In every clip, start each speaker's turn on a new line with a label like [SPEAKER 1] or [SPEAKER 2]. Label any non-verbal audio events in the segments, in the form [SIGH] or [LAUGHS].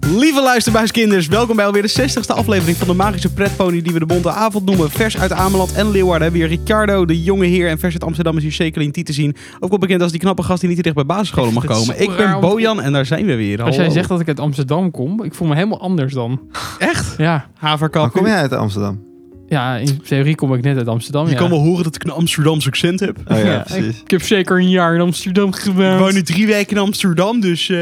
[SPEAKER 1] Lieve luisterbuiskinders, welkom bij alweer de 60ste aflevering van de magische pretpony die we de Bonte Avond noemen. Vers uit Ameland en Leeuwarden hebben we hier Ricardo, de jonge heer. En vers uit Amsterdam is hier Jacqueline T te zien. Ook wel bekend als die knappe gast die niet te dicht bij basisscholen mag
[SPEAKER 2] vind het
[SPEAKER 1] komen.
[SPEAKER 2] zo
[SPEAKER 1] Ik ben
[SPEAKER 2] raar om te-
[SPEAKER 1] Bojan en daar zijn we weer.
[SPEAKER 2] Als jij
[SPEAKER 1] Hallo.
[SPEAKER 2] zegt dat ik uit Amsterdam kom, ik voel me helemaal anders dan.
[SPEAKER 1] Oh, Echt?
[SPEAKER 2] Ja,
[SPEAKER 1] Haverkap.
[SPEAKER 3] Waar kom jij uit Amsterdam?
[SPEAKER 2] ja in theorie kom ik net uit Amsterdam.
[SPEAKER 1] Je
[SPEAKER 2] ja.
[SPEAKER 1] kan wel horen dat ik een Amsterdamse accent heb.
[SPEAKER 3] Oh ja,
[SPEAKER 2] Ja,
[SPEAKER 3] precies.
[SPEAKER 2] Ik heb zeker een jaar in Amsterdam
[SPEAKER 1] Ik woon
[SPEAKER 2] gewoond.
[SPEAKER 1] nu drie weken in Amsterdam, dus... eh,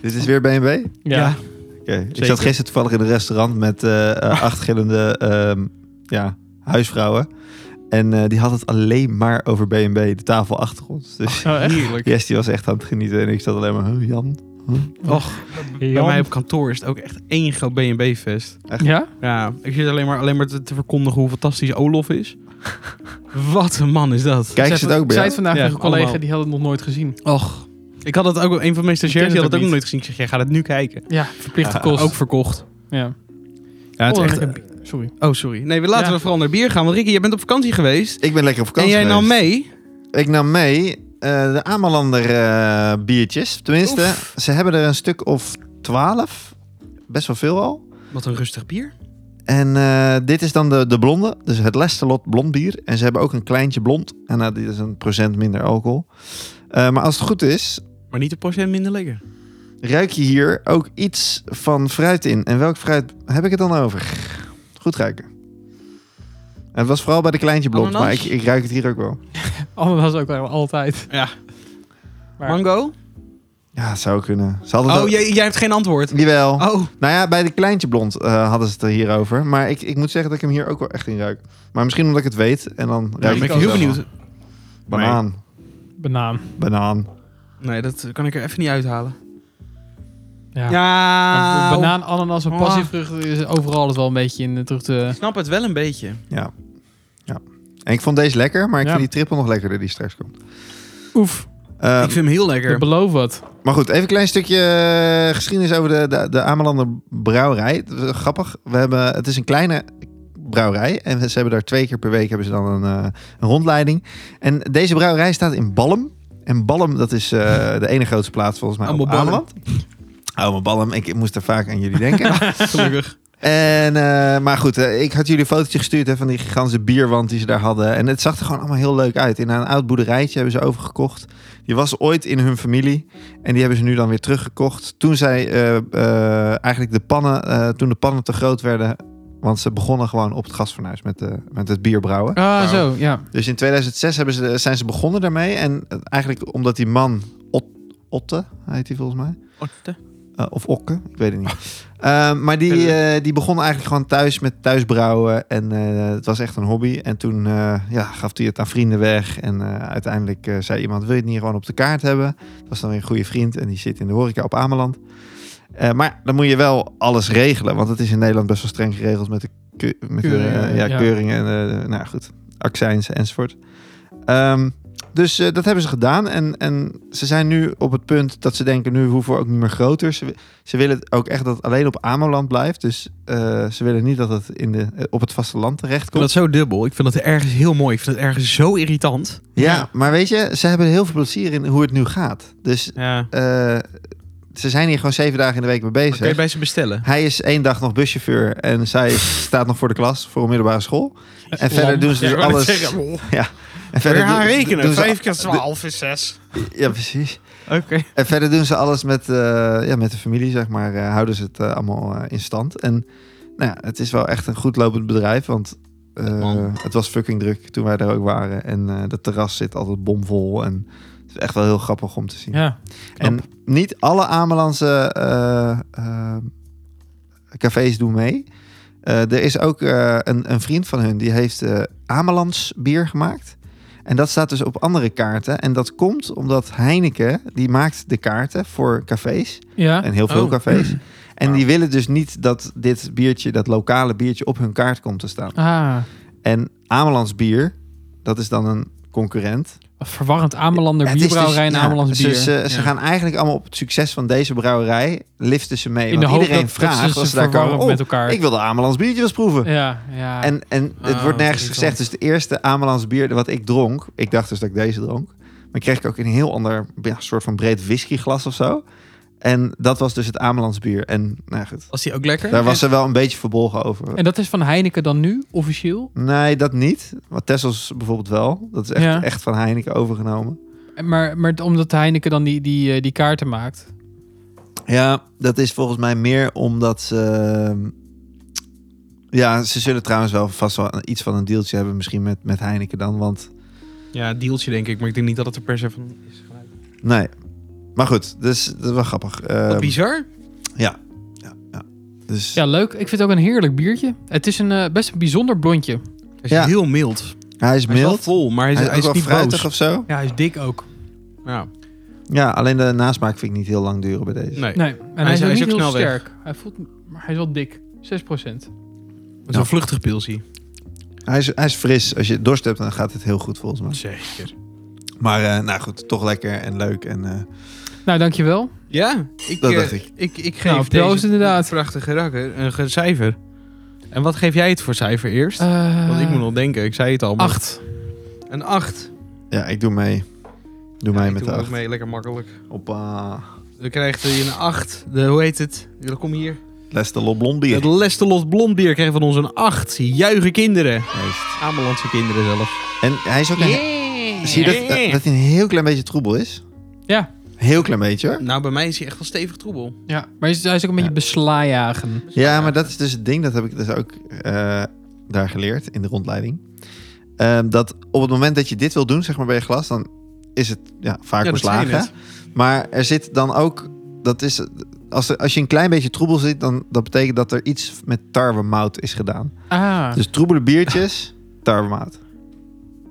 [SPEAKER 3] Dit is weer BNB?
[SPEAKER 2] Ja.
[SPEAKER 1] ja.
[SPEAKER 3] Oké. Ik zat gisteren toevallig in een restaurant met eh, eh, acht gillende ehm, ja, huisvrouwen. En eh, die had het alleen maar over BNB, de tafel achter ons. Dus
[SPEAKER 2] Oh, echt? Heerlijk.
[SPEAKER 3] Yes, die was echt aan het genieten. En ik zat alleen maar, huh, Jan?
[SPEAKER 1] Och, bij mij op kantoor is het ook echt één groot B&B-fest.
[SPEAKER 2] Ja?
[SPEAKER 1] Ja, ik zit alleen maar, alleen maar te, te verkondigen hoe fantastisch Olof
[SPEAKER 2] [LAUGHS]
[SPEAKER 1] is. Wat een man is dat.
[SPEAKER 3] Kijk, ze
[SPEAKER 2] Zij-
[SPEAKER 3] het ook
[SPEAKER 2] zei
[SPEAKER 3] bij jou?
[SPEAKER 2] het vandaag
[SPEAKER 1] Ja,
[SPEAKER 2] tegen een collega,
[SPEAKER 1] allemaal.
[SPEAKER 2] die had het nog nooit gezien.
[SPEAKER 1] Och. Ik had het ook, een van mijn stagiairs die had
[SPEAKER 2] het
[SPEAKER 1] het
[SPEAKER 2] ook
[SPEAKER 1] ook nog
[SPEAKER 2] niet.
[SPEAKER 1] nooit gezien. Ik zeg, jij gaat het nu kijken.
[SPEAKER 2] Ja, verplichte
[SPEAKER 3] Ja,
[SPEAKER 2] kost.
[SPEAKER 1] Ook verkocht.
[SPEAKER 2] ja.
[SPEAKER 1] Ja,
[SPEAKER 2] Oh, lekker bier. Sorry.
[SPEAKER 1] Oh, sorry. Nee, we laten
[SPEAKER 2] Ja.
[SPEAKER 1] we vooral naar bier gaan. Want Ricky, jij bent op vakantie geweest.
[SPEAKER 3] Ik ben lekker op
[SPEAKER 1] en
[SPEAKER 3] vakantie
[SPEAKER 1] jij nam
[SPEAKER 3] geweest.
[SPEAKER 1] mee.
[SPEAKER 3] Ik nam mee eh, de Amalander eh, biertjes. Tenminste, ze hebben er een stuk of twaalf. Best wel veel al.
[SPEAKER 1] Wat een rustig bier.
[SPEAKER 3] En eh, dit is dan de, de blonde, dus het Lestelot blond bier. En ze hebben ook een kleintje blond. En nou, dit is een procent minder alcohol. Eh, maar als het goed is,
[SPEAKER 1] Maar niet de procent minder lekker.
[SPEAKER 3] ruik je hier ook iets van fruit in. En welk fruit heb ik het dan over? Goed ruiken. En het was vooral bij de kleintje blond,
[SPEAKER 1] Ananas?
[SPEAKER 3] maar ik, ik ruik het hier ook wel.
[SPEAKER 2] Ananas ook wel altijd.
[SPEAKER 1] Ja.
[SPEAKER 2] Maar-
[SPEAKER 1] Mango?
[SPEAKER 3] Ja, het zou kunnen. Ze hadden het
[SPEAKER 1] Oh,
[SPEAKER 3] ook-
[SPEAKER 1] jij, jij hebt geen antwoord.
[SPEAKER 3] Jawel.
[SPEAKER 1] Oh,
[SPEAKER 3] Nou ja, bij de kleintje blond eh, hadden ze het er hier over. Maar ik, ik moet zeggen dat ik hem hier ook wel echt in ruik. Maar misschien omdat ik het weet. En dan
[SPEAKER 1] daar
[SPEAKER 3] ruik
[SPEAKER 1] ben ik
[SPEAKER 3] het
[SPEAKER 1] heel
[SPEAKER 3] zelf
[SPEAKER 1] benieuwd.
[SPEAKER 3] wel. Banaan.
[SPEAKER 2] Banaan.
[SPEAKER 3] Banaan.
[SPEAKER 1] Nee, dat kan ik er even niet uithalen.
[SPEAKER 2] Ja.
[SPEAKER 1] Ja.
[SPEAKER 2] Maar Banaan, ananas en
[SPEAKER 1] Ah.
[SPEAKER 2] passievrucht is overal het wel een beetje in eh, terug te...
[SPEAKER 1] Ik snap het wel een beetje.
[SPEAKER 3] Ja. ja. En ik vond deze lekker, maar ik
[SPEAKER 2] Ja.
[SPEAKER 3] vind die triple nog lekkerder die straks komt.
[SPEAKER 2] Oef,
[SPEAKER 3] Eh,
[SPEAKER 1] ik vind hem heel lekker.
[SPEAKER 2] ik beloof wat.
[SPEAKER 3] Maar goed, even een klein stukje eh, geschiedenis over de, de, de Amelander brouwerij. Het is Grappig. We hebben, het is een kleine brouwerij. En ze hebben daar twee keer per week hebben ze dan een, eh, een rondleiding. En deze brouwerij staat in Ballum. En Ballum, dat is eh, de ene grootste plaats volgens mij op
[SPEAKER 1] Allemaal Ballum.
[SPEAKER 3] Ameland. Oh, maar Ballum, ik moest er vaak aan jullie denken.
[SPEAKER 1] Gelukkig.
[SPEAKER 3] En, eh, maar goed, eh, ik had jullie een fotootje gestuurd hè, van die gigantische bierwand die ze daar hadden. En het zag er gewoon allemaal heel leuk uit. In een oud boerderijtje hebben ze overgekocht. Die was ooit in hun familie. En die hebben ze nu dan weer teruggekocht. Toen zij eh, eh, eigenlijk de pannen, eh, toen de pannen te groot werden. Want ze begonnen gewoon op het gasfornuis met, eh, met het bier brouwen.
[SPEAKER 2] Ah, zo, ja.
[SPEAKER 3] Dus in 2006 hebben ze, zijn ze begonnen daarmee. En eh, eigenlijk omdat die man, Ot- Otte heet hij volgens mij.
[SPEAKER 1] Oh,
[SPEAKER 3] Eh, of okken, ik weet het niet. [LAUGHS] Eh, maar die, eh, die begon eigenlijk gewoon thuis met thuisbrouwen. En eh, het was echt een hobby. En toen eh, ja, gaf hij het aan vrienden weg. En eh, uiteindelijk eh, zei iemand, wil je het niet gewoon op de kaart hebben? Dat was dan weer een goede vriend. En die zit in de horeca op Ameland. Eh, maar dan moet je wel alles regelen. Want het is in Nederland best wel streng geregeld met de, keu- met de, eh,
[SPEAKER 2] Keuringen,
[SPEAKER 3] ja,
[SPEAKER 2] ja.
[SPEAKER 3] keuringen. En, eh, nou ja, goed, accijns enzovoort. Ehm, dus eh, dat hebben ze gedaan. En, en ze zijn nu op het punt dat ze denken, nu hoeven we ook niet meer groter. Ze, wi- ze willen ook echt dat het alleen op Ameland blijft. Dus eh, ze willen niet dat het in de, eh, op het vasteland terecht
[SPEAKER 1] Ik
[SPEAKER 3] komt.
[SPEAKER 1] vind dat zo dubbel. Ik vind dat ergens heel mooi. Ik vind dat ergens zo irritant.
[SPEAKER 3] Ja, maar weet je, ze hebben heel veel plezier in hoe het nu gaat. Dus
[SPEAKER 1] Ja.
[SPEAKER 3] eh, ze zijn hier gewoon zeven dagen in de week mee bezig.
[SPEAKER 1] Kun je bij ze bestellen?
[SPEAKER 3] Hij is één dag nog buschauffeur en zij is- staat nog voor de klas voor een middelbare school. En verder doen ze dus alles. en verder dus- doen- doen ze-
[SPEAKER 1] keer
[SPEAKER 3] twaalf
[SPEAKER 1] is zes.
[SPEAKER 3] Ja, precies.
[SPEAKER 1] Oké.
[SPEAKER 3] [LAUGHS] En verder doen ze alles met, eh, ja, met de familie, zeg maar. eh, houden ze het eh, allemaal eh, in stand. En nou ja, het is wel echt een goed lopend bedrijf, want eh,
[SPEAKER 1] Man.
[SPEAKER 3] het was fucking druk toen wij daar ook waren. En eh dat terras zit altijd bomvol en het is echt wel heel grappig om te zien.
[SPEAKER 2] Ja.
[SPEAKER 3] en niet alle Amelandse eh, eh, cafés doen mee. Eh, er is ook eh, een, een vriend van hun die heeft eh Amelands bier gemaakt. En dat staat dus op andere kaarten. En dat komt omdat Heineken, die maakt de kaarten voor cafés.
[SPEAKER 2] Ja.
[SPEAKER 3] En heel veel
[SPEAKER 1] Oh.
[SPEAKER 3] cafés. En die willen dus niet dat dit biertje, dat lokale biertje, op hun kaart komt te staan.
[SPEAKER 2] Ah,
[SPEAKER 3] En Amelands bier, dat is dan een concurrent.
[SPEAKER 2] verwarrend Amelander
[SPEAKER 3] Het is dus-
[SPEAKER 2] bierbrouwerij en
[SPEAKER 3] ja,
[SPEAKER 2] Amelands bier.
[SPEAKER 3] Ze, ze, ze
[SPEAKER 1] Ja.
[SPEAKER 3] gaan eigenlijk allemaal op het succes van deze brouwerij liften ze mee.
[SPEAKER 2] in de
[SPEAKER 3] want
[SPEAKER 2] hoop
[SPEAKER 3] iedereen
[SPEAKER 2] dat,
[SPEAKER 3] vraagt
[SPEAKER 2] dat ze
[SPEAKER 3] als
[SPEAKER 2] ze
[SPEAKER 3] ze daar
[SPEAKER 2] verwarren
[SPEAKER 3] komen. Oh,
[SPEAKER 2] met elkaar.
[SPEAKER 3] ik wil de Amelands biertje wel eens proeven.
[SPEAKER 2] ja, ja.
[SPEAKER 3] En, en het
[SPEAKER 1] Ah,
[SPEAKER 3] wordt nergens
[SPEAKER 1] irritant.
[SPEAKER 3] gezegd. Dus de eerste Amelands bier wat ik dronk, ik dacht dus dat ik deze dronk, maar kreeg ik ook een heel ander ja, soort van breed whiskyglas of zo. Eh, En dat was dus het Amelands bier. En nou ja, goed,
[SPEAKER 1] Was die ook lekker?
[SPEAKER 3] daar was ze wel een beetje verbolgen over.
[SPEAKER 2] En dat is van Heineken dan nu, officieel.
[SPEAKER 3] Nee, dat niet. Maar Tessels bijvoorbeeld wel. Dat is echt,
[SPEAKER 2] Ja.
[SPEAKER 3] echt van Heineken overgenomen.
[SPEAKER 2] Maar, maar omdat Heineken dan die, die, eh, die kaarten maakt.
[SPEAKER 3] Ja, dat is volgens mij meer omdat ze... ehm, Ja, ze zullen trouwens wel vast wel iets van een deeltje hebben misschien met, met Heineken dan. Want
[SPEAKER 1] Ja, deeltje denk ik, maar ik denk niet dat het er per se van
[SPEAKER 3] Ehm,
[SPEAKER 1] is.
[SPEAKER 3] nee. Maar goed, dus, dat is wel grappig.
[SPEAKER 1] Wat
[SPEAKER 3] Ehm,
[SPEAKER 1] bizar.
[SPEAKER 3] ja. ja, ja. Dus,
[SPEAKER 2] Ja, leuk. Ik vind het ook een heerlijk biertje. Het is een eh, best een bijzonder blondje.
[SPEAKER 1] Hij is
[SPEAKER 3] ja.
[SPEAKER 1] heel mild.
[SPEAKER 3] Hij is
[SPEAKER 1] Hij is wel
[SPEAKER 3] mild.
[SPEAKER 1] vol, maar hij is,
[SPEAKER 3] Hij is,
[SPEAKER 1] hij is
[SPEAKER 3] ook
[SPEAKER 1] niet
[SPEAKER 3] wel fruitig
[SPEAKER 1] boos.
[SPEAKER 3] of zo.
[SPEAKER 2] Ja, hij is dik ook.
[SPEAKER 1] Ja.
[SPEAKER 3] Ja, alleen de nasmaak vind ik niet heel lang duren bij deze.
[SPEAKER 1] Nee.
[SPEAKER 2] Nee, en hij,
[SPEAKER 1] is-
[SPEAKER 2] is,
[SPEAKER 1] hij
[SPEAKER 2] ook
[SPEAKER 1] is
[SPEAKER 2] niet
[SPEAKER 1] ook
[SPEAKER 2] heel
[SPEAKER 1] snel weg.
[SPEAKER 2] sterk. Hij voelt, maar hij is wel dik. 6%.
[SPEAKER 1] Het is een vluchtig pilsie.
[SPEAKER 3] Hij, is, hij is fris. Als je dorst hebt, dan gaat het heel goed volgens mij.
[SPEAKER 1] Zeker.
[SPEAKER 3] Maar eh, nou goed, toch lekker en leuk. En, eh,
[SPEAKER 2] Nou, dankjewel.
[SPEAKER 1] Ja, ik,
[SPEAKER 3] Dat
[SPEAKER 1] eh,
[SPEAKER 3] dacht ik.
[SPEAKER 1] ik. Ik geef
[SPEAKER 2] Nou, proost
[SPEAKER 1] deze
[SPEAKER 2] inderdaad.
[SPEAKER 1] prachtige rakker een ge- cijfer. En wat geef jij het voor cijfer eerst?
[SPEAKER 2] Eh,
[SPEAKER 1] Want ik moet nog denken, ik zei het al. maar-
[SPEAKER 2] Acht.
[SPEAKER 1] Een 8.
[SPEAKER 3] ja, ik doe mee. Doe
[SPEAKER 1] Ja,
[SPEAKER 3] mee
[SPEAKER 1] ik
[SPEAKER 3] met
[SPEAKER 1] doe
[SPEAKER 3] de
[SPEAKER 1] ook
[SPEAKER 3] acht.
[SPEAKER 1] mee, lekker makkelijk.
[SPEAKER 3] Hoppa.
[SPEAKER 1] Dan krijgt hij een 8. De, hoe heet het? Dan kom hier.
[SPEAKER 3] Lester Loblond bier.
[SPEAKER 1] Het Lestelot blond bier krijgt van ons een 8. Juichen kinderen.
[SPEAKER 3] Juist.
[SPEAKER 1] Amelandse kinderen zelf.
[SPEAKER 3] En hij is ook een, zie je dat, dat, dat hij een heel klein beetje troebel is?
[SPEAKER 2] Ja.
[SPEAKER 3] Heel klein beetje hoor.
[SPEAKER 1] Nou, bij mij is hij echt wel stevig troebel.
[SPEAKER 2] Ja, maar hij is, hij is ook een beetje
[SPEAKER 3] Ja.
[SPEAKER 2] beslajagen.
[SPEAKER 3] Ja, maar dat is dus het ding. Dat heb ik dus ook eh, daar geleerd in de rondleiding. Ehm, dat op het moment dat je dit wil doen, zeg maar bij je glas, dan is het ja, vaak
[SPEAKER 1] Ja, dat zei je
[SPEAKER 3] beslagen. Maar er zit dan ook, dat is, als, er- als je een klein beetje troebel zit, dan dat betekent dat er iets met tarwemout is gedaan.
[SPEAKER 2] Ah,
[SPEAKER 3] Dus troebele
[SPEAKER 1] [LAUGHS]
[SPEAKER 3] biertjes, tarwemout.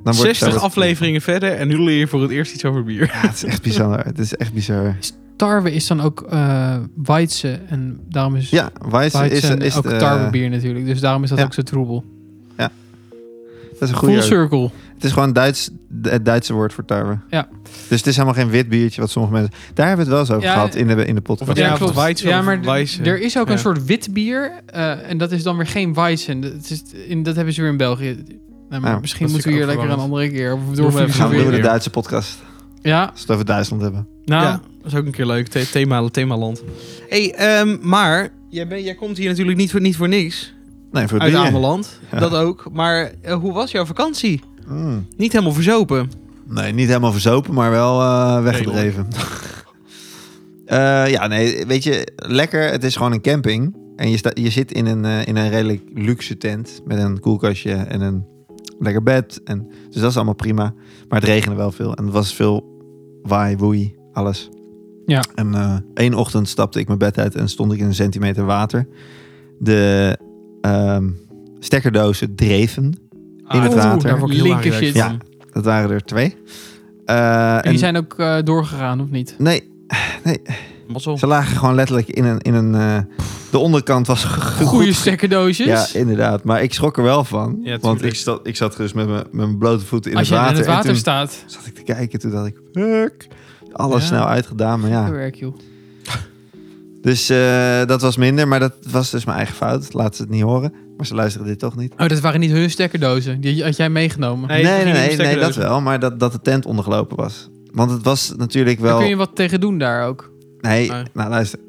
[SPEAKER 3] Dan
[SPEAKER 1] 60
[SPEAKER 3] tarwe-
[SPEAKER 1] afleveringen verder en nu leer je voor het eerst iets over bier.
[SPEAKER 3] Ja, het is echt bizar. Het is echt bizar.
[SPEAKER 2] tarwe is dan ook eh weidse. En daarom is
[SPEAKER 3] Ja, Weizen is,
[SPEAKER 2] weidse en
[SPEAKER 3] is
[SPEAKER 2] ook
[SPEAKER 3] de-
[SPEAKER 2] tarwebier natuurlijk. Dus daarom is dat
[SPEAKER 3] Ja.
[SPEAKER 2] ook zo troebel.
[SPEAKER 3] Dat is een
[SPEAKER 2] Full
[SPEAKER 3] goede.
[SPEAKER 2] circle.
[SPEAKER 3] Het is gewoon Duits, het Duitse woord voor tarwe.
[SPEAKER 2] Ja.
[SPEAKER 3] Dus het is helemaal geen wit biertje wat sommige mensen... Daar hebben we het wel eens over
[SPEAKER 2] Ja,
[SPEAKER 3] gehad in de, in de
[SPEAKER 1] Of
[SPEAKER 3] podcast.
[SPEAKER 1] het
[SPEAKER 2] Ja,
[SPEAKER 1] ja,
[SPEAKER 2] klopt.
[SPEAKER 1] Weizen
[SPEAKER 2] ja,
[SPEAKER 1] of
[SPEAKER 2] maar d-
[SPEAKER 1] Weizen.
[SPEAKER 2] er is ook
[SPEAKER 1] Ja.
[SPEAKER 2] een soort wit bier. eh, en dat is dan weer geen Weizen. Dat is, in, dat hebben ze weer in België. Nou, maar
[SPEAKER 3] Ja,
[SPEAKER 2] misschien
[SPEAKER 1] dat
[SPEAKER 2] moeten we
[SPEAKER 1] vind
[SPEAKER 2] hier
[SPEAKER 1] ik ook
[SPEAKER 2] lekker een andere keer. Of doorvliegen
[SPEAKER 1] even
[SPEAKER 3] Gaan we
[SPEAKER 2] weer.
[SPEAKER 3] doen we de
[SPEAKER 1] weer.
[SPEAKER 3] Duitse podcast. Als
[SPEAKER 2] Ja,
[SPEAKER 3] we het over Duitsland hebben.
[SPEAKER 2] nou.
[SPEAKER 1] Ja, dat is ook een keer leuk. The- Thema, themaland. hey, ehm, maar jij, ben, jij komt hier natuurlijk niet voor, niet voor niks.
[SPEAKER 3] Nee, voor het
[SPEAKER 1] Uit
[SPEAKER 3] bier.
[SPEAKER 1] Ameland,
[SPEAKER 3] Ja.
[SPEAKER 1] dat ook. Maar eh, hoe was jouw vakantie?
[SPEAKER 3] Mm.
[SPEAKER 1] Niet helemaal verzopen.
[SPEAKER 3] Nee, niet helemaal verzopen, maar wel eh, weggedreven. [LAUGHS] Eh, ja, nee, weet je, lekker. Het is gewoon een camping. En je, sta, je zit in een, eh, in een redelijk luxe tent met een koelkastje en een lekker bed. En, dus dat is allemaal prima. Maar het regende wel veel. En het was veel waai, woei, alles.
[SPEAKER 2] Ja.
[SPEAKER 3] En eh, één ochtend stapte ik mijn bed uit en stond ik in een centimeter water. De ehm, stekkerdozen dreven. In
[SPEAKER 1] Ah,
[SPEAKER 3] het
[SPEAKER 2] Oeh,
[SPEAKER 3] water.
[SPEAKER 2] daar word ik heel
[SPEAKER 1] Linker
[SPEAKER 2] erg
[SPEAKER 1] shit.
[SPEAKER 2] van.
[SPEAKER 3] Ja. Dat waren er twee. Eh,
[SPEAKER 2] En die zijn ook eh, doorgegaan, of niet?
[SPEAKER 3] Nee,
[SPEAKER 1] Mazzel.
[SPEAKER 3] Ze lagen gewoon letterlijk in een. In een eh, de onderkant was ge-
[SPEAKER 2] Goede
[SPEAKER 3] goed-
[SPEAKER 2] stekkerdoosjes.
[SPEAKER 3] Ja, inderdaad. Maar ik schrok er wel van.
[SPEAKER 1] Ja,
[SPEAKER 3] want
[SPEAKER 1] tuurlijk.
[SPEAKER 3] ik zat, ik zat dus met mijn, met mijn blote voeten in
[SPEAKER 2] Als je
[SPEAKER 3] het water.
[SPEAKER 2] in het water
[SPEAKER 3] en toen
[SPEAKER 2] staat.
[SPEAKER 3] zat ik te kijken. Toen dacht ik, fuck. Alles
[SPEAKER 2] Ja.
[SPEAKER 3] snel uitgedaan. Maar ja.
[SPEAKER 2] Werk, joh.
[SPEAKER 3] Dus eh, dat was minder. Maar dat was dus mijn eigen fout. Laat ze het niet horen. Maar ze luisteren dit toch niet.
[SPEAKER 2] Oh, dat waren niet hun stekkerdozen. Die had jij meegenomen.
[SPEAKER 1] Nee,
[SPEAKER 3] Nee,
[SPEAKER 1] het
[SPEAKER 3] nee,
[SPEAKER 1] ging
[SPEAKER 3] nee,
[SPEAKER 1] niet om
[SPEAKER 3] nee,
[SPEAKER 1] stekkerdozen.
[SPEAKER 3] dat wel. Maar dat, dat de tent ondergelopen was. Want het was natuurlijk
[SPEAKER 2] Daar
[SPEAKER 3] wel...
[SPEAKER 2] kun je wat tegen doen daar ook.
[SPEAKER 3] Nee,
[SPEAKER 1] Nee.
[SPEAKER 3] nou luister.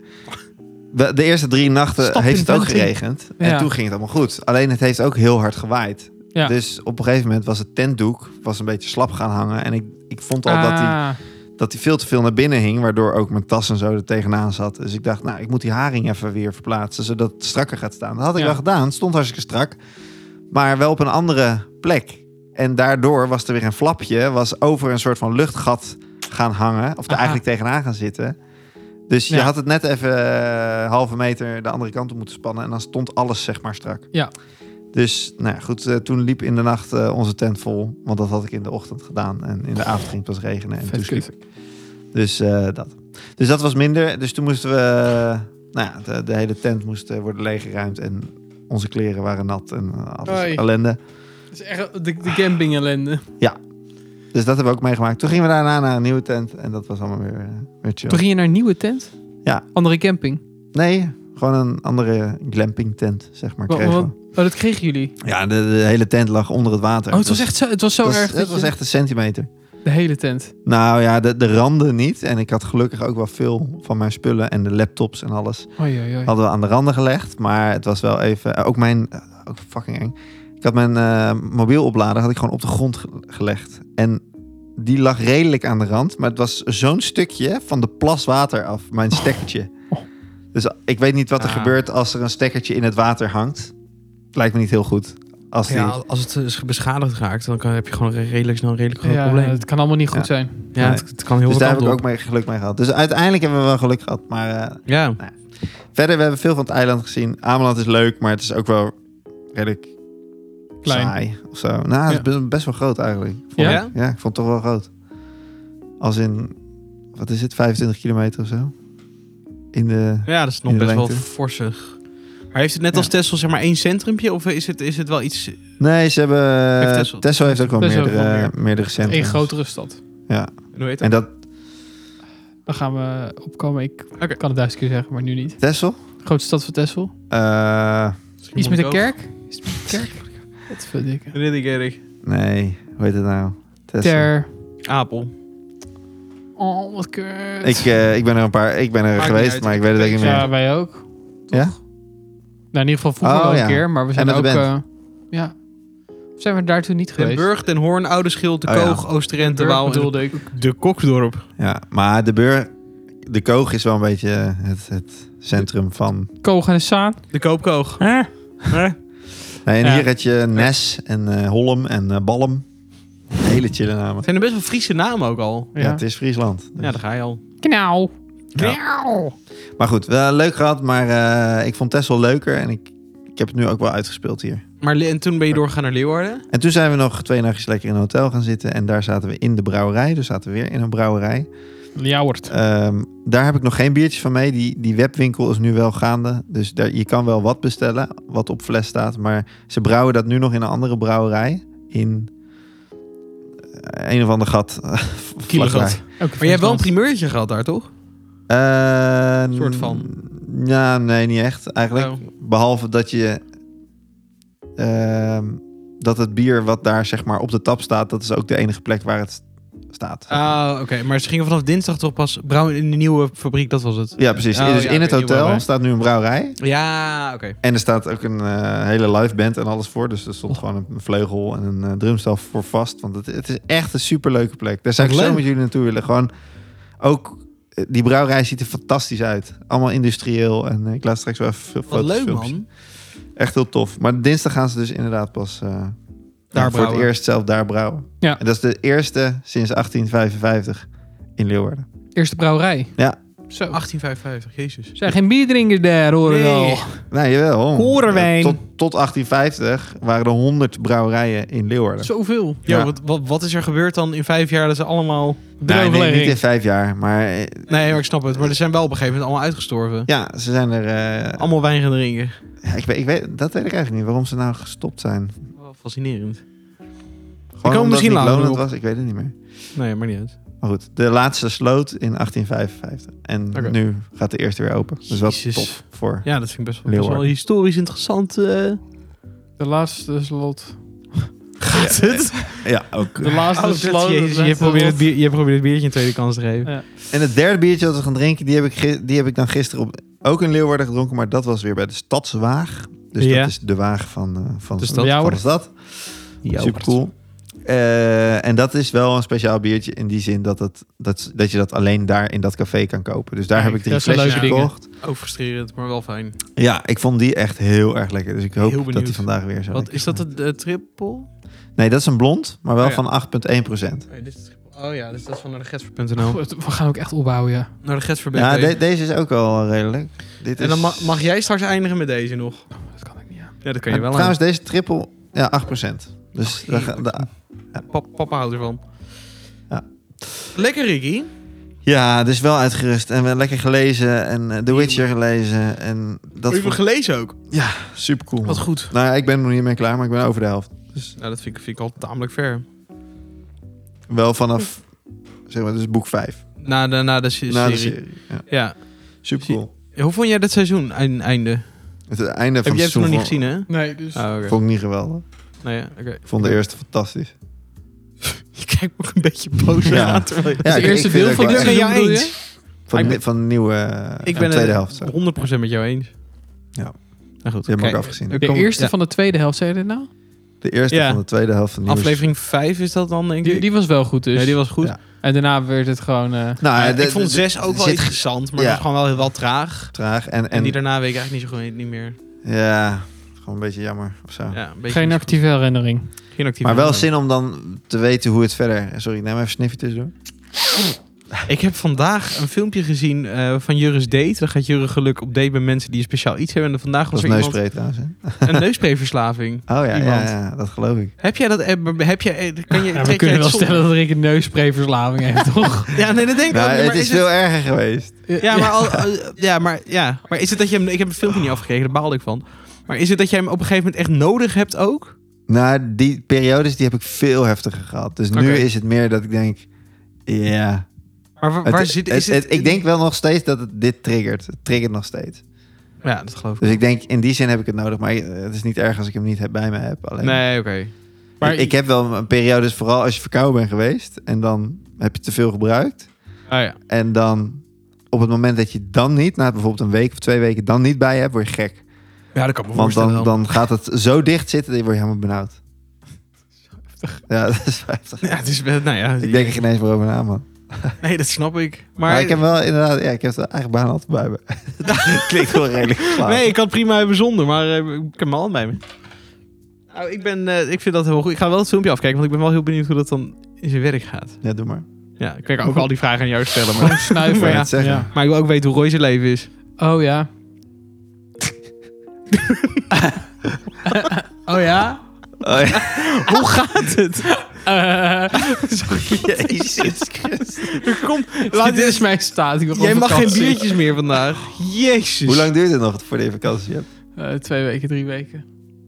[SPEAKER 3] De, de eerste drie nachten
[SPEAKER 2] Stap
[SPEAKER 3] heeft
[SPEAKER 2] in
[SPEAKER 3] het ook
[SPEAKER 2] ventien.
[SPEAKER 3] geregend.
[SPEAKER 2] Ja.
[SPEAKER 3] En toen ging het allemaal goed. Alleen het heeft ook heel hard gewaaid.
[SPEAKER 2] Ja.
[SPEAKER 3] Dus op een gegeven moment was het tentdoek was een beetje slap gaan hangen. En ik, ik vond al dat hij
[SPEAKER 2] Ah,
[SPEAKER 3] dat die veel te veel naar binnen hing. Waardoor ook mijn tas en zo er tegenaan zat. Dus ik dacht, nou, ik moet die haring even weer verplaatsen. Zodat het strakker gaat staan. Dat had ik
[SPEAKER 2] Ja.
[SPEAKER 3] wel gedaan. Het stond hartstikke strak. Maar wel op een andere plek. En daardoor was er weer een flapje. Was over een soort van luchtgat gaan hangen. Of er
[SPEAKER 2] Aha.
[SPEAKER 3] eigenlijk tegenaan gaan zitten. Dus je
[SPEAKER 2] Ja.
[SPEAKER 3] had het net even eh, halve meter de andere kant op moeten spannen. En dan stond alles zeg maar strak.
[SPEAKER 2] Ja.
[SPEAKER 3] Dus nou ja, goed, eh, toen liep in de nacht eh, onze tent vol. Want dat had ik in de ochtend gedaan. En in de avond ging het pas regenen. En
[SPEAKER 2] Vet
[SPEAKER 3] toen sliep
[SPEAKER 2] kut.
[SPEAKER 3] ik. Dus, eh, dat. dus dat was minder. Dus toen moesten we... eh, nou ja, de, de hele tent moest eh, worden leeggeruimd. En onze kleren waren nat. En eh, alles
[SPEAKER 2] Oei.
[SPEAKER 3] ellende.
[SPEAKER 2] dat is echt de, de camping ellende.
[SPEAKER 3] Dus dat hebben we ook meegemaakt. Toen gingen we daarna naar een nieuwe tent. En dat was allemaal weer, eh, weer chill.
[SPEAKER 2] Toen ging je naar een nieuwe tent?
[SPEAKER 3] Ja.
[SPEAKER 2] Andere camping?
[SPEAKER 3] Nee, gewoon een andere glamping tent, zeg maar,
[SPEAKER 2] Wa-
[SPEAKER 3] kregen
[SPEAKER 2] wat-
[SPEAKER 3] we.
[SPEAKER 2] Oh, dat kregen jullie?
[SPEAKER 3] Ja, de, de hele tent lag onder het water.
[SPEAKER 2] Oh, het was
[SPEAKER 3] Dus
[SPEAKER 2] echt zo, het was zo
[SPEAKER 3] dat was-
[SPEAKER 2] erg.
[SPEAKER 3] Het
[SPEAKER 2] dat
[SPEAKER 3] was
[SPEAKER 2] je-
[SPEAKER 3] echt een centimeter.
[SPEAKER 2] De hele tent.
[SPEAKER 3] Nou ja, de, de randen niet. En ik had gelukkig ook wel veel van mijn spullen en de laptops en alles
[SPEAKER 2] Oei, oei, oei.
[SPEAKER 3] hadden we aan de randen gelegd. Maar het was wel even... eh, Ook mijn... eh, Ook fucking eng. Ik had mijn eh, mobiel oplader had ik gewoon op de grond ge- gelegd. En die lag redelijk aan de rand. Maar het was zo'n stukje van de plas water af. Mijn stekkertje.
[SPEAKER 2] Oh.
[SPEAKER 3] Dus ik weet niet wat er
[SPEAKER 2] Ah.
[SPEAKER 3] gebeurt als er een stekkertje in het water hangt. Lijkt me niet heel goed. Als die...
[SPEAKER 1] Ja, als het eh, is beschadigd raakt, dan kan, heb je gewoon re- redelijk snel een redelijk groot
[SPEAKER 2] Ja,
[SPEAKER 1] probleem.
[SPEAKER 2] het kan allemaal niet goed
[SPEAKER 3] Ja.
[SPEAKER 2] zijn.
[SPEAKER 1] ja, het, het kan heel
[SPEAKER 3] Dus
[SPEAKER 1] veel
[SPEAKER 3] daar
[SPEAKER 1] kanten
[SPEAKER 3] heb ik
[SPEAKER 1] op.
[SPEAKER 3] ook mee geluk mee gehad. Dus uiteindelijk hebben we wel geluk gehad. Maar eh,
[SPEAKER 1] Ja.
[SPEAKER 3] verder, we hebben veel van het eiland gezien. Ameland is leuk, maar het is ook wel redelijk
[SPEAKER 2] Klein.
[SPEAKER 3] saai of zo. Nou, het is
[SPEAKER 2] Ja.
[SPEAKER 3] be- best wel groot eigenlijk.
[SPEAKER 1] Ja?
[SPEAKER 3] ik. Ja, ik vond het toch wel groot. Als in, wat is het, 25 kilometer of zo? In de...
[SPEAKER 1] ja, dat is nog
[SPEAKER 3] In de
[SPEAKER 1] best wel
[SPEAKER 3] lengte.
[SPEAKER 1] forsig. Maar heeft het net
[SPEAKER 3] Ja.
[SPEAKER 1] als Tesla zeg maar één centrumpje? Of is het, is het wel iets...
[SPEAKER 3] Nee, ze hebben...
[SPEAKER 1] Heeft
[SPEAKER 3] Tesla,
[SPEAKER 1] Texel-
[SPEAKER 3] heeft ook wel
[SPEAKER 2] Texel heeft
[SPEAKER 3] meerdere,
[SPEAKER 2] wel
[SPEAKER 3] meerdere centra.
[SPEAKER 2] Eén grotere stad.
[SPEAKER 1] Hoe heet
[SPEAKER 3] En
[SPEAKER 1] dat?
[SPEAKER 3] dat...
[SPEAKER 2] Daar gaan we opkomen. Ik
[SPEAKER 1] Oké.
[SPEAKER 2] kan het duizend keer zeggen, maar nu niet.
[SPEAKER 3] Texel?
[SPEAKER 2] Grote stad van Texel.
[SPEAKER 3] Eh,
[SPEAKER 2] Iets met een
[SPEAKER 1] Mongool.
[SPEAKER 2] kerk? Iets met een kerk? Wat verdikke.
[SPEAKER 1] Ridderkerk.
[SPEAKER 3] nee, hoe heet het nou? Texel.
[SPEAKER 2] Ter.
[SPEAKER 1] Apel.
[SPEAKER 2] Oh, wat kut.
[SPEAKER 3] Ik, eh, ik ben er een paar... Ik ben er
[SPEAKER 1] Maakt niet
[SPEAKER 3] geweest,
[SPEAKER 1] uit,
[SPEAKER 3] maar ik
[SPEAKER 1] ik
[SPEAKER 3] weet het ook
[SPEAKER 1] weet
[SPEAKER 3] niet
[SPEAKER 1] het.
[SPEAKER 3] meer.
[SPEAKER 2] ja, wij ook.
[SPEAKER 3] Ja?
[SPEAKER 2] Nou, in ieder geval vroeger
[SPEAKER 3] Oh,
[SPEAKER 2] wel een
[SPEAKER 3] ja.
[SPEAKER 2] keer, maar we zijn
[SPEAKER 3] met
[SPEAKER 2] ook...
[SPEAKER 3] de
[SPEAKER 2] eh, ja. Of zijn we daartoe niet
[SPEAKER 1] Den
[SPEAKER 2] geweest?
[SPEAKER 1] Burg, Den Hoorn, Oude Schild, De
[SPEAKER 3] Oh ja.
[SPEAKER 1] Koog, Oost-Drenthe,
[SPEAKER 2] Burg
[SPEAKER 1] Waal en
[SPEAKER 2] bedoelde ik.
[SPEAKER 1] De Kokdorp.
[SPEAKER 3] Ja, maar de beur, de koog is wel een beetje het, het centrum van.
[SPEAKER 2] Koog en Saan.
[SPEAKER 1] De [LAUGHS] Koopkoog.
[SPEAKER 3] Nee, en
[SPEAKER 2] Ja.
[SPEAKER 3] hier had je Nes en eh, Holm en eh, Balm. Hele chille namen.
[SPEAKER 1] zijn er best wel Friese namen ook al.
[SPEAKER 3] Ja.
[SPEAKER 2] Ja.
[SPEAKER 3] het is Friesland. Dus-
[SPEAKER 1] Ja, daar ga je al.
[SPEAKER 2] Knauw.
[SPEAKER 3] Ja.
[SPEAKER 2] Knauw.
[SPEAKER 3] Maar goed, wel leuk gehad, maar eh, ik vond Tessel leuker en ik, ik heb het nu ook wel uitgespeeld hier.
[SPEAKER 1] Maar le- en toen ben je doorgegaan naar Leeuwarden.
[SPEAKER 3] En toen zijn we nog twee nachtjes lekker in een hotel gaan zitten en daar zaten we in de brouwerij. Dus zaten we weer in een brouwerij.
[SPEAKER 2] Ljouwert.
[SPEAKER 3] Ehm, daar heb ik nog geen biertjes van mee. Die, die webwinkel is nu wel gaande. Dus daar, je kan wel wat bestellen, wat op fles staat. Maar ze brouwen dat nu nog in een andere brouwerij. In eh, een of ander gat. [LAUGHS]
[SPEAKER 1] Kielegat.
[SPEAKER 3] vlakbij.
[SPEAKER 1] Maar jij hebt wel een primeurtje gehad daar, toch?
[SPEAKER 3] Eh,
[SPEAKER 1] Een soort van.
[SPEAKER 3] Ehm, Ja, nee, niet echt eigenlijk.
[SPEAKER 1] Oh.
[SPEAKER 3] Behalve dat je... ehm, dat het bier wat daar zeg maar op de tap staat... dat is ook de enige plek waar het staat.
[SPEAKER 1] Ah, oké. Maar ze gingen vanaf dinsdag toch pas brouwen in de nieuwe fabriek, dat was het.
[SPEAKER 3] ja, precies.
[SPEAKER 1] Oh,
[SPEAKER 3] dus
[SPEAKER 1] ja,
[SPEAKER 3] in
[SPEAKER 1] ik
[SPEAKER 3] het
[SPEAKER 1] weet niet
[SPEAKER 3] hotel
[SPEAKER 1] waar.
[SPEAKER 3] staat nu een brouwerij.
[SPEAKER 1] Ja, oké.
[SPEAKER 3] En er staat ook een eh, hele live band en alles voor. Dus er
[SPEAKER 1] Oh.
[SPEAKER 3] stond gewoon een vleugel en een eh, drumstel voor vast. Want het, het is echt een superleuke plek. Daar zou ik
[SPEAKER 1] Wat
[SPEAKER 3] zo
[SPEAKER 1] leuk.
[SPEAKER 3] met jullie naartoe willen. Gewoon ook, eh, die brouwerij ziet er fantastisch uit. Allemaal industrieel. En eh, ik laat straks wel even veel
[SPEAKER 1] Wat
[SPEAKER 3] foto's
[SPEAKER 1] leuk,
[SPEAKER 3] filmpjes.
[SPEAKER 1] man.
[SPEAKER 3] Echt heel tof. Maar dinsdag gaan ze dus inderdaad pas eh, ja, voor het
[SPEAKER 1] brouwen.
[SPEAKER 3] eerst zelf daar brouwen.
[SPEAKER 2] Ja.
[SPEAKER 3] En dat is de eerste sinds 1855 in Leeuwarden.
[SPEAKER 2] Eerste brouwerij.
[SPEAKER 3] Ja.
[SPEAKER 2] Zo.
[SPEAKER 1] 1855, Oh, jezus.
[SPEAKER 2] Zijn geen bierdrinkers daar, hoor ik
[SPEAKER 1] Nee.
[SPEAKER 2] al.
[SPEAKER 3] Nou, jawel. Eh,
[SPEAKER 1] Korenwijn.
[SPEAKER 3] Tot, tot 1850 waren er 100 brouwerijen in Leeuwarden.
[SPEAKER 2] Zoveel.
[SPEAKER 1] Yo,
[SPEAKER 3] Ja.
[SPEAKER 1] wat, wat, wat is er gebeurd dan in vijf jaar dat ze allemaal...
[SPEAKER 3] Nee, nee,
[SPEAKER 2] Drooglegging.
[SPEAKER 3] niet in vijf jaar, maar eh,
[SPEAKER 1] Nee, maar ik snap het. Maar er zijn wel op een gegeven moment allemaal uitgestorven.
[SPEAKER 3] ja, ze zijn er. eh,
[SPEAKER 1] Allemaal wijn gaan drinken.
[SPEAKER 3] ja, ik, weet, ik weet, dat weet ik eigenlijk niet waarom ze nou gestopt zijn. Gewoon
[SPEAKER 1] Wel fascinerend.
[SPEAKER 3] omdat het
[SPEAKER 1] misschien
[SPEAKER 3] niet
[SPEAKER 1] later
[SPEAKER 3] lonend
[SPEAKER 1] nog op.
[SPEAKER 3] was, ik weet het niet meer.
[SPEAKER 1] Nee, maar niet uit.
[SPEAKER 3] Maar goed, de laatste sloot in 1855 en
[SPEAKER 1] Oké.
[SPEAKER 3] nu gaat de eerste weer open. Dus wel
[SPEAKER 1] Jezus.
[SPEAKER 3] tof voor.
[SPEAKER 1] Ja, dat vind ik best wel, best
[SPEAKER 3] Leeuwarden.
[SPEAKER 1] wel historisch interessant. eh,
[SPEAKER 2] De laatste slot.
[SPEAKER 1] gaat het?
[SPEAKER 3] Ja, ook.
[SPEAKER 2] De laatste
[SPEAKER 1] Oh, dat-
[SPEAKER 2] slot.
[SPEAKER 1] jezus, je, probeert het bier, je probeert het biertje een tweede kans te geven.
[SPEAKER 3] En het derde biertje dat we gaan drinken, die heb ik, gi- die heb ik dan gisteren op, ook in Leeuwarden gedronken, maar dat was weer bij de Stadswaag. Dus
[SPEAKER 1] Ja.
[SPEAKER 3] dat is de waag van, eh, van,
[SPEAKER 1] De stad.
[SPEAKER 3] van de
[SPEAKER 2] Leeuwarden.
[SPEAKER 3] stad.
[SPEAKER 1] Ja,
[SPEAKER 3] Super cool. Eh, en dat is wel een speciaal biertje in die zin dat, het, dat, dat je dat alleen daar in dat café kan kopen. Dus daar
[SPEAKER 2] Kijk,
[SPEAKER 3] heb ik drie
[SPEAKER 2] dat zijn
[SPEAKER 3] flesjes
[SPEAKER 1] leuke dingen.
[SPEAKER 3] gekocht.
[SPEAKER 1] Ook frustrerend, maar wel fijn.
[SPEAKER 3] Ja, ik vond die echt heel erg lekker. Dus ik
[SPEAKER 1] Heel
[SPEAKER 3] hoop dat
[SPEAKER 1] benieuwd.
[SPEAKER 3] die vandaag weer zo
[SPEAKER 1] Wat
[SPEAKER 3] lekker
[SPEAKER 1] is dat
[SPEAKER 3] zijn.
[SPEAKER 1] de, de triple?
[SPEAKER 3] Nee, dat is een blond, maar wel
[SPEAKER 1] Oh ja.
[SPEAKER 3] van 8,1 procent.
[SPEAKER 1] Nee, dit is triple. Oh ja, dus dat is van naar de Getsver.nl.
[SPEAKER 2] We gaan ook echt opbouwen, ja.
[SPEAKER 1] Naar de Getsver.nl.
[SPEAKER 3] Ja, de- deze is ook wel redelijk. Dit
[SPEAKER 1] en dan
[SPEAKER 3] is-
[SPEAKER 1] ma- mag jij straks eindigen met deze nog.
[SPEAKER 2] Dat kan ik niet aan.
[SPEAKER 1] Ja, dat kan
[SPEAKER 3] En
[SPEAKER 1] je wel
[SPEAKER 3] Trouwens, deze triple, ja, 8 procent. Dus
[SPEAKER 1] Oh,
[SPEAKER 3] daar ga-
[SPEAKER 1] heerlijk.
[SPEAKER 3] da-
[SPEAKER 1] aan. Pa- papa houdt ervan.
[SPEAKER 3] Ja.
[SPEAKER 1] Lekker, Ricky.
[SPEAKER 3] ja, dus wel uitgerust. En we lekker gelezen en eh, The Witcher gelezen. En
[SPEAKER 1] Dat
[SPEAKER 3] dat
[SPEAKER 1] je
[SPEAKER 3] vond ik
[SPEAKER 1] gelezen ook.
[SPEAKER 3] super cool.
[SPEAKER 1] Wat goed.
[SPEAKER 3] Nou ja, ik ben er nog niet mee klaar, maar ik ben over de helft.
[SPEAKER 1] Nou, dat vind ik, vind ik al tamelijk ver.
[SPEAKER 3] Wel vanaf, zeg maar, dus boek 5.
[SPEAKER 1] Na de, na de se-
[SPEAKER 3] Na de
[SPEAKER 1] serie.
[SPEAKER 3] serie. Ja.
[SPEAKER 1] Ja.
[SPEAKER 3] Super cool.
[SPEAKER 1] Ja, Hoe vond jij dat seizoen eind- einde?
[SPEAKER 3] Het einde
[SPEAKER 1] Heb
[SPEAKER 3] van het
[SPEAKER 1] jij het
[SPEAKER 3] seizoen
[SPEAKER 1] nog niet
[SPEAKER 3] vond-
[SPEAKER 1] gezien, hè?
[SPEAKER 2] Nee, dus...
[SPEAKER 1] Ah, oké.
[SPEAKER 3] Vond ik niet geweldig.
[SPEAKER 1] Nou ja, oké.
[SPEAKER 3] Ik vond de eerste fantastisch.
[SPEAKER 1] Je kijk me ook een beetje boos
[SPEAKER 3] Ja.
[SPEAKER 1] aan. terwijl je-
[SPEAKER 3] Ja,
[SPEAKER 2] het
[SPEAKER 3] ik-
[SPEAKER 2] eerste
[SPEAKER 3] ik vind
[SPEAKER 2] deel
[SPEAKER 3] het
[SPEAKER 2] van
[SPEAKER 3] ook
[SPEAKER 2] dit
[SPEAKER 1] wel- Ik ben
[SPEAKER 2] seizoen
[SPEAKER 1] het
[SPEAKER 2] bedoel
[SPEAKER 1] jou
[SPEAKER 2] je?
[SPEAKER 3] Van,
[SPEAKER 1] Ik
[SPEAKER 3] de
[SPEAKER 1] ben-
[SPEAKER 3] van de nieuwe eh,
[SPEAKER 1] Ik ben
[SPEAKER 3] tweede
[SPEAKER 1] het
[SPEAKER 3] helft. Zo.
[SPEAKER 1] 100% met jou eens.
[SPEAKER 3] Ja.
[SPEAKER 1] Nou goed,
[SPEAKER 3] Die hebben we
[SPEAKER 1] kijk,
[SPEAKER 3] ook afgezien.
[SPEAKER 1] ik
[SPEAKER 2] De
[SPEAKER 1] kom-
[SPEAKER 2] eerste
[SPEAKER 1] ja.
[SPEAKER 2] van de tweede helft, zei je dit nou?
[SPEAKER 3] De eerste
[SPEAKER 1] Ja.
[SPEAKER 3] van de tweede helft van de nieuwe
[SPEAKER 1] aflevering 5 is dat dan, denk ik.
[SPEAKER 2] Die, die was wel goed dus.
[SPEAKER 1] Ja, die was goed.
[SPEAKER 3] Ja.
[SPEAKER 2] En daarna werd het gewoon... eh,
[SPEAKER 3] Nou,
[SPEAKER 1] Ja,
[SPEAKER 3] eh, de-
[SPEAKER 1] ik vond
[SPEAKER 3] de-
[SPEAKER 1] 6 ook wel
[SPEAKER 3] zit
[SPEAKER 1] interessant, maar
[SPEAKER 3] ja.
[SPEAKER 1] dat is gewoon wel heel wel traag.
[SPEAKER 3] traag. En,
[SPEAKER 1] En,
[SPEAKER 3] en,
[SPEAKER 1] die daarna weet ik eigenlijk niet zo goed niet meer.
[SPEAKER 3] ja, gewoon een beetje jammer of zo.
[SPEAKER 1] Ja, een beetje
[SPEAKER 2] geen
[SPEAKER 1] mis-
[SPEAKER 2] actieve herinnering.
[SPEAKER 1] geen actief.
[SPEAKER 3] Maar wel zin om dan te weten hoe het verder... Sorry, ik neem even sniffy tussendoor.
[SPEAKER 1] Ik heb vandaag een filmpje gezien eh, van Juris Date. Dan gaat Jurre geluk op date met mensen die een speciaal iets hebben. En vandaag was
[SPEAKER 3] Dat
[SPEAKER 1] er
[SPEAKER 3] was
[SPEAKER 1] iemand
[SPEAKER 3] neuspray trouwens. hè?
[SPEAKER 1] een neuspreeverslaving.
[SPEAKER 3] Oh ja, ja,
[SPEAKER 1] Iemand.
[SPEAKER 3] ja, dat geloof ik.
[SPEAKER 1] Heb jij dat? eh, Heb jij? eh, Kan je? trek jij
[SPEAKER 2] Ja, we kunnen
[SPEAKER 1] het
[SPEAKER 2] wel
[SPEAKER 1] zonder-
[SPEAKER 2] stellen dat Rick een neussprayverslaving
[SPEAKER 1] [LAUGHS]
[SPEAKER 2] heeft, toch?
[SPEAKER 1] Ja, nee, dat denk ik
[SPEAKER 3] Nou,
[SPEAKER 1] ook. niet,
[SPEAKER 3] het
[SPEAKER 1] maar
[SPEAKER 3] is veel erger geweest.
[SPEAKER 1] Ja, maar, al, eh, ja, maar, ja. maar is het dat je hem... Ik heb het filmpje niet afgekeken, daar baalde ik van. Maar is het dat jij hem op een gegeven moment echt nodig hebt ook?
[SPEAKER 3] Nou, die periodes die heb ik veel heftiger gehad. Dus
[SPEAKER 1] Oké.
[SPEAKER 3] nu is het meer dat ik denk... Ja,
[SPEAKER 1] Maar wa- waar,
[SPEAKER 3] Het-
[SPEAKER 1] zit
[SPEAKER 3] het-
[SPEAKER 1] is het,
[SPEAKER 3] het- ik denk wel nog steeds dat het dit triggert. Het triggert nog steeds.
[SPEAKER 1] Ja, dat geloof ik.
[SPEAKER 3] Dus ik denk, in die zin heb ik het nodig. Maar eh, het is niet erg als ik hem niet heb, bij me heb. Alleen,
[SPEAKER 1] Nee, oké.
[SPEAKER 2] maar-
[SPEAKER 3] ik, ik heb wel een periode, dus vooral als je verkouden bent geweest... en dan heb je te veel gebruikt.
[SPEAKER 1] Ah, ja.
[SPEAKER 3] En dan op het moment dat je dan niet... na bijvoorbeeld een week of twee weken dan niet bij je hebt... word je gek.
[SPEAKER 1] ja, dat kan ik me
[SPEAKER 3] Want
[SPEAKER 1] voorstellen.
[SPEAKER 3] dan, dan gaat het zo dicht zitten dat je wordt helemaal
[SPEAKER 1] [LAUGHS]
[SPEAKER 3] benauwd. Ja, [LAUGHS] dat is wel heftig.
[SPEAKER 1] Ja, het is wel... Nou ja,
[SPEAKER 3] Ik denk er geen eens meer over na, man.
[SPEAKER 1] nee, dat snap ik. Maar,
[SPEAKER 3] Maar, ik heb wel inderdaad, ja, ik heb het eigen baan altijd bij me. [LAUGHS]
[SPEAKER 1] [LAUGHS]
[SPEAKER 3] Het klinkt wel redelijk flauw.
[SPEAKER 1] Nee, ik kan het prima hebben zonder, maar eh, ik heb mijn hand bij me. Nou, ik, ben, eh, ik vind dat heel goed. Ik ga wel het filmpje afkijken, want ik ben wel heel benieuwd hoe dat dan in zijn werk gaat.
[SPEAKER 3] Ja, doe maar.
[SPEAKER 1] Ja, ik kan ook al die vragen aan jou stellen.
[SPEAKER 2] Gewoon
[SPEAKER 1] Maar, Nou
[SPEAKER 3] Ik
[SPEAKER 2] snuiven.
[SPEAKER 3] wou
[SPEAKER 1] ja.
[SPEAKER 3] net zeggen.
[SPEAKER 2] Ja.
[SPEAKER 1] maar ik wil ook weten hoe Roy zijn leven is.
[SPEAKER 2] Oh ja. oh ja?
[SPEAKER 3] Oh, ja.
[SPEAKER 1] Hoe gaat het?
[SPEAKER 2] Eh,
[SPEAKER 3] Jezus Christus.
[SPEAKER 1] Kom,
[SPEAKER 2] [LAUGHS] dit is mijn staat. Ik
[SPEAKER 1] [LAUGHS]
[SPEAKER 2] wil
[SPEAKER 1] Jij
[SPEAKER 2] gewoon
[SPEAKER 1] mag geen
[SPEAKER 2] vakantie.
[SPEAKER 1] biertjes meer vandaag. Jezus.
[SPEAKER 3] Hoe lang duurt het nog voor de vakantie hebt?
[SPEAKER 2] Eh, twee weken, drie weken.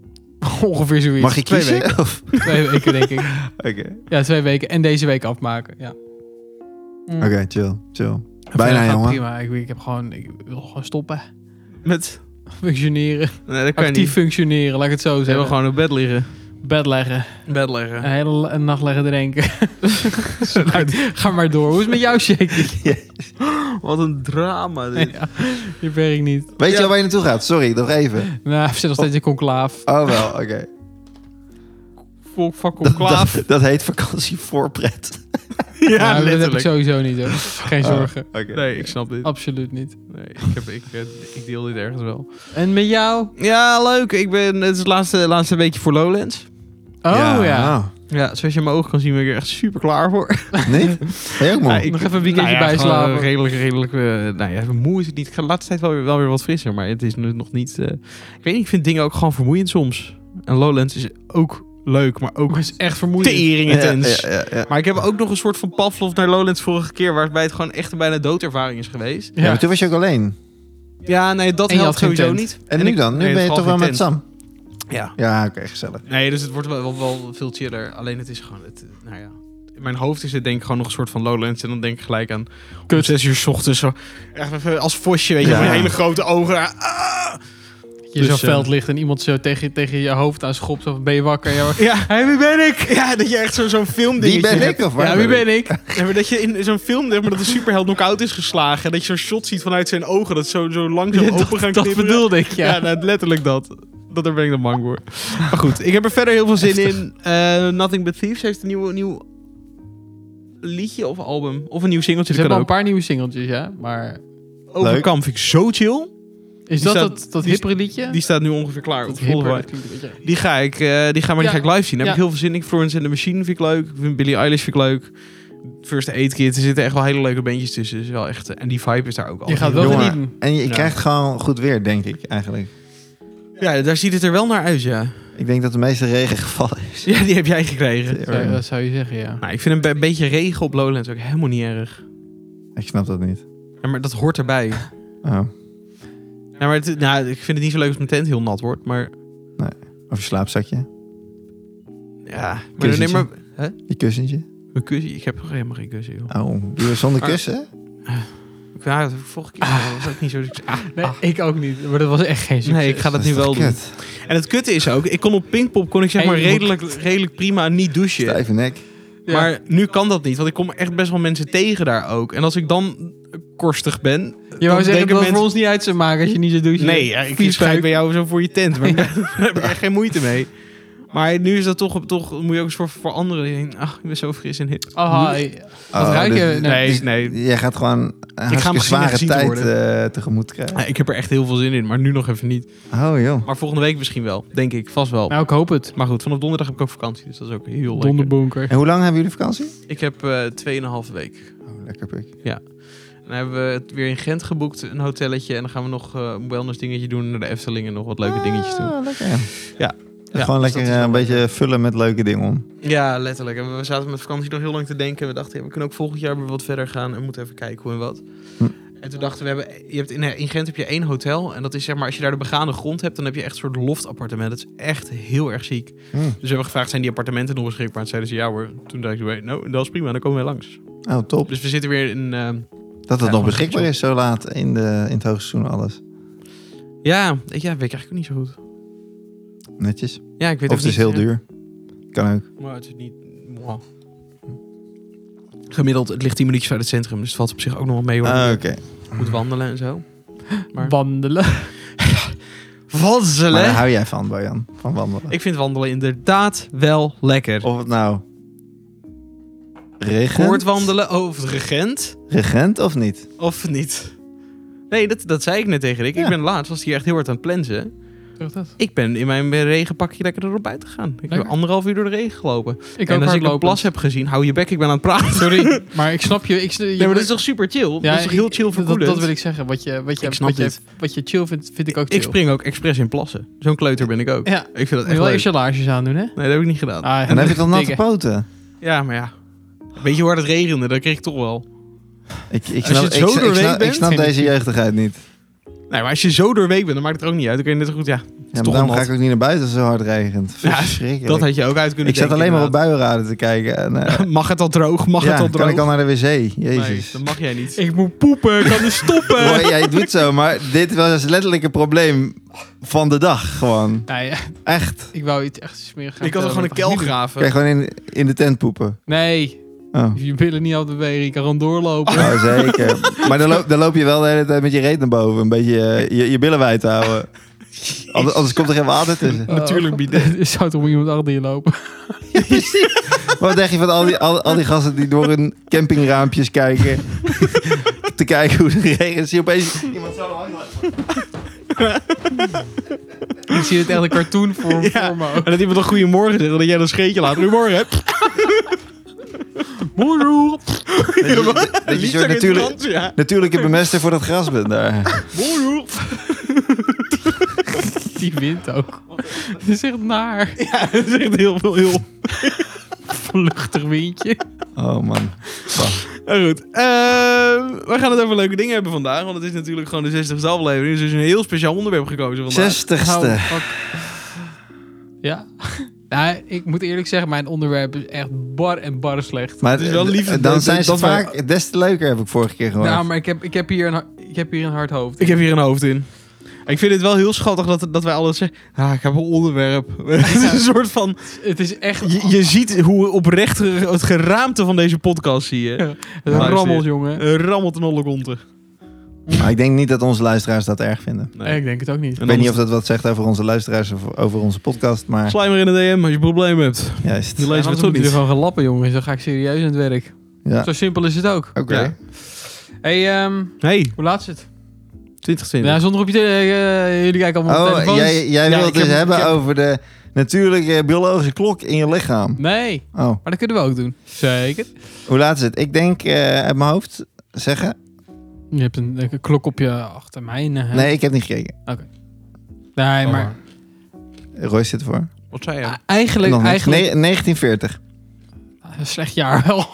[SPEAKER 2] [LAUGHS] Ongeveer zoiets.
[SPEAKER 3] Mag ik
[SPEAKER 2] twee
[SPEAKER 3] kiezen?
[SPEAKER 2] Weken.
[SPEAKER 3] [LAUGHS] Of-
[SPEAKER 2] Twee weken, denk ik.
[SPEAKER 3] Oké, oké,
[SPEAKER 2] Ja, twee weken. En deze week afmaken, ja. Mm.
[SPEAKER 3] chill, chill.
[SPEAKER 2] En verder
[SPEAKER 3] Bijna,
[SPEAKER 2] gaat
[SPEAKER 3] jongen.
[SPEAKER 2] Prima. Ik, ik, heb gewoon, ik wil gewoon stoppen. [LAUGHS]
[SPEAKER 1] Met...
[SPEAKER 2] Functioneren.
[SPEAKER 1] Nee, dat kan
[SPEAKER 2] Actief
[SPEAKER 1] niet.
[SPEAKER 2] functioneren, laat ik het zo
[SPEAKER 1] Ze hebben
[SPEAKER 2] zeggen.
[SPEAKER 1] gewoon op bed liggen. Eh.
[SPEAKER 2] Bed leggen.
[SPEAKER 1] Bed liggen.
[SPEAKER 2] Een hele la- nacht leggen drinken. Ga- Ga maar door. Hoe is het met jou, Shaky?
[SPEAKER 1] Wat een drama dit.
[SPEAKER 2] ja, die werkt niet.
[SPEAKER 3] Weet je
[SPEAKER 1] Ja.
[SPEAKER 3] al waar je naartoe gaat? Sorry, nog even.
[SPEAKER 2] Nou, [LAUGHS] we zit nog steeds in conclaaf.
[SPEAKER 3] Oh wel, oké.
[SPEAKER 1] Volk fuck
[SPEAKER 3] [LAUGHS] Dat,
[SPEAKER 1] klaaf.
[SPEAKER 3] dat, dat heet vakantie voor pret.
[SPEAKER 1] [LAUGHS]
[SPEAKER 2] Nou,
[SPEAKER 1] Ja,
[SPEAKER 2] dat heb ik
[SPEAKER 1] letterlijk.
[SPEAKER 2] sowieso niet,
[SPEAKER 1] [LAUGHS]
[SPEAKER 2] hoor. Geen
[SPEAKER 3] Oh.
[SPEAKER 2] zorgen.
[SPEAKER 3] Oké.
[SPEAKER 1] Nee, ik snap dit.
[SPEAKER 2] Absoluut niet.
[SPEAKER 1] Nee, ik, heb, ik, eh, ik deel dit ergens wel.
[SPEAKER 2] En met jou?
[SPEAKER 1] Ja, leuk. Ik ben, het is het laatste, laatste weekje voor Lowlands.
[SPEAKER 2] Oh ja.
[SPEAKER 3] nou.
[SPEAKER 1] Ja, zoals je in mijn ogen kan zien ben ik er echt super klaar [LAUGHS] voor.
[SPEAKER 3] Nee? Ben je ook moe?
[SPEAKER 1] Ja, ik-
[SPEAKER 2] Nog even een weekendje
[SPEAKER 1] nou ja,
[SPEAKER 2] bijslapen.
[SPEAKER 1] gewoon Redelijk, redelijk. eh, nou ja, moe is het niet. Ik ga de laatste tijd wel weer, wel weer wat frisser, maar het is nu nog niet... eh, ik weet niet, ik vind dingen ook gewoon vermoeiend soms. En Lowlands is ook leuk, maar ook
[SPEAKER 2] Maar het is echt vermoeiend.
[SPEAKER 1] tering
[SPEAKER 3] ja,
[SPEAKER 1] intens.
[SPEAKER 3] ja, ja, ja.
[SPEAKER 1] Maar ik heb ook nog een soort van Pavlov naar Lowlands vorige keer, waarbij het gewoon echt een bijna doodervaring is geweest.
[SPEAKER 3] Ja, maar toen was je ook alleen.
[SPEAKER 1] Ja, nee, dat
[SPEAKER 2] En je
[SPEAKER 1] helpt
[SPEAKER 2] had geen
[SPEAKER 1] sowieso
[SPEAKER 2] tent.
[SPEAKER 1] niet.
[SPEAKER 3] En, nu
[SPEAKER 1] ik-
[SPEAKER 3] dan? Nu
[SPEAKER 1] nee, het
[SPEAKER 3] ben je
[SPEAKER 1] valt
[SPEAKER 3] toch wel
[SPEAKER 1] geen
[SPEAKER 3] met
[SPEAKER 1] tent.
[SPEAKER 3] Sam?
[SPEAKER 1] Ja.
[SPEAKER 3] Ja, oké, gezellig.
[SPEAKER 1] Nee, dus het wordt wel, wel, wel veel chiller. Alleen het is gewoon, het, nou ja. In mijn hoofd is het denk ik gewoon nog een soort van Lowlands. En dan denk ik gelijk aan om
[SPEAKER 2] Kut.
[SPEAKER 1] zes uur 's ochtends. Zo, echt even als vosje, weet je.
[SPEAKER 3] Ja.
[SPEAKER 1] Met hele grote ogen. Ah!
[SPEAKER 2] Je
[SPEAKER 1] Dus,
[SPEAKER 2] zo'n
[SPEAKER 1] eh,
[SPEAKER 2] veld ligt en iemand zo tegen, tegen je hoofd aan schopt. Of ben je wakker?
[SPEAKER 1] [LAUGHS]
[SPEAKER 2] Ja, maar- [LAUGHS]
[SPEAKER 1] Ja, hey, wie ben ik? Ja, dat je echt zo- zo'n
[SPEAKER 3] Wie
[SPEAKER 1] filmdingetje
[SPEAKER 3] ben
[SPEAKER 1] hebt.
[SPEAKER 3] ik of waar
[SPEAKER 2] ja wie ben ik?
[SPEAKER 1] Ja, maar dat je in zo'n film, zeg maar, dat de superheld knock-out is geslagen. En dat je zo'n shot ziet vanuit zijn ogen. Dat zo, zo langzaam
[SPEAKER 2] Ja,
[SPEAKER 1] open gaan
[SPEAKER 2] dat
[SPEAKER 1] knipperen.
[SPEAKER 2] bedoelde ik,
[SPEAKER 1] Ja,
[SPEAKER 2] ja.
[SPEAKER 1] nou, letterlijk dat. Dat daar ben ik dan bang voor. Maar goed, ik heb er verder heel veel zin in. Eh, Nothing But Thieves heeft een nieuw, nieuw liedje of album. Of een nieuw singeltje.
[SPEAKER 2] Ze
[SPEAKER 1] dat
[SPEAKER 2] hebben al
[SPEAKER 1] kan
[SPEAKER 2] een
[SPEAKER 1] ook.
[SPEAKER 2] paar nieuwe singeltjes, ja. Maar
[SPEAKER 1] Overkam vind ik zo chill.
[SPEAKER 2] is dat
[SPEAKER 1] staat-
[SPEAKER 2] dat, dat
[SPEAKER 1] die-
[SPEAKER 2] hippere liedje?
[SPEAKER 1] Die staat nu ongeveer klaar.
[SPEAKER 2] dat
[SPEAKER 1] op Spotify.
[SPEAKER 2] hipper, dat klinkt een beetje...
[SPEAKER 1] Die ga ik, eh, die gaan we die
[SPEAKER 2] Ja.
[SPEAKER 1] ga ik live zien. Daar heb
[SPEAKER 2] Ja.
[SPEAKER 1] ik heel veel zin in. Florence and the Machine vind ik leuk. Ik vind Billie Eilish vind ik leuk. First Aid Kid. Er zitten echt wel hele leuke bandjes tussen. Is wel echt, eh, en die vibe is daar ook al.
[SPEAKER 2] Je gaat wel
[SPEAKER 3] Jongen,
[SPEAKER 2] genieten.
[SPEAKER 3] En je
[SPEAKER 1] Ja.
[SPEAKER 3] krijgt gewoon goed weer, denk ik, eigenlijk.
[SPEAKER 1] Ja, daar ziet het er wel naar uit, ja. [LAUGHS]
[SPEAKER 3] Ik denk dat de meeste regen gevallen is.
[SPEAKER 1] Ja, die heb jij gekregen.
[SPEAKER 2] Zou- Dat zou je zeggen, ja.
[SPEAKER 1] Nou, ik vind een be- beetje regen op Lowlands ook helemaal niet erg.
[SPEAKER 3] Ik snap dat niet.
[SPEAKER 1] Ja, maar dat hoort erbij.
[SPEAKER 3] Oh.
[SPEAKER 1] Ja, maar het, nou, ik vind het niet zo leuk als mijn tent heel nat wordt. Maar
[SPEAKER 3] Of je slaapzakje,
[SPEAKER 1] ja, maar dan
[SPEAKER 3] Kussentje?
[SPEAKER 1] neem maar hè?
[SPEAKER 3] je kussentje.
[SPEAKER 1] een kussen. Ik heb nog helemaal geen kussen, joh.
[SPEAKER 3] Oh, doe je zonder
[SPEAKER 1] Ah.
[SPEAKER 3] kussen?
[SPEAKER 1] Ja, dat heb ik vorige keer dat was ook niet zo. Ah,
[SPEAKER 2] Nee, ik ook niet. Maar dat was echt geen succes.
[SPEAKER 1] nee, ik ga dat nu
[SPEAKER 3] is
[SPEAKER 1] wel
[SPEAKER 3] toch
[SPEAKER 1] doen.
[SPEAKER 3] kut?
[SPEAKER 1] En het kutte is ook, ik kon op Pinkpop kon ik zeg
[SPEAKER 2] Hey,
[SPEAKER 1] maar
[SPEAKER 2] je moet-
[SPEAKER 1] redelijk, redelijk prima niet douchen.
[SPEAKER 3] Stijve nek.
[SPEAKER 2] Ja.
[SPEAKER 1] Maar nu kan dat niet, want ik kom echt best wel mensen tegen daar ook. En als ik dan korstig ben...
[SPEAKER 2] Je wou
[SPEAKER 1] dan
[SPEAKER 2] zeggen
[SPEAKER 1] denken
[SPEAKER 2] dat het
[SPEAKER 1] mensen-
[SPEAKER 2] voor ons niet uit zou maken als je niet zo doet.
[SPEAKER 1] Nee, ja, ik
[SPEAKER 2] Vies
[SPEAKER 1] schrijf
[SPEAKER 2] peuk.
[SPEAKER 1] bij jou zo voor je tent, [LAUGHS] maar daar heb ik echt geen moeite mee. Maar nu is dat toch, toch moet je ook eens voor, voor anderen denken. Ach, ik ben zo fris en hip.
[SPEAKER 2] Oh, hi. Wat
[SPEAKER 3] Oh,
[SPEAKER 2] ruik je?
[SPEAKER 3] dus-
[SPEAKER 2] Nee.
[SPEAKER 1] Nee, nee.
[SPEAKER 3] Jij gaat gewoon een hartstikke
[SPEAKER 1] misschien echt
[SPEAKER 3] zware
[SPEAKER 1] ziek
[SPEAKER 3] tijd
[SPEAKER 1] worden.
[SPEAKER 3] eh, tegemoet krijgen.
[SPEAKER 1] Ik heb er echt heel veel zin in, maar nu nog even niet.
[SPEAKER 3] Oh joh.
[SPEAKER 1] Maar volgende week misschien wel, denk ik, vast wel.
[SPEAKER 2] Nou, ik hoop het.
[SPEAKER 1] Maar goed, vanaf donderdag heb ik ook vakantie, dus dat is ook heel lekker.
[SPEAKER 2] Donderbonker.
[SPEAKER 3] En hoe lang hebben jullie vakantie?
[SPEAKER 1] Ik heb eh, 2,5 week.
[SPEAKER 3] Oh, lekker pik.
[SPEAKER 1] En dan hebben we het weer in Gent geboekt, een hotelletje. En dan gaan we nog eh, een wellness dingetje doen naar de Efteling en nog wat leuke dingetjes doen.
[SPEAKER 3] Ah, lekker. Ja.
[SPEAKER 1] Ja. Ja,
[SPEAKER 3] gewoon
[SPEAKER 1] dus
[SPEAKER 3] lekker
[SPEAKER 1] dat is
[SPEAKER 3] eh,
[SPEAKER 1] wel
[SPEAKER 3] een beetje vullen met leuke dingen om.
[SPEAKER 1] Ja, letterlijk. En we zaten met vakantie nog heel lang te denken. We dachten, ja, we kunnen ook volgend jaar weer wat verder gaan en moeten even kijken hoe en wat.
[SPEAKER 3] Hm.
[SPEAKER 1] En toen dachten we, we hebben, je hebt in, eh, in Gent heb je één hotel. En dat is zeg maar, als je daar de begane grond hebt, dan heb je echt een soort loftappartement. Dat is echt heel erg ziek. Dus
[SPEAKER 3] Hm.
[SPEAKER 1] we hebben gevraagd, zijn die appartementen nog beschikbaar? En zeiden ze, ja hoor. Toen dacht ik, nou, dat is prima, dan komen we langs.
[SPEAKER 3] Oh, top.
[SPEAKER 1] Dus we zitten weer in... ehm,
[SPEAKER 3] Dat het
[SPEAKER 1] Ja,
[SPEAKER 3] nog
[SPEAKER 1] gewoon
[SPEAKER 3] beschikbaar
[SPEAKER 1] zo.
[SPEAKER 3] is zo laat in, de, in het hoogseizoen alles.
[SPEAKER 1] ja, ik- ja, weet ik eigenlijk ook niet zo goed.
[SPEAKER 3] Netjes.
[SPEAKER 1] Ja, ik weet
[SPEAKER 3] Of
[SPEAKER 1] ook
[SPEAKER 3] het is
[SPEAKER 1] niet, eh,
[SPEAKER 3] heel
[SPEAKER 1] ja.
[SPEAKER 3] duur. Kan ook.
[SPEAKER 1] Maar het is niet... mwah. Gemiddeld, het ligt 10 minuutjes uit het centrum. Dus het valt op zich ook nog wel mee. Hoor.
[SPEAKER 3] Ah, Oké.
[SPEAKER 1] Moet wandelen en zo. Maar-
[SPEAKER 2] Wandelen.
[SPEAKER 3] Maar
[SPEAKER 1] Wandelen?
[SPEAKER 3] daar hou jij van, Bojan. Van wandelen.
[SPEAKER 1] Ik vind wandelen inderdaad wel lekker.
[SPEAKER 3] Of het nou... Regent?
[SPEAKER 1] Koordwandelen over regent
[SPEAKER 3] Regent of niet?
[SPEAKER 1] of niet? Nee, dat, dat zei ik net tegen Rick.
[SPEAKER 3] Ja.
[SPEAKER 1] Ik ben laatst, was hier echt heel hard aan het plensen.
[SPEAKER 2] Zeg dat.
[SPEAKER 1] Ik ben in mijn regenpakje lekker erop uit gegaan. Ik
[SPEAKER 2] Lekker.
[SPEAKER 1] heb anderhalf uur door de regen gelopen.
[SPEAKER 2] Ik
[SPEAKER 1] en als
[SPEAKER 2] ook
[SPEAKER 1] ik een
[SPEAKER 2] hardlopen.
[SPEAKER 1] plas heb gezien, hou je bek, ik ben aan het praten.
[SPEAKER 2] Sorry, [LAUGHS] maar ik snap je. Ik, sn- je
[SPEAKER 1] Nee, maar dat is toch super chill? dat is toch heel chill
[SPEAKER 2] voor
[SPEAKER 1] voor
[SPEAKER 2] dat, dat wil ik zeggen. Wat je, wat je,
[SPEAKER 1] Ik snap
[SPEAKER 2] wat, je,
[SPEAKER 1] dit.
[SPEAKER 2] wat je chill vindt, vind ik ook chill.
[SPEAKER 1] Ik spring ook expres in plassen. Zo'n kleuter ben ik ook.
[SPEAKER 2] Ja.
[SPEAKER 1] Ik vind dat
[SPEAKER 2] Moet je
[SPEAKER 1] echt
[SPEAKER 2] wel
[SPEAKER 1] leuk.
[SPEAKER 2] even je laarsjes aandoen, hè?
[SPEAKER 1] Nee, dat heb ik niet gedaan.
[SPEAKER 2] Ah, [LAUGHS]
[SPEAKER 3] En dan heb je dan natte
[SPEAKER 2] dikke.
[SPEAKER 3] poten.
[SPEAKER 1] Ja, maar ja. Weet je hoe hard het regende? Dat kreeg ik toch wel.
[SPEAKER 3] Ik, ik
[SPEAKER 1] Als je
[SPEAKER 3] snap,
[SPEAKER 1] het
[SPEAKER 3] ik,
[SPEAKER 1] zo
[SPEAKER 3] snap- ik
[SPEAKER 1] doorweekt
[SPEAKER 3] snap, ik
[SPEAKER 1] bent,
[SPEAKER 3] snap
[SPEAKER 1] vind ik-
[SPEAKER 3] deze jeugdigheid niet.
[SPEAKER 1] Nee, maar als je zo doorweek bent, dan maakt het er ook niet uit. Dan kun je net zo goed, ja.
[SPEAKER 3] Ja,
[SPEAKER 1] toch
[SPEAKER 3] maar daarom
[SPEAKER 1] nat.
[SPEAKER 3] ga ik ook niet naar buiten als het zo hard regent.
[SPEAKER 1] Ja,
[SPEAKER 3] Verschrikkelijk.
[SPEAKER 1] Dat had je ook uit kunnen
[SPEAKER 3] ik zat
[SPEAKER 1] denken,
[SPEAKER 3] alleen maar op
[SPEAKER 1] inderdaad.
[SPEAKER 3] buienraden te kijken. En,
[SPEAKER 1] [LAUGHS]
[SPEAKER 3] eh,
[SPEAKER 1] Mag het al droog? Mag
[SPEAKER 3] ja,
[SPEAKER 1] het al
[SPEAKER 3] kan
[SPEAKER 1] droog?
[SPEAKER 3] ik al naar de wc?
[SPEAKER 1] nee,
[SPEAKER 3] Jezus. [LAUGHS]
[SPEAKER 1] dat mag jij niet.
[SPEAKER 2] Ik moet poepen, ik kan [LAUGHS] niet stoppen.
[SPEAKER 3] Boy, jij doet zo, maar dit was letterlijk een probleem van de dag. Gewoon.
[SPEAKER 2] Nee, ja,
[SPEAKER 3] Echt.
[SPEAKER 2] ik wou iets echt smerig gaan
[SPEAKER 1] Ik had er
[SPEAKER 2] vertellen,
[SPEAKER 1] gewoon een
[SPEAKER 2] maar dat
[SPEAKER 1] kel
[SPEAKER 2] ga ik
[SPEAKER 1] graven.
[SPEAKER 3] Kan je gewoon in, in de tent poepen?
[SPEAKER 2] niet doen.
[SPEAKER 3] Oh.
[SPEAKER 2] Nee, je billen niet altijd bewegen, je kan gewoon doorlopen.
[SPEAKER 3] Nou, zeker. Maar dan loop, dan loop je wel de hele tijd met je reet naar boven. Een beetje eh, je, je billen wijd te
[SPEAKER 1] [LAUGHS]
[SPEAKER 3] houden. Anders, anders komt er geen water tussen.
[SPEAKER 1] Natuurlijk
[SPEAKER 2] [LAUGHS] Oh. [LAUGHS]
[SPEAKER 1] bidet.
[SPEAKER 2] Er zou toch iemand achter je lopen?
[SPEAKER 3] Wat denk je van al die, al, al die gasten die door hun campingraampjes kijken? [LAUGHS] te kijken hoe de regen... Zie je opeens iemand zo lang.
[SPEAKER 2] Ik zie het echt een [LAUGHS] cartoon voor,
[SPEAKER 1] Ja.
[SPEAKER 2] voor me ook.
[SPEAKER 1] En dat iemand een goeiemorgen zegt, en dat jij een scheetje laat. Goedemorgen, hè?
[SPEAKER 2] Bonjour.
[SPEAKER 3] Dat je, dat je
[SPEAKER 1] Liefst
[SPEAKER 3] zo'n
[SPEAKER 1] ook in het
[SPEAKER 3] natuurlijk,
[SPEAKER 1] Frans, [LAUGHS] ja.
[SPEAKER 3] natuurlijke bemester voor dat gras bent daar.
[SPEAKER 1] Bonjour.
[SPEAKER 2] Die wint ook. [LAUGHS] Het is echt naar.
[SPEAKER 1] Ja, dat is echt heel veel. Heel...
[SPEAKER 2] Vluchtig windje.
[SPEAKER 3] Oh man.
[SPEAKER 1] Nou goed, Ehm, we gaan het over leuke dingen hebben vandaag. Want het is natuurlijk gewoon de 60ste aflevering. Dus er is een heel speciaal onderwerp gekozen vandaag.
[SPEAKER 2] Nou,
[SPEAKER 3] Zestigste.
[SPEAKER 2] fuck. Ja. Nou, ik moet eerlijk zeggen, mijn onderwerp is echt bar en bar slecht.
[SPEAKER 3] Maar
[SPEAKER 1] Het is wel lief
[SPEAKER 3] eh, dan
[SPEAKER 1] dat-
[SPEAKER 3] zijn ze
[SPEAKER 1] dat we-
[SPEAKER 3] vaak des te leuker, heb ik vorige keer gehoord.
[SPEAKER 2] Nou, maar ik heb, ik, heb hier een, ha- ik heb hier een hard hoofd.
[SPEAKER 1] Ik heb hier een hoofd in. Ik vind het wel heel schattig dat, dat wij alles zeggen. Ah, ik heb een onderwerp. [LAUGHS] Het is een soort van...
[SPEAKER 2] Het is echt
[SPEAKER 1] Je, je ziet hoe oprecht ge- het geraamte van deze podcast zie je.
[SPEAKER 2] een
[SPEAKER 1] luister.
[SPEAKER 2] rammel, jongen.
[SPEAKER 1] Eh, Rammelt een alle konten.
[SPEAKER 3] Maar ik denk niet dat onze luisteraars dat erg vinden.
[SPEAKER 2] Nee, ik denk het ook niet.
[SPEAKER 3] Ik weet niet of dat wat zegt over onze luisteraars of over onze podcast, maar
[SPEAKER 1] Sla maar in de DM als je problemen hebt.
[SPEAKER 3] juist.
[SPEAKER 1] Die
[SPEAKER 3] Ja,
[SPEAKER 1] lezen we
[SPEAKER 2] Anders
[SPEAKER 1] toch
[SPEAKER 2] moet je er
[SPEAKER 1] niet.
[SPEAKER 2] gewoon gaan lappen, jongens. Dan ga ik serieus aan het werk.
[SPEAKER 3] oké.
[SPEAKER 2] Zo simpel is het ook.
[SPEAKER 1] Ja.
[SPEAKER 2] hey, ehm,
[SPEAKER 1] Hey,
[SPEAKER 2] hoe laat is het?
[SPEAKER 1] 2020.
[SPEAKER 2] Ja, zonder op je te- eh, jullie kijken allemaal op
[SPEAKER 3] Oh,
[SPEAKER 2] telefoons.
[SPEAKER 3] jij, jij
[SPEAKER 1] Ja,
[SPEAKER 3] wil
[SPEAKER 1] ik
[SPEAKER 3] het
[SPEAKER 1] heb-
[SPEAKER 3] dus
[SPEAKER 1] ik
[SPEAKER 3] hebben
[SPEAKER 1] heb-
[SPEAKER 3] over de natuurlijke biologische klok in je lichaam.
[SPEAKER 2] Nee,
[SPEAKER 3] Oh,
[SPEAKER 2] maar dat kunnen we ook doen. Zeker.
[SPEAKER 3] hoe laat is het? Ik denk eh, uit mijn hoofd zeggen.
[SPEAKER 2] Je hebt een, een klok op je achter mij. Nee,
[SPEAKER 3] Nee, Oh. ik heb niet gekeken.
[SPEAKER 2] nee maar
[SPEAKER 3] Roy zit ervoor.
[SPEAKER 1] Wat zei je?
[SPEAKER 2] eh, eigenlijk...
[SPEAKER 3] Nog niet.
[SPEAKER 2] eigenlijk
[SPEAKER 3] Nee, 1940.
[SPEAKER 2] Ah, een slecht jaar
[SPEAKER 3] [LAUGHS]
[SPEAKER 2] wel.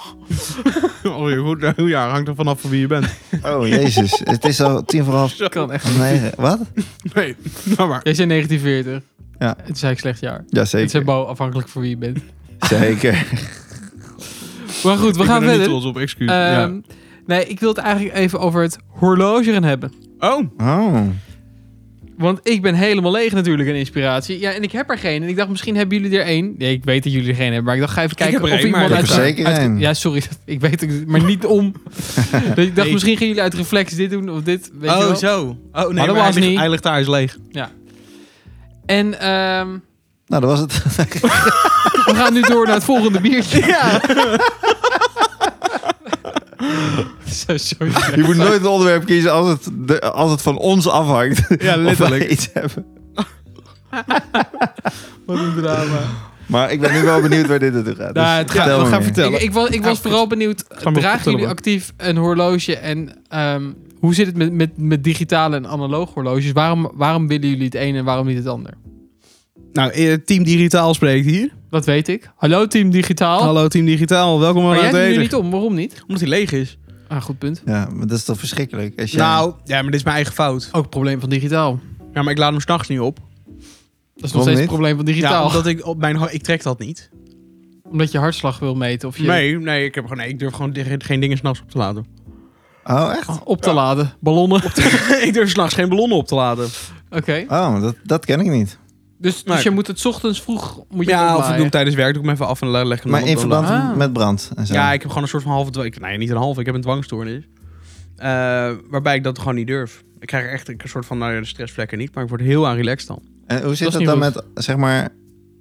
[SPEAKER 1] [LAUGHS] Oh, je goed, nou ja, hangt er vanaf van wie je bent.
[SPEAKER 3] Oh, jezus. het is al tien voor half
[SPEAKER 2] kan echt.
[SPEAKER 3] negen. Wat?
[SPEAKER 1] [LAUGHS] Nee, [LAUGHS] nou maar.
[SPEAKER 2] Jij zei 1940.
[SPEAKER 3] Ja.
[SPEAKER 2] Het is eigenlijk slecht jaar. Het is
[SPEAKER 3] Jazeker.
[SPEAKER 2] helemaal afhankelijk van wie je bent.
[SPEAKER 3] Zeker.
[SPEAKER 2] Maar goed, we
[SPEAKER 1] Ik ben
[SPEAKER 2] gaan
[SPEAKER 1] er niet
[SPEAKER 2] verder.
[SPEAKER 1] trots op, excuus.
[SPEAKER 2] Ehm, Nee, ik wil het eigenlijk even over het horloge gaan hebben.
[SPEAKER 1] Ja. Oh,
[SPEAKER 3] Oh.
[SPEAKER 2] We Want ik ben helemaal leeg natuurlijk in inspiratie. Ja, en ik heb er geen. En ik dacht, misschien hebben jullie er één. Nee, ik weet dat jullie er geen hebben. Maar ik dacht, ga even kijken
[SPEAKER 1] heb er
[SPEAKER 2] of
[SPEAKER 1] één, maar
[SPEAKER 2] iemand
[SPEAKER 1] ik
[SPEAKER 2] uit...
[SPEAKER 3] heb er zeker
[SPEAKER 2] uit-
[SPEAKER 3] één.
[SPEAKER 2] Ja, sorry. [LAUGHS] dat- Ik weet het, maar niet
[SPEAKER 3] [LAUGHS]
[SPEAKER 2] om. dat ik dacht,
[SPEAKER 1] Nee.
[SPEAKER 2] misschien gaan jullie uit reflex dit doen of dit. Weet je
[SPEAKER 1] oh,
[SPEAKER 2] wel?
[SPEAKER 1] zo. Oh, nee, maar,
[SPEAKER 2] dat
[SPEAKER 1] hij,
[SPEAKER 2] was
[SPEAKER 1] ligt,
[SPEAKER 2] niet.
[SPEAKER 1] hij ligt daar, hij is leeg.
[SPEAKER 2] En ehm,
[SPEAKER 3] Nou, dat was het.
[SPEAKER 2] we gaan nu door naar het volgende biertje.
[SPEAKER 1] Ja.
[SPEAKER 2] Zo, sorry.
[SPEAKER 3] Je moet nooit een onderwerp kiezen als het, de- als het van ons afhangt.
[SPEAKER 1] [LAUGHS] Ja,
[SPEAKER 3] Of wij
[SPEAKER 1] [LAUGHS] letterlijk.
[SPEAKER 3] iets hebben.
[SPEAKER 1] Wat een drama.
[SPEAKER 3] Maar ik ben nu wel benieuwd waar dit naartoe gaat. Dus
[SPEAKER 2] Nou, het Ah,
[SPEAKER 3] vertel
[SPEAKER 1] gaat- we
[SPEAKER 3] me
[SPEAKER 1] gaan
[SPEAKER 3] meer.
[SPEAKER 1] vertellen.
[SPEAKER 2] Ik, ik was, ik was vooral benieuwd,
[SPEAKER 1] me
[SPEAKER 2] dragen
[SPEAKER 1] vertellen,
[SPEAKER 2] jullie
[SPEAKER 1] man.
[SPEAKER 2] actief een horloge en ehm, hoe zit het met, met, met digitale en analoge horloges? Waarom, waarom willen jullie het een en waarom niet het ander?
[SPEAKER 1] Nou, eh, Team Digitaal spreekt hier.
[SPEAKER 2] Dat weet ik. Hallo team digitaal.
[SPEAKER 1] Hallo Team Digitaal, welkom
[SPEAKER 2] maar jij
[SPEAKER 1] aan
[SPEAKER 2] doet
[SPEAKER 1] het
[SPEAKER 2] nu niet om, waarom niet?
[SPEAKER 1] Omdat hij leeg is.
[SPEAKER 2] Ah, goed punt.
[SPEAKER 3] Ja, maar dat is toch verschrikkelijk? Als je-
[SPEAKER 1] Nou, ja, maar dit is mijn eigen fout.
[SPEAKER 2] Ook het probleem van digitaal.
[SPEAKER 1] Ja, maar ik laat hem s'nachts niet op.
[SPEAKER 2] Dat is nog
[SPEAKER 3] Waarom
[SPEAKER 2] steeds het
[SPEAKER 3] niet?
[SPEAKER 2] probleem van
[SPEAKER 1] Ja,
[SPEAKER 2] digitaal.
[SPEAKER 1] omdat ik op mijn... ho- Ik trek dat niet.
[SPEAKER 2] Omdat je hartslag wil meten of je
[SPEAKER 1] Nee, nee, ik, heb gewoon, nee, ik durf gewoon di- geen dingen s'nachts op te [LAUGHS] laden.
[SPEAKER 3] Oh, echt?
[SPEAKER 2] op te laden. Ballonnen.
[SPEAKER 1] ik durf s'nachts geen ballonnen op te laden.
[SPEAKER 2] Oké.
[SPEAKER 3] Oh, dat, dat ken ik niet.
[SPEAKER 2] Dus, dus
[SPEAKER 1] Nee.
[SPEAKER 2] je moet het 's ochtends vroeg moet je
[SPEAKER 1] Nou, Ja, of ik
[SPEAKER 2] het
[SPEAKER 1] doe hem
[SPEAKER 2] oplaaien.
[SPEAKER 1] tijdens werk, doe ik hem even af en le- leg hem
[SPEAKER 3] Maar
[SPEAKER 1] dan
[SPEAKER 3] in
[SPEAKER 1] op de
[SPEAKER 3] verband
[SPEAKER 2] Ah.
[SPEAKER 3] met brand en zo.
[SPEAKER 1] la- Ja, ik heb gewoon een soort van halve dwang. ik- Nee, niet een halve, ik heb een dwangstoornis. Eh, waarbij ik dat gewoon niet durf. Ik krijg er echt een soort van, nou ja, de stressvlekken niet, maar ik word heel aan relaxed dan.
[SPEAKER 3] En hoe zit
[SPEAKER 2] Dat
[SPEAKER 3] dat
[SPEAKER 2] is
[SPEAKER 3] dan
[SPEAKER 2] niet
[SPEAKER 3] met, zeg maar,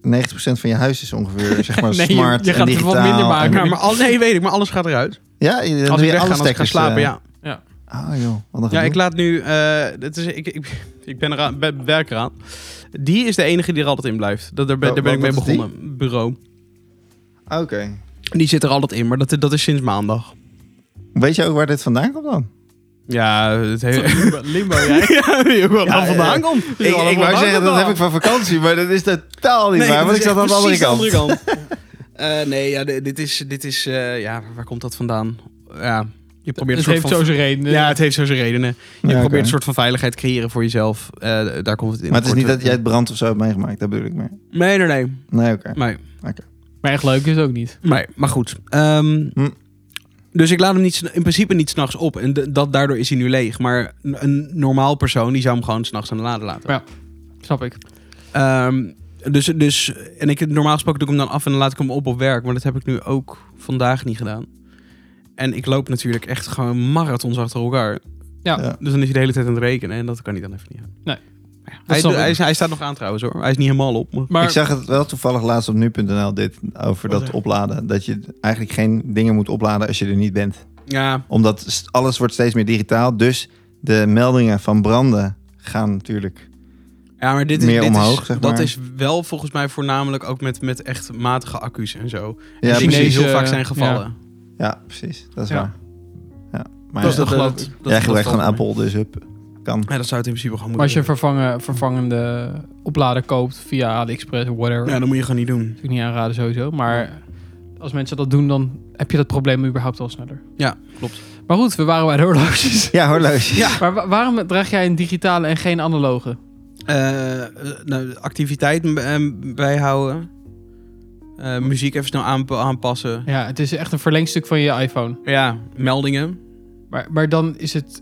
[SPEAKER 3] 90% van je huis is
[SPEAKER 1] [LAUGHS]
[SPEAKER 3] ongeveer, zeg maar,
[SPEAKER 2] Nee, je-
[SPEAKER 3] smart
[SPEAKER 2] je gaat
[SPEAKER 3] en
[SPEAKER 2] het
[SPEAKER 3] digitaal.
[SPEAKER 2] wat minder maken.
[SPEAKER 3] en-
[SPEAKER 1] Ja, maar al, nee, weet ik, maar alles gaat eruit.
[SPEAKER 3] ja, je,
[SPEAKER 1] Als
[SPEAKER 3] doe
[SPEAKER 1] ik
[SPEAKER 3] je
[SPEAKER 1] wegga,
[SPEAKER 3] alle
[SPEAKER 1] als ik ga
[SPEAKER 3] stekkers,
[SPEAKER 1] slapen,
[SPEAKER 3] eh.
[SPEAKER 1] ja.
[SPEAKER 3] Oh joh, wat een
[SPEAKER 1] Ja,
[SPEAKER 3] gedoe.
[SPEAKER 1] ik laat nu. eh, het is, ik, ik, ik ben eraan, ben, werk eraan. Die is de enige die er altijd in blijft. Dat, daar ben,
[SPEAKER 3] Wa-
[SPEAKER 1] daar ben ik
[SPEAKER 3] wat
[SPEAKER 1] mee
[SPEAKER 3] is die?
[SPEAKER 1] begonnen. Bureau.
[SPEAKER 3] Oké.
[SPEAKER 1] Die zit er altijd in, maar dat, dat is sinds maandag.
[SPEAKER 3] Weet je ook waar dit vandaan komt dan?
[SPEAKER 1] Ja, het hele.
[SPEAKER 2] Limbo,
[SPEAKER 1] [LAUGHS]
[SPEAKER 2] limbo jij.
[SPEAKER 1] ja, die ook wel
[SPEAKER 3] Ja,
[SPEAKER 1] waar vandaan
[SPEAKER 3] ja.
[SPEAKER 1] komt.
[SPEAKER 3] Ik, ik wou zeggen, dat heb ik van vakantie, maar dat is totaal niet waar, want ik zat aan de andere kant. [LAUGHS]
[SPEAKER 1] Eh, nee, ja, di- dit is. Dit is eh, ja, waar komt dat vandaan? Ja, je probeert een
[SPEAKER 2] Het
[SPEAKER 1] soort
[SPEAKER 2] Dus heeft
[SPEAKER 1] van-
[SPEAKER 2] zo zijn redenen.
[SPEAKER 1] Ja, het heeft zo zijn redenen. Je
[SPEAKER 3] Ja,
[SPEAKER 1] probeert
[SPEAKER 3] oké.
[SPEAKER 1] een soort van veiligheid te creëren voor jezelf. Eh, daar komt het in.
[SPEAKER 3] Maar het is niet dat jij
[SPEAKER 1] korte-
[SPEAKER 3] het brand of zo hebt meegemaakt, dat bedoel ik meer.
[SPEAKER 1] Nee, nee, nee.
[SPEAKER 3] Nee, oké.
[SPEAKER 1] Nee.
[SPEAKER 2] Maar echt leuk is het ook niet.
[SPEAKER 1] Nee, maar goed. Ehm,
[SPEAKER 3] Hm.
[SPEAKER 1] Dus ik laat hem niet, sn- in principe niet s'nachts op. En d- dat, daardoor is hij nu leeg. Maar n- een normaal persoon die zou hem gewoon s'nachts aan de lade laten.
[SPEAKER 2] Snap ik.
[SPEAKER 1] Ehm, dus, dus, en ik, normaal gesproken doe ik hem dan af en dan laat ik hem op op werk. Maar dat heb ik nu ook vandaag niet gedaan. En ik loop natuurlijk echt gewoon marathons achter elkaar.
[SPEAKER 2] Ja.
[SPEAKER 3] Ja.
[SPEAKER 1] Dus dan is hij de hele tijd aan het rekenen. En dat kan hij dan even niet aan.
[SPEAKER 2] Nee.
[SPEAKER 1] Maar ja,
[SPEAKER 2] Dat
[SPEAKER 1] hij,
[SPEAKER 2] snap
[SPEAKER 1] do-
[SPEAKER 2] ik.
[SPEAKER 1] hij, is- hij staat nog aan trouwens hoor. Hij is niet helemaal op. maar-
[SPEAKER 2] Maar
[SPEAKER 3] Ik zag het wel toevallig laatst op nu.nl dit over
[SPEAKER 1] Wat
[SPEAKER 3] dat
[SPEAKER 1] er?
[SPEAKER 3] opladen. Dat je eigenlijk geen dingen moet opladen als je er niet bent.
[SPEAKER 1] Ja,
[SPEAKER 3] Omdat st- alles wordt steeds meer digitaal. Dus de meldingen van branden gaan natuurlijk.
[SPEAKER 1] Ja, maar dit is,
[SPEAKER 3] Meer
[SPEAKER 1] dit
[SPEAKER 3] omhoog,
[SPEAKER 1] is,
[SPEAKER 3] zeg
[SPEAKER 1] Dat
[SPEAKER 3] maar.
[SPEAKER 1] is wel volgens mij voornamelijk ook met, met echt matige accu's en zo.
[SPEAKER 3] Ja,
[SPEAKER 1] Ja, die
[SPEAKER 3] precies.
[SPEAKER 2] Chinezen-
[SPEAKER 1] heel vaak zijn gevallen.
[SPEAKER 3] Ja, precies. Dat is
[SPEAKER 2] Ja.
[SPEAKER 3] waar. Ja. Maar
[SPEAKER 2] Dat is
[SPEAKER 3] ja,
[SPEAKER 2] dat geloof ik.
[SPEAKER 1] dat-
[SPEAKER 3] jij
[SPEAKER 1] dat
[SPEAKER 3] gebruikt gewoon
[SPEAKER 1] valt mee.
[SPEAKER 3] Apple, dus hup. Kan.
[SPEAKER 1] Ja, dat zou het in principe gewoon
[SPEAKER 2] Maar als je
[SPEAKER 1] moeten.
[SPEAKER 2] een vervangen, vervangende oplader koopt via AliExpress of whatever,
[SPEAKER 1] Ja,
[SPEAKER 2] dat
[SPEAKER 1] dat moet je gewoon niet doen.
[SPEAKER 2] is ik niet aanraden sowieso. Maar als mensen dat doen, dan heb je dat probleem überhaupt al sneller.
[SPEAKER 1] Ja, klopt.
[SPEAKER 2] Maar goed, we waren bij de horloges.
[SPEAKER 3] Ja, horloge.
[SPEAKER 1] Ja.
[SPEAKER 2] Maar wa- waarom draag jij een digitale en geen analoge?
[SPEAKER 1] Eh, eh, nou, activiteit eh, bijhouden. Eh, muziek even snel aanpa- aanpassen.
[SPEAKER 2] Ja, het is echt een verlengstuk van je iPhone.
[SPEAKER 1] Ja, meldingen.
[SPEAKER 2] Maar, maar dan is het...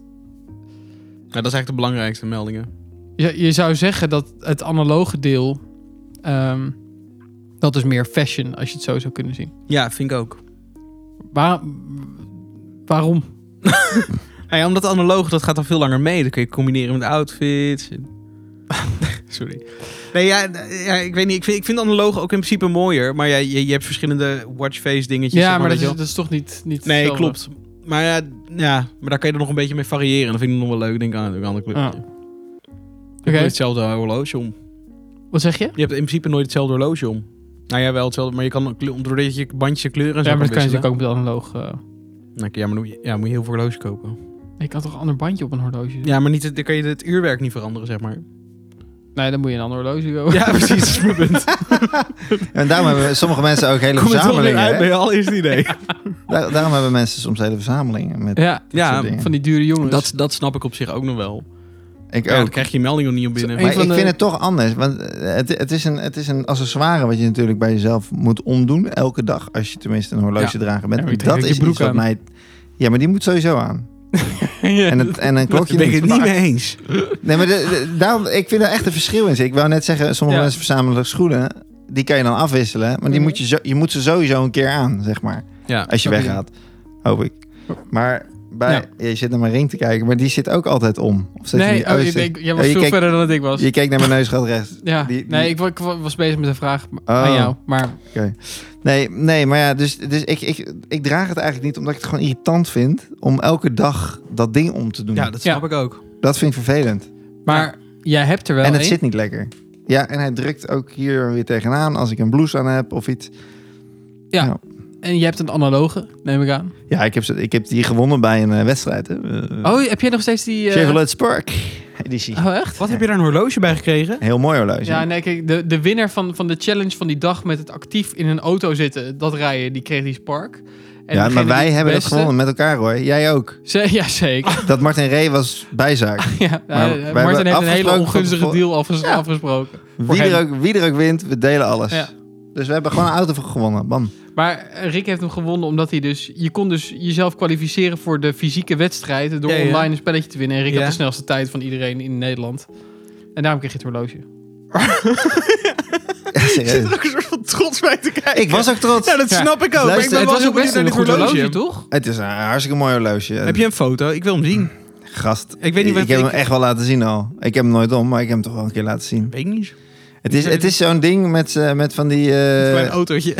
[SPEAKER 1] Ja, dat is eigenlijk de belangrijkste, meldingen.
[SPEAKER 2] Je, je zou zeggen dat het analoge deel... ehm, dat is meer fashion, als je het zo zou kunnen zien.
[SPEAKER 1] Ja, vind ik ook.
[SPEAKER 2] Waar- waarom?
[SPEAKER 1] Nou ja, omdat analoog, dat gaat dan veel langer mee. Dat kun je combineren met outfits. en- [LAUGHS] Sorry. Nee, ja, d- ja, ik weet niet. Ik vind, ik vind analoog ook in principe mooier. Maar ja, je, je hebt verschillende watchface dingetjes. zeg
[SPEAKER 2] Ja, maar dat
[SPEAKER 1] weet
[SPEAKER 2] is,
[SPEAKER 1] je
[SPEAKER 2] dat is toch niet, niet
[SPEAKER 1] wel. Nee,
[SPEAKER 2] hetzelfde?
[SPEAKER 1] klopt. Maar ja, d- ja, maar daar kan je er nog een beetje mee variëren. Dat vind ik nog wel leuk. Ik Denk aan een andere
[SPEAKER 2] Ja.
[SPEAKER 1] club.
[SPEAKER 2] Oké.
[SPEAKER 1] hetzelfde horloge om.
[SPEAKER 2] Wat zeg je?
[SPEAKER 1] Je hebt in principe nooit hetzelfde horloge om. Nou ja, wel hetzelfde. Maar je kan, ook kle- doordat je bandje kleuren en zo
[SPEAKER 2] Ja, maar dat kan je
[SPEAKER 1] wisselen.
[SPEAKER 2] natuurlijk ook met analoog. eh.
[SPEAKER 1] Nou, ja, maar dan moet je, ja, moet je heel veel horloge kopen.
[SPEAKER 2] ik had toch een ander bandje op een horloge? doen?
[SPEAKER 1] Ja, maar niet, het- dan kan je het uurwerk niet veranderen, zeg maar.
[SPEAKER 2] Nee, dan moet je een ander horloge kopen.
[SPEAKER 1] Ja, precies. Dat is mijn punt.
[SPEAKER 3] En daarom hebben sommige mensen ook hele
[SPEAKER 1] Kom er toch weer
[SPEAKER 3] verzamelingen.
[SPEAKER 1] uit
[SPEAKER 3] hè?
[SPEAKER 1] bij al is het idee.
[SPEAKER 3] Daar- daarom hebben mensen soms hele verzamelingen.
[SPEAKER 2] [LAUGHS]
[SPEAKER 3] Met
[SPEAKER 2] Ja,
[SPEAKER 3] dit
[SPEAKER 1] ja,
[SPEAKER 3] soort dingen.
[SPEAKER 2] van die dure jongens. [LAUGHS]
[SPEAKER 1] Dat, dat snap ik op zich ook nog wel.
[SPEAKER 3] ik
[SPEAKER 1] Ja, dan
[SPEAKER 3] ook.
[SPEAKER 1] krijg je je melding nog niet op binnen.
[SPEAKER 2] Zo,
[SPEAKER 1] Maar-
[SPEAKER 3] Maar
[SPEAKER 2] Een van
[SPEAKER 3] ik
[SPEAKER 2] de-
[SPEAKER 3] vind het toch anders. Want eh, het, het, is een, het is een accessoire wat je natuurlijk bij jezelf moet omdoen. Elke dag. Als je tenminste een horlogedrager
[SPEAKER 2] Ja, maar
[SPEAKER 3] bent.
[SPEAKER 2] ik denk
[SPEAKER 3] dat
[SPEAKER 2] dat je
[SPEAKER 3] is
[SPEAKER 2] broek
[SPEAKER 3] iets wat
[SPEAKER 2] aan-
[SPEAKER 3] mij... Ja, maar die moet sowieso aan.
[SPEAKER 2] Ja.
[SPEAKER 3] En, het, en
[SPEAKER 2] [LAUGHS]
[SPEAKER 3] een klokje
[SPEAKER 1] ben ik het
[SPEAKER 3] niet.
[SPEAKER 1] niet mee eens.
[SPEAKER 3] Nee, maar de- de- daarom, ik vind daar echt een verschil in. zitten. Ik wou net zeggen, sommige
[SPEAKER 2] Ja.
[SPEAKER 3] mensen verzamelen schoenen. Die kan je dan afwisselen. Maar die
[SPEAKER 2] Mhm.
[SPEAKER 3] moet je, zo, je moet ze sowieso een keer aan, zeg maar.
[SPEAKER 1] Ja.
[SPEAKER 3] Als je
[SPEAKER 2] Snap ik.
[SPEAKER 3] weggaat. Hoop ik. Maar bij, je zit naar mijn ring te kijken, maar die zit ook altijd om. Of zit die-
[SPEAKER 2] Nee, oh,
[SPEAKER 3] oh,
[SPEAKER 2] ik
[SPEAKER 3] zit-
[SPEAKER 2] denk, jij was
[SPEAKER 3] Oh, je
[SPEAKER 2] veel
[SPEAKER 3] keek-
[SPEAKER 2] verder dan dat ik was.
[SPEAKER 3] je kijkt naar mijn neus, gaat rechts.
[SPEAKER 2] ja,
[SPEAKER 3] die- die-
[SPEAKER 2] nee, ik, wa- ik wa- was bezig met een vraag aan
[SPEAKER 3] Oh.
[SPEAKER 2] jou. Maar
[SPEAKER 3] Nee, nee, maar ja, dus, dus ik, ik, ik draag het eigenlijk niet omdat ik het gewoon irritant vind om elke dag dat ding om te doen.
[SPEAKER 1] ja, dat snap ik ook.
[SPEAKER 3] Dat vind ik vervelend.
[SPEAKER 2] Maar jij hebt er wel
[SPEAKER 3] en het
[SPEAKER 2] één.
[SPEAKER 3] zit niet lekker. Ja, en hij drukt ook hier weer tegenaan als ik een blouse aan heb of iets.
[SPEAKER 2] En je hebt een analoge, neem ik aan.
[SPEAKER 3] Ja, ik heb, ze- ik heb die gewonnen bij een eh, wedstrijd. Hè. Eh,
[SPEAKER 2] Oh, heb jij nog steeds die... eh,
[SPEAKER 3] Chevrolet Spark editie.
[SPEAKER 2] Oh, echt?
[SPEAKER 1] Wat heb je daar een horloge bij gekregen? [LAUGHS]
[SPEAKER 3] Heel mooi horloge.
[SPEAKER 2] Ja, nee, kijk, de, de winnaar van, van de challenge van die dag met het actief in een auto zitten, dat rijden, die kreeg die Spark. En
[SPEAKER 3] ja,
[SPEAKER 2] degene
[SPEAKER 3] maar
[SPEAKER 2] die
[SPEAKER 3] wij hebben het
[SPEAKER 2] beste-
[SPEAKER 3] gewonnen met elkaar hoor. Jij ook.
[SPEAKER 2] Ze, [LAUGHS] ja, zeker.
[SPEAKER 3] Dat Martin Ree was
[SPEAKER 2] [LAUGHS]
[SPEAKER 3] bijzaak.
[SPEAKER 2] ja,
[SPEAKER 3] Maar
[SPEAKER 2] eh,
[SPEAKER 3] wij hebben
[SPEAKER 2] Martin heeft een hele
[SPEAKER 3] afgesproken
[SPEAKER 2] ongunstige
[SPEAKER 3] van-
[SPEAKER 2] deal afges-
[SPEAKER 3] Ja.
[SPEAKER 2] afgesproken.
[SPEAKER 3] Wie
[SPEAKER 2] hem.
[SPEAKER 3] er, ook, wie er ook wint, we delen alles.
[SPEAKER 2] Ja.
[SPEAKER 3] Dus we hebben gewoon een auto voor
[SPEAKER 2] [LAUGHS]
[SPEAKER 3] gewonnen. Bam.
[SPEAKER 2] Maar eh, Rick heeft hem gewonnen omdat hij dus... Je kon dus jezelf kwalificeren voor de fysieke wedstrijden door
[SPEAKER 1] Ja, ja.
[SPEAKER 2] online een spelletje te winnen. En Rick
[SPEAKER 1] Ja.
[SPEAKER 2] had de snelste tijd van iedereen in Nederland. En daarom kreeg je het horloge.
[SPEAKER 3] Ja, serieus.
[SPEAKER 1] ook een soort van trots bij te kijken.
[SPEAKER 3] ik was ook trots.
[SPEAKER 1] Ja, dat
[SPEAKER 2] Ja.
[SPEAKER 1] snap ik ook. maar ik
[SPEAKER 3] Luister,
[SPEAKER 1] ben
[SPEAKER 2] het
[SPEAKER 1] wel
[SPEAKER 2] was
[SPEAKER 1] heel
[SPEAKER 2] ook
[SPEAKER 1] benieuwd
[SPEAKER 2] best
[SPEAKER 1] naar
[SPEAKER 2] een
[SPEAKER 1] dit
[SPEAKER 2] goed
[SPEAKER 1] horloge.
[SPEAKER 2] horloge, toch?
[SPEAKER 3] Het is een hartstikke mooi horloge.
[SPEAKER 1] Heb je een foto? Ik wil hem zien.
[SPEAKER 3] Gast,
[SPEAKER 1] Ik weet niet wat
[SPEAKER 3] ik heb
[SPEAKER 1] ik-
[SPEAKER 3] hem echt wel laten zien al. Ik heb hem nooit om, maar ik heb hem toch wel een keer laten zien.
[SPEAKER 1] Weet ik niet.
[SPEAKER 3] Het is, het is zo'n ding met, eh, met van die... eh,
[SPEAKER 1] Mijn autootje.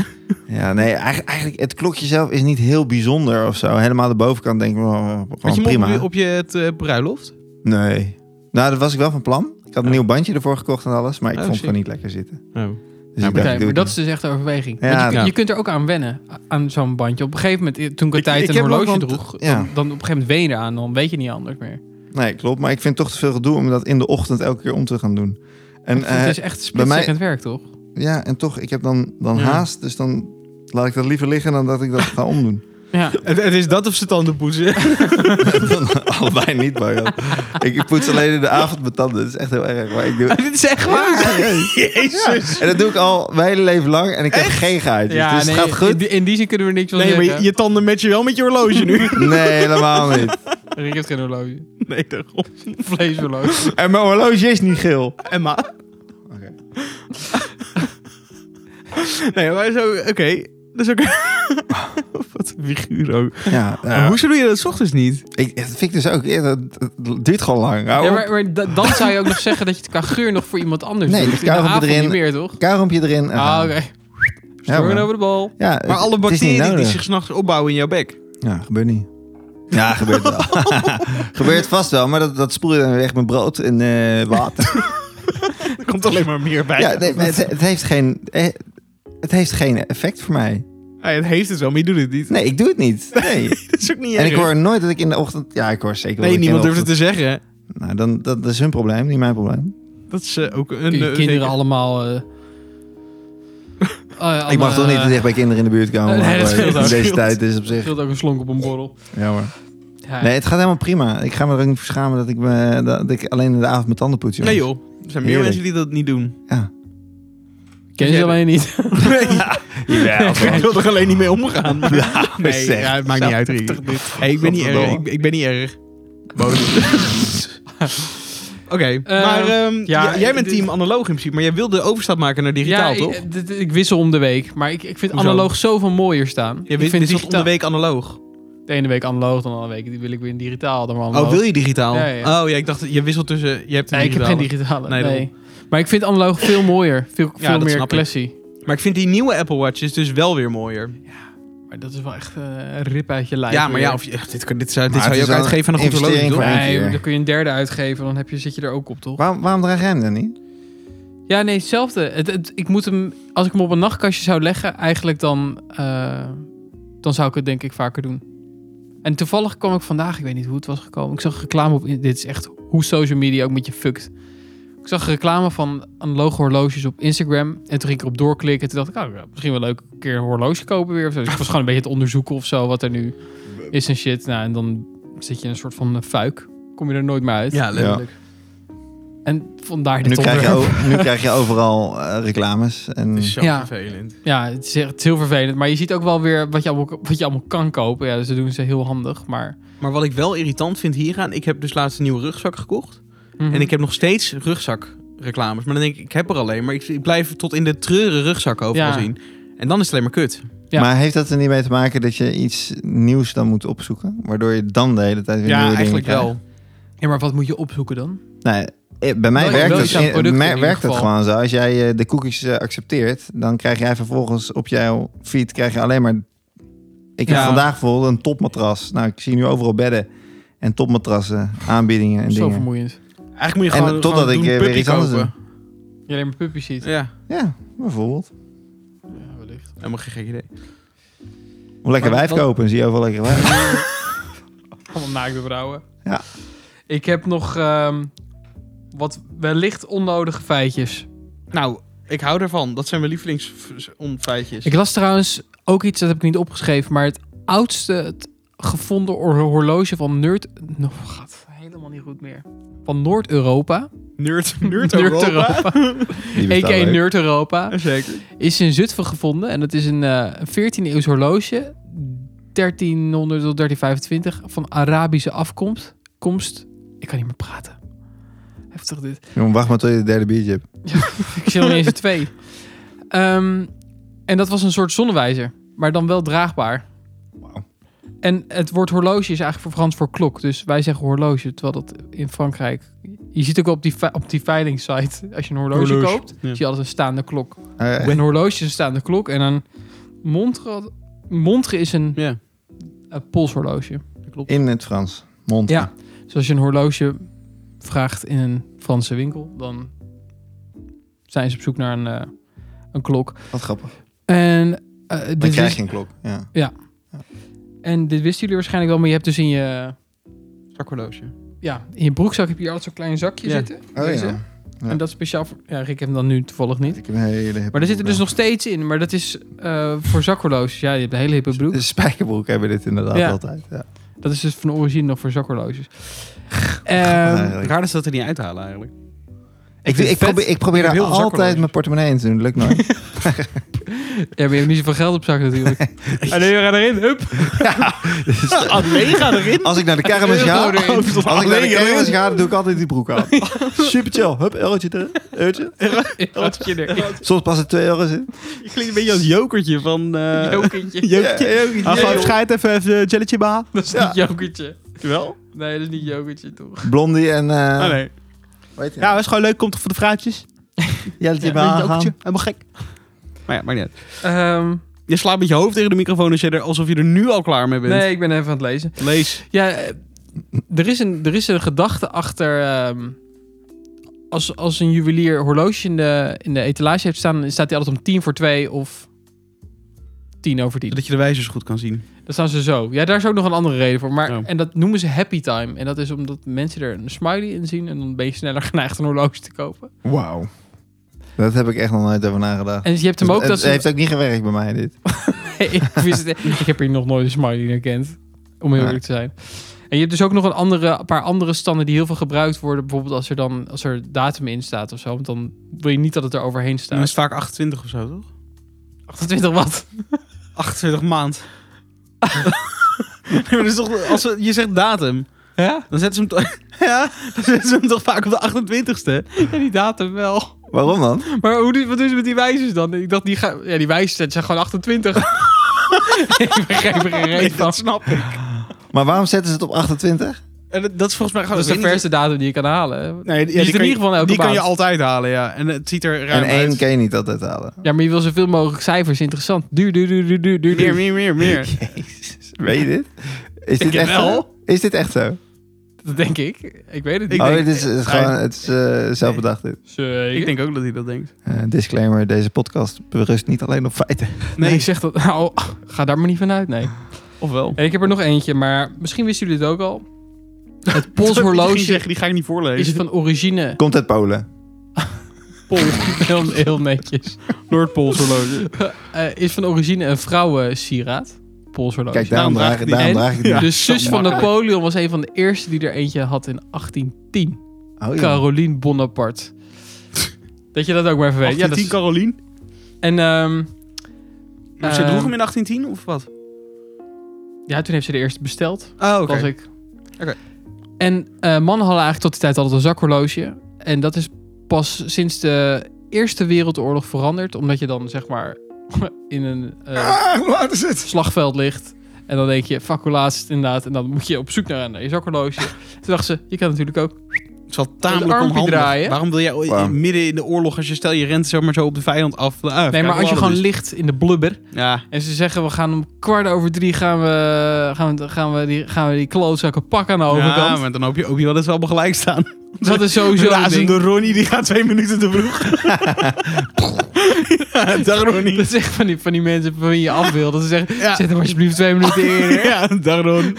[SPEAKER 3] ja, nee, eigenlijk, eigenlijk het klokje zelf is niet heel bijzonder of zo. Helemaal de bovenkant denk ik, oh, gewoon
[SPEAKER 1] Had je hem
[SPEAKER 3] prima.
[SPEAKER 1] op, op je het, eh, bruiloft?
[SPEAKER 3] Nee. Nou, dat was ik wel van plan. Ik had een
[SPEAKER 1] Oh.
[SPEAKER 3] nieuw bandje ervoor gekocht en alles, maar ik
[SPEAKER 1] Oh,
[SPEAKER 3] vond het
[SPEAKER 1] sick.
[SPEAKER 3] gewoon niet lekker zitten.
[SPEAKER 1] Oh.
[SPEAKER 3] Dus ik
[SPEAKER 2] Oké,
[SPEAKER 3] dacht, ik doe
[SPEAKER 2] maar
[SPEAKER 3] het
[SPEAKER 2] dat is dus echt een overweging.
[SPEAKER 3] Ja, nou.
[SPEAKER 2] Want je, kun-
[SPEAKER 1] ja.
[SPEAKER 2] je kunt er ook aan wennen, a- aan zo'n bandje. Op een gegeven moment, eh, toen ik een
[SPEAKER 3] Ik-
[SPEAKER 2] tijd
[SPEAKER 3] ik
[SPEAKER 2] een
[SPEAKER 3] heb
[SPEAKER 2] horloge
[SPEAKER 3] ook wel-
[SPEAKER 2] droeg,
[SPEAKER 3] ja.
[SPEAKER 2] dan, dan op een gegeven moment ween je eraan. Dan weet je niet anders meer.
[SPEAKER 3] niet. Nee, klopt. Maar ik vind het toch te veel gedoe om dat in de ochtend elke keer om te gaan doen. En, eh,
[SPEAKER 2] Dus het is echt splitsecond werk, toch?
[SPEAKER 3] Ja, en toch, ik heb dan, dan
[SPEAKER 1] Ja.
[SPEAKER 3] haast, dus dan laat ik dat liever liggen dan dat ik dat ga omdoen. [LAUGHS]
[SPEAKER 2] [LAUGHS] Ja,
[SPEAKER 1] Het, het is dat of ze tanden poetsen.
[SPEAKER 3] Allebei niet, maar ik poets alleen in de avond mijn tanden. Dat is echt heel erg. Maar ik doe...
[SPEAKER 1] Dit is echt waar. Jezus.
[SPEAKER 3] En dat doe ik al mijn hele leven lang en ik heb geen gaatjes.
[SPEAKER 2] ja
[SPEAKER 3] dus het
[SPEAKER 2] nee,
[SPEAKER 3] gaat goed.
[SPEAKER 2] In, die- in die zin kunnen we niks van
[SPEAKER 1] Nee, maar
[SPEAKER 2] zeggen.
[SPEAKER 1] je, je tanden matchen wel met je horloge
[SPEAKER 3] [LAUGHS]
[SPEAKER 1] nu.
[SPEAKER 3] Nee, helemaal niet.
[SPEAKER 2] Rick heeft geen horloge.
[SPEAKER 1] Nee, daarom.
[SPEAKER 2] Vleeshorloge.
[SPEAKER 3] En mijn horloge is niet geel.
[SPEAKER 1] Emma. Nee, maar zo... Oké. Dat is ook... [LAUGHS] Wat een figuur ook.
[SPEAKER 3] Ja,
[SPEAKER 1] Maar
[SPEAKER 3] ja.
[SPEAKER 1] Hoezo doe je dat 's ochtends niet?
[SPEAKER 3] Ik, dat vind ik dus ook. ja, dat- dat duurt gewoon lang. [LAUGHS] Hou
[SPEAKER 2] Ja,
[SPEAKER 3] op.
[SPEAKER 2] maar, maar da- dan zou je ook nog zeggen dat je het qua geur nog voor iemand anders
[SPEAKER 3] Nee,
[SPEAKER 2] doet.
[SPEAKER 3] dat
[SPEAKER 2] In de
[SPEAKER 3] kauwgom
[SPEAKER 2] avond
[SPEAKER 3] erin.
[SPEAKER 2] niet meer, toch?
[SPEAKER 3] Kauwgompje erin. en
[SPEAKER 2] Ah,
[SPEAKER 3] gaan.
[SPEAKER 2] oké. nou-
[SPEAKER 3] Ja,
[SPEAKER 2] Stormen
[SPEAKER 3] maar-
[SPEAKER 2] over de bal.
[SPEAKER 3] Ja,
[SPEAKER 1] Maar alle
[SPEAKER 3] het is niet
[SPEAKER 1] bacteriën die
[SPEAKER 3] nodig.
[SPEAKER 1] zich s'nachts opbouwen in jouw bek.
[SPEAKER 3] Ja, gebeurt niet. Ja, gebeurt wel. [LAUGHS] gebeurt vast wel, maar dat, dat spoel je dan weer echt met brood en eh, water.
[SPEAKER 1] Er komt alleen maar meer bij.
[SPEAKER 3] Ja, nee, maar het, het heeft geen, eh, het heeft geen effect voor mij.
[SPEAKER 1] Hij- het heeft het wel, maar je doet het niet. [LAUGHS]
[SPEAKER 3] Nee, ik doe het niet. Nee.
[SPEAKER 1] Dat is ook niet
[SPEAKER 3] En
[SPEAKER 1] erg.
[SPEAKER 3] ik hoor nooit dat ik in de ochtend... Ja, ik hoor zeker wel
[SPEAKER 1] Nee,
[SPEAKER 3] dat ik in
[SPEAKER 1] niemand
[SPEAKER 3] de
[SPEAKER 1] durft het te zeggen.
[SPEAKER 3] ochtend- Nou, dan, dat, dat is hun probleem, niet mijn probleem.
[SPEAKER 1] Dat is eh, ook een...
[SPEAKER 2] Die
[SPEAKER 1] eh,
[SPEAKER 2] kinderen
[SPEAKER 1] zeker-
[SPEAKER 2] allemaal...
[SPEAKER 3] [LAUGHS]
[SPEAKER 2] eh, oh ja,
[SPEAKER 3] ik mag
[SPEAKER 2] allemaal,
[SPEAKER 3] toch niet
[SPEAKER 2] eh,
[SPEAKER 3] te [LAUGHS] dicht bij kinderen in de buurt
[SPEAKER 1] [LAUGHS]
[SPEAKER 3] komen.
[SPEAKER 2] Nee,
[SPEAKER 3] maar,
[SPEAKER 2] dat
[SPEAKER 3] eh,
[SPEAKER 2] scheelt ook.
[SPEAKER 3] in deze
[SPEAKER 1] Scheelt.
[SPEAKER 3] tijd is het op zich...
[SPEAKER 2] scheelt ook een slonk op een borrel.
[SPEAKER 3] Jammer.
[SPEAKER 2] Ja.
[SPEAKER 3] Nee, het gaat helemaal prima. Ik ga me er ook niet voor schamen dat ik, me, dat ik alleen in de avond mijn tanden poets.
[SPEAKER 1] Nee
[SPEAKER 3] jongens.
[SPEAKER 1] joh, er zijn meer
[SPEAKER 3] Heerlijk.
[SPEAKER 1] mensen die dat niet
[SPEAKER 3] [LAUGHS]
[SPEAKER 1] doen. [LAUGHS]
[SPEAKER 3] Ja.
[SPEAKER 2] Ken je alleen niet.
[SPEAKER 1] Nee, [LAUGHS]
[SPEAKER 3] Jawel, toch.
[SPEAKER 1] ik wil er alleen niet mee omgaan. maar- [LAUGHS] nee,
[SPEAKER 3] zeg.
[SPEAKER 1] ja, het maakt niet uit. Rick. Hey, ik, ben niet erg, ik,
[SPEAKER 3] Godverdomme.
[SPEAKER 1] ik ben niet erg. [LAUGHS] Oké, maar ehm,
[SPEAKER 2] ja,
[SPEAKER 1] j- jij bent
[SPEAKER 2] dit-
[SPEAKER 1] team analoog in principe, maar jij wilde de overstap maken naar [LAUGHS] digitaal,
[SPEAKER 2] ja,
[SPEAKER 1] toch?
[SPEAKER 2] Ik, dit- ik wissel om de week. Maar ik, ik vind
[SPEAKER 1] Hoezo?
[SPEAKER 2] analoog zoveel mooier staan.
[SPEAKER 1] Je
[SPEAKER 2] ik
[SPEAKER 1] vindt
[SPEAKER 2] vind
[SPEAKER 1] dit is wat om
[SPEAKER 2] digitaal-
[SPEAKER 1] de week analoog.
[SPEAKER 2] De ene week analoog, dan de andere week die wil ik weer in digitaal. Dan weer
[SPEAKER 1] Oh,
[SPEAKER 2] analoog.
[SPEAKER 1] wil je digitaal?
[SPEAKER 2] Ja, ja.
[SPEAKER 1] Oh ja, ik dacht, je wisselt tussen, je hebt een
[SPEAKER 2] Nee, ik heb
[SPEAKER 1] digitale.
[SPEAKER 2] geen digitale.
[SPEAKER 1] Nee,
[SPEAKER 2] Nee, Maar ik vind analoog veel mooier. Veel, veel
[SPEAKER 1] dat snap
[SPEAKER 2] meer
[SPEAKER 1] ik.
[SPEAKER 2] classy.
[SPEAKER 1] Maar ik vind die nieuwe Apple Watch is dus wel weer mooier.
[SPEAKER 2] Maar dat is wel echt eh, een rip uit je lijf.
[SPEAKER 1] Ja, maar
[SPEAKER 2] weer.
[SPEAKER 1] ja, of je, echt, dit, kan- dit zou, dit
[SPEAKER 3] Maar
[SPEAKER 1] zou je
[SPEAKER 3] het
[SPEAKER 1] ook
[SPEAKER 3] is wel
[SPEAKER 1] uitgeven aan een
[SPEAKER 3] een
[SPEAKER 1] goed horloge,
[SPEAKER 3] investering
[SPEAKER 1] toch?
[SPEAKER 3] voor-
[SPEAKER 2] Nee,
[SPEAKER 3] Eén keer.
[SPEAKER 2] dan kun je een derde uitgeven. Dan heb je, zit je er ook op, toch?
[SPEAKER 3] Waarom, waarom draag jij hem dan niet?
[SPEAKER 2] Ja, nee, hetzelfde. Het, het- ik moet hem, als ik hem op een nachtkastje zou leggen, eigenlijk dan, eh, dan zou ik het denk ik vaker doen. En toevallig kwam ik vandaag, ik weet niet hoe het was gekomen. Ik zag reclame op. Dit is echt hoe social media ook met je fuckt. Ik zag reclame van analoge horloges op Instagram. En toen ging ik erop doorklikken. Toen dacht ik, oh, ja, misschien wel leuk een keer een horloge kopen weer. Of zo. Dus ik was gewoon een beetje het onderzoeken of zo. Wat er nu is en shit. Nou, en dan zit je in een soort van eh, fuik. Kom je er nooit meer uit.
[SPEAKER 1] Ja,
[SPEAKER 3] Ja.
[SPEAKER 1] leuk.
[SPEAKER 2] En vandaar
[SPEAKER 3] Nu
[SPEAKER 2] dit
[SPEAKER 3] krijg, je,
[SPEAKER 2] onderwerp.
[SPEAKER 3] o- nu krijg je overal eh, reclames. En
[SPEAKER 1] Het is zo
[SPEAKER 2] Ja.
[SPEAKER 1] vervelend.
[SPEAKER 2] Ja, het is, echt- het is heel vervelend. Maar je ziet ook wel weer wat je allemaal, wat je allemaal kan kopen. Ja, dus dat doen ze heel handig. Maar,
[SPEAKER 1] Maar wat ik wel irritant vind hieraan... Ik heb dus laatst een nieuwe rugzak gekocht.
[SPEAKER 2] Mhm.
[SPEAKER 1] En ik heb nog steeds rugzakreclames. Maar dan denk ik, ik heb er alleen. Maar ik, ik blijf tot in de treuren rugzak overal
[SPEAKER 2] Ja.
[SPEAKER 1] zien. En dan is het alleen maar kut.
[SPEAKER 2] Ja.
[SPEAKER 3] Maar heeft dat er niet mee te maken dat je iets nieuws dan moet opzoeken? Waardoor je dan de hele tijd weer
[SPEAKER 1] ja,
[SPEAKER 3] nieuwe
[SPEAKER 1] eigenlijk
[SPEAKER 3] dingen
[SPEAKER 1] wel.
[SPEAKER 2] Ja, maar wat moet je opzoeken dan?
[SPEAKER 3] krijgt. Nee, eh, bij mij
[SPEAKER 2] Wel-
[SPEAKER 3] werkt,
[SPEAKER 2] wel
[SPEAKER 3] dat,
[SPEAKER 2] iets aan
[SPEAKER 3] eh,
[SPEAKER 2] producten
[SPEAKER 3] mer-
[SPEAKER 2] in ieder
[SPEAKER 3] werkt dat
[SPEAKER 2] geval.
[SPEAKER 3] gewoon zo. Als jij eh, de cookies eh, accepteert, dan krijg jij vervolgens op jouw feed krijg je alleen maar... Ik heb
[SPEAKER 1] Ja.
[SPEAKER 3] vandaag bijvoorbeeld een topmatras. Nou, ik zie nu overal bedden en topmatrassen, aanbiedingen en
[SPEAKER 2] Zo
[SPEAKER 3] dingen.
[SPEAKER 2] vermoeiend.
[SPEAKER 1] Eigenlijk moet je
[SPEAKER 3] En
[SPEAKER 1] gewoon,
[SPEAKER 3] totdat
[SPEAKER 1] gewoon
[SPEAKER 3] ik,
[SPEAKER 1] doen,
[SPEAKER 3] eh, weer
[SPEAKER 1] puppy
[SPEAKER 3] iets anders
[SPEAKER 1] kopen.
[SPEAKER 2] Je alleen maar puppies ziet.
[SPEAKER 1] Ja,
[SPEAKER 3] Ja, bijvoorbeeld.
[SPEAKER 2] Ja, [LAUGHS] wellicht.
[SPEAKER 1] helemaal geen gek idee.
[SPEAKER 3] Of lekker
[SPEAKER 2] Maar
[SPEAKER 3] wijf
[SPEAKER 2] wat-
[SPEAKER 3] kopen, zie je overal lekker wijf.
[SPEAKER 2] Allemaal naakte vrouwen.
[SPEAKER 3] Ja.
[SPEAKER 2] Ik heb nog ehm, wat wellicht onnodige feitjes.
[SPEAKER 1] Nou, ik hou ervan. Dat zijn mijn lievelingsonfeitjes.
[SPEAKER 2] Ik las trouwens ook iets, dat heb ik niet opgeschreven, maar het oudste het gevonden hor- horloge van Noord... Oh, gaat helemaal niet goed meer. Van Noord-Europa.
[SPEAKER 3] [LAUGHS]
[SPEAKER 1] Nerd, nerd Europa.
[SPEAKER 3] Die bestaan
[SPEAKER 2] A.k.a.
[SPEAKER 3] leuk.
[SPEAKER 2] Noord-Europa.
[SPEAKER 1] Zeker.
[SPEAKER 2] Is in Zutphen gevonden. En dat is een eh, 14e eeuws horloge. 1300 tot 1325. Van Arabische afkomst. Komst. Ik kan niet meer praten. Heftig dit.
[SPEAKER 3] Jongen, wacht maar tot je de derde biertje hebt.
[SPEAKER 2] Ik zie nog niet eens de twee. Ehm, en dat was een soort zonnewijzer, maar dan wel draagbaar.
[SPEAKER 3] Wauw.
[SPEAKER 2] En het woord horloge is eigenlijk voor Frans voor klok. Dus wij zeggen horloge, terwijl dat in Frankrijk... Je ziet ook op die, ve- op die veilingsite, als je een horloge,
[SPEAKER 1] Horloge,
[SPEAKER 2] koopt...
[SPEAKER 1] ja.
[SPEAKER 2] zie je altijd een staande klok.
[SPEAKER 3] Eh,
[SPEAKER 2] Een horloge is een staande klok en een montre, montre is een,
[SPEAKER 1] Ja,
[SPEAKER 2] een polshorloge.
[SPEAKER 1] dat klopt.
[SPEAKER 3] in het Frans. Mond.
[SPEAKER 2] Ja, dus als je een horloge vraagt in een Franse winkel... dan zijn ze op zoek naar een, eh, een klok.
[SPEAKER 3] Wat grappig.
[SPEAKER 2] En, eh,
[SPEAKER 3] Dan
[SPEAKER 2] dit
[SPEAKER 3] krijg
[SPEAKER 2] wist,
[SPEAKER 3] je een klok. Ja.
[SPEAKER 2] en dit wisten jullie waarschijnlijk wel, maar je hebt dus in je,
[SPEAKER 1] Zakhorloge.
[SPEAKER 2] ja, in je broekzak heb je hier altijd zo'n klein zakje
[SPEAKER 1] Ja.
[SPEAKER 2] zitten.
[SPEAKER 3] Oh,
[SPEAKER 2] deze.
[SPEAKER 3] ja.
[SPEAKER 2] En dat dus is speciaal voor. Ja, Rick heeft hem dan nu toevallig niet.
[SPEAKER 3] Ik heb een hele hippe
[SPEAKER 2] Maar er zit er dus
[SPEAKER 3] broek
[SPEAKER 2] nog steeds in. Maar dat is eh, voor zakhorloges. Ja, je hebt een hele hippe
[SPEAKER 3] [LAUGHS] aan.
[SPEAKER 2] broek.
[SPEAKER 3] De spijkerbroek hebben dit inderdaad
[SPEAKER 2] Ja.
[SPEAKER 3] altijd. Ja.
[SPEAKER 2] Dat is dus van origine nog voor zakhorloges.
[SPEAKER 3] [LAUGHS]
[SPEAKER 2] Ehm,
[SPEAKER 3] Eigenlijk.
[SPEAKER 1] Raar dat ze dat er niet uithalen eigenlijk.
[SPEAKER 3] Ah, ik,
[SPEAKER 1] vind
[SPEAKER 3] ik,
[SPEAKER 1] het vet.
[SPEAKER 3] probeer, ik probeer
[SPEAKER 1] Ik heb
[SPEAKER 3] daar
[SPEAKER 1] heel veel
[SPEAKER 3] altijd
[SPEAKER 1] zakkenrollers.
[SPEAKER 3] mijn portemonnee in te doen. Dat Lukt
[SPEAKER 2] [LAUGHS]
[SPEAKER 3] nooit.
[SPEAKER 2] ja, maar je hebt niet zoveel geld op zak
[SPEAKER 3] [LAUGHS]
[SPEAKER 2] natuurlijk.
[SPEAKER 1] En nu Ah, gaan erin, hup. [LAUGHS] Alleen gaan erin.
[SPEAKER 3] Als ik
[SPEAKER 2] [LAUGHS]
[SPEAKER 3] naar de kermis
[SPEAKER 2] Euro
[SPEAKER 3] ga,
[SPEAKER 2] erin.
[SPEAKER 3] als ik naar de
[SPEAKER 1] Alleen
[SPEAKER 3] kermis
[SPEAKER 1] erin.
[SPEAKER 3] ga, dan doe ik altijd die broek
[SPEAKER 2] [LAUGHS]
[SPEAKER 3] aan. Super chill. Hup, eurotje erin. Eurotje.
[SPEAKER 2] Wat je er.
[SPEAKER 3] Soms passen 2 euro's
[SPEAKER 2] [LAUGHS]
[SPEAKER 3] in.
[SPEAKER 1] Je klinkt een beetje als jokertje van... eh
[SPEAKER 2] Jokertje.
[SPEAKER 1] Jokertje.
[SPEAKER 3] Ja, jokertje.
[SPEAKER 1] Ah, gewoon
[SPEAKER 2] joh.
[SPEAKER 1] schijt even, even jelletje ba.
[SPEAKER 2] Dat is
[SPEAKER 3] Ja.
[SPEAKER 2] niet jokertje.
[SPEAKER 1] Wel?
[SPEAKER 2] Nee, dat is niet jokertje toch.
[SPEAKER 3] Blondie en... eh
[SPEAKER 1] Ah, nee.
[SPEAKER 3] Weet je?
[SPEAKER 1] Ja, dat is gewoon leuk. Komt toch voor de [LAUGHS] fruitjes?
[SPEAKER 3] Jelletje
[SPEAKER 2] Ja,
[SPEAKER 3] Baha.
[SPEAKER 1] Helemaal gek. Maar ja, maakt niet uit.
[SPEAKER 2] Ehm,
[SPEAKER 1] Je slaat met je hoofd tegen de microfoon als je er, alsof je er nu al klaar mee bent.
[SPEAKER 2] nee, ik ben even aan het lezen.
[SPEAKER 1] Lees.
[SPEAKER 2] Ja, eh, er is een, er is een gedachte achter. ehm, als, als een juwelier horloge in de, in de etalage heeft staan, dan staat hij altijd om tien voor twee of tien over tien.
[SPEAKER 1] Zodat je de wijzers goed kan zien.
[SPEAKER 2] Dan staan ze zo. Ja, daar is ook nog een andere reden voor. Maar,
[SPEAKER 1] Oh.
[SPEAKER 2] En dat noemen ze happy time. En dat is omdat mensen er een smiley in zien en dan ben je sneller [LAUGHS] geneigd een horloge te kopen.
[SPEAKER 3] Wauw. Dat heb ik echt nog nooit over nagedacht.
[SPEAKER 2] En je hebt hem ook
[SPEAKER 3] Dus het
[SPEAKER 2] dat ze...
[SPEAKER 3] heeft ook niet gewerkt bij mij, dit.
[SPEAKER 1] [LAUGHS]
[SPEAKER 2] ik, wist het- ik heb hier nog nooit een smiley in herkend. Om heel
[SPEAKER 3] Nee.
[SPEAKER 2] eerlijk te zijn. En je hebt dus ook nog een, andere, een paar andere standen die heel veel gebruikt worden. Bijvoorbeeld als er dan als er datum in staat of zo. Want dan wil je niet dat het er overheen
[SPEAKER 1] Dan is
[SPEAKER 2] staat.
[SPEAKER 1] het vaak 28 of zo, toch?
[SPEAKER 2] 28 wat?
[SPEAKER 1] 28 maand. [LAUGHS] nee, maar dat is toch, als we- je zegt datum,
[SPEAKER 2] Ja?
[SPEAKER 1] dan zetten ze hem, toch- [LAUGHS] ja, dan zetten ze hem toch vaak op de 28ste.
[SPEAKER 2] ja, die datum wel.
[SPEAKER 3] Waarom dan?
[SPEAKER 2] Maar hoe, doe- wat doen ze met die wijzers dan? Ik dacht, die, ga, ja, die wijzers dat zijn
[SPEAKER 1] [LAUGHS]
[SPEAKER 2] gewoon 28. ik begrijp er geen reet van.
[SPEAKER 1] dat snap ik.
[SPEAKER 3] Maar waarom zetten ze het op 28?
[SPEAKER 1] En dat, dat is volgens mij
[SPEAKER 2] Dat
[SPEAKER 1] gewoon
[SPEAKER 2] is de verste datum die je kan halen. hè.
[SPEAKER 1] Nee, ja,
[SPEAKER 2] is er in
[SPEAKER 1] kan je-
[SPEAKER 2] ieder geval elke
[SPEAKER 1] Die kan je
[SPEAKER 2] maand.
[SPEAKER 1] altijd halen, ja. En het ziet er ruim
[SPEAKER 3] en één
[SPEAKER 1] uit.
[SPEAKER 3] kan je niet altijd halen.
[SPEAKER 2] Ja, maar je wil zoveel mogelijk cijfers. Interessant. Duur, duur, duur, duur, duur, duur.
[SPEAKER 1] Meer, meer, meer,
[SPEAKER 2] [LAUGHS]
[SPEAKER 1] meer.
[SPEAKER 3] Jezus, weet je dit? Is dit
[SPEAKER 1] heb
[SPEAKER 3] echt
[SPEAKER 1] wel.
[SPEAKER 3] zo? Is dit echt zo?
[SPEAKER 2] Dat denk ik. Ik weet het niet.
[SPEAKER 1] Ik
[SPEAKER 3] oh,
[SPEAKER 1] denk-
[SPEAKER 3] dit is, het is
[SPEAKER 1] Nee.
[SPEAKER 3] gewoon het is, eh, zelfbedacht dit.
[SPEAKER 2] Zeker.
[SPEAKER 1] Ik denk ook dat hij dat denkt.
[SPEAKER 3] Eh, disclaimer, deze podcast berust niet alleen op feiten.
[SPEAKER 2] Nee, ik zeg dat. [LAUGHS] Nou, ga daar maar niet vanuit. Nee.
[SPEAKER 1] of wel.
[SPEAKER 2] En ik heb er nog eentje, maar misschien wisten jullie het ook al. Het polshorloge
[SPEAKER 1] zeggen, die ga ik niet voorlezen.
[SPEAKER 2] is van origine
[SPEAKER 3] Komt uit
[SPEAKER 1] Oh,
[SPEAKER 3] Polen.
[SPEAKER 2] pol. Heel, heel netjes.
[SPEAKER 1] Noordpoolshorloge.
[SPEAKER 2] Eh, is van origine een vrouwensieraad. Polshorloge.
[SPEAKER 3] Kijk, daarom,
[SPEAKER 1] Daarom
[SPEAKER 3] draag,
[SPEAKER 1] draag ik
[SPEAKER 3] daarom
[SPEAKER 2] die.
[SPEAKER 3] draag ik het
[SPEAKER 2] de
[SPEAKER 3] niet.
[SPEAKER 2] zus
[SPEAKER 3] zo
[SPEAKER 2] van
[SPEAKER 3] makkelijk.
[SPEAKER 2] Napoleon was een van de eerste die er eentje had in 1810.
[SPEAKER 3] Oh, ja.
[SPEAKER 2] Caroline Bonaparte. dat je dat ook maar even [LAUGHS] weet.
[SPEAKER 1] 1810
[SPEAKER 2] Ja, dat is-
[SPEAKER 1] Caroline.
[SPEAKER 2] en ehm,
[SPEAKER 1] Maar ze
[SPEAKER 2] Eh,
[SPEAKER 1] droeg hem in 1810 of wat?
[SPEAKER 2] ja, toen heeft ze de eerste besteld.
[SPEAKER 1] Oh, oké.
[SPEAKER 2] was ik.
[SPEAKER 1] Oké.
[SPEAKER 2] En eh, mannen hadden eigenlijk tot die tijd altijd een zakhorloge. En dat is pas sinds de Eerste Wereldoorlog veranderd. Omdat je dan zeg maar [LAUGHS] in een eh,
[SPEAKER 3] Ah, wat is het?
[SPEAKER 2] slagveld ligt. En dan denk je, fuck hoe laat is het inderdaad. En dan moet je op zoek naar een naar je
[SPEAKER 1] [LAUGHS]
[SPEAKER 2] zakhorloge. Toen dacht ze, je kan natuurlijk ook...
[SPEAKER 1] Het zal
[SPEAKER 2] Het
[SPEAKER 1] tamelijk
[SPEAKER 2] armpje
[SPEAKER 1] onhandig.
[SPEAKER 2] draaien.
[SPEAKER 1] Waarom wil jij ooit-
[SPEAKER 3] Waarom?
[SPEAKER 1] midden in de oorlog, als je stel je rent zomaar zo op de vijand af? Ah,
[SPEAKER 2] Nee,
[SPEAKER 1] kijk,
[SPEAKER 2] maar als je
[SPEAKER 1] hoe
[SPEAKER 2] gewoon
[SPEAKER 1] laat het
[SPEAKER 2] ligt in de blubber.
[SPEAKER 1] is. Ja,
[SPEAKER 2] En ze zeggen, we gaan om kwart over drie gaan we, gaan we, gaan we, die, gaan we die klootzakken pakken aan de
[SPEAKER 1] ja,
[SPEAKER 2] overkant.
[SPEAKER 1] maar dan hoop je ook niet wel dat ze allemaal gelijk staan.
[SPEAKER 2] [LAUGHS] dat is
[SPEAKER 1] [LAUGHS]
[SPEAKER 2] sowieso een ding.
[SPEAKER 1] Blazende Ronnie, die gaat twee minuten te
[SPEAKER 2] [LAUGHS]
[SPEAKER 1] vroeg. [LAUGHS] ja, dag Ronnie.
[SPEAKER 2] Dat is echt van die, van die mensen van wie je af wil. Dat ze zeggen,
[SPEAKER 1] Ja.
[SPEAKER 2] zet hem alsjeblieft twee minuten
[SPEAKER 1] [LAUGHS]
[SPEAKER 2] eerder.
[SPEAKER 1] Ja, dag Ron.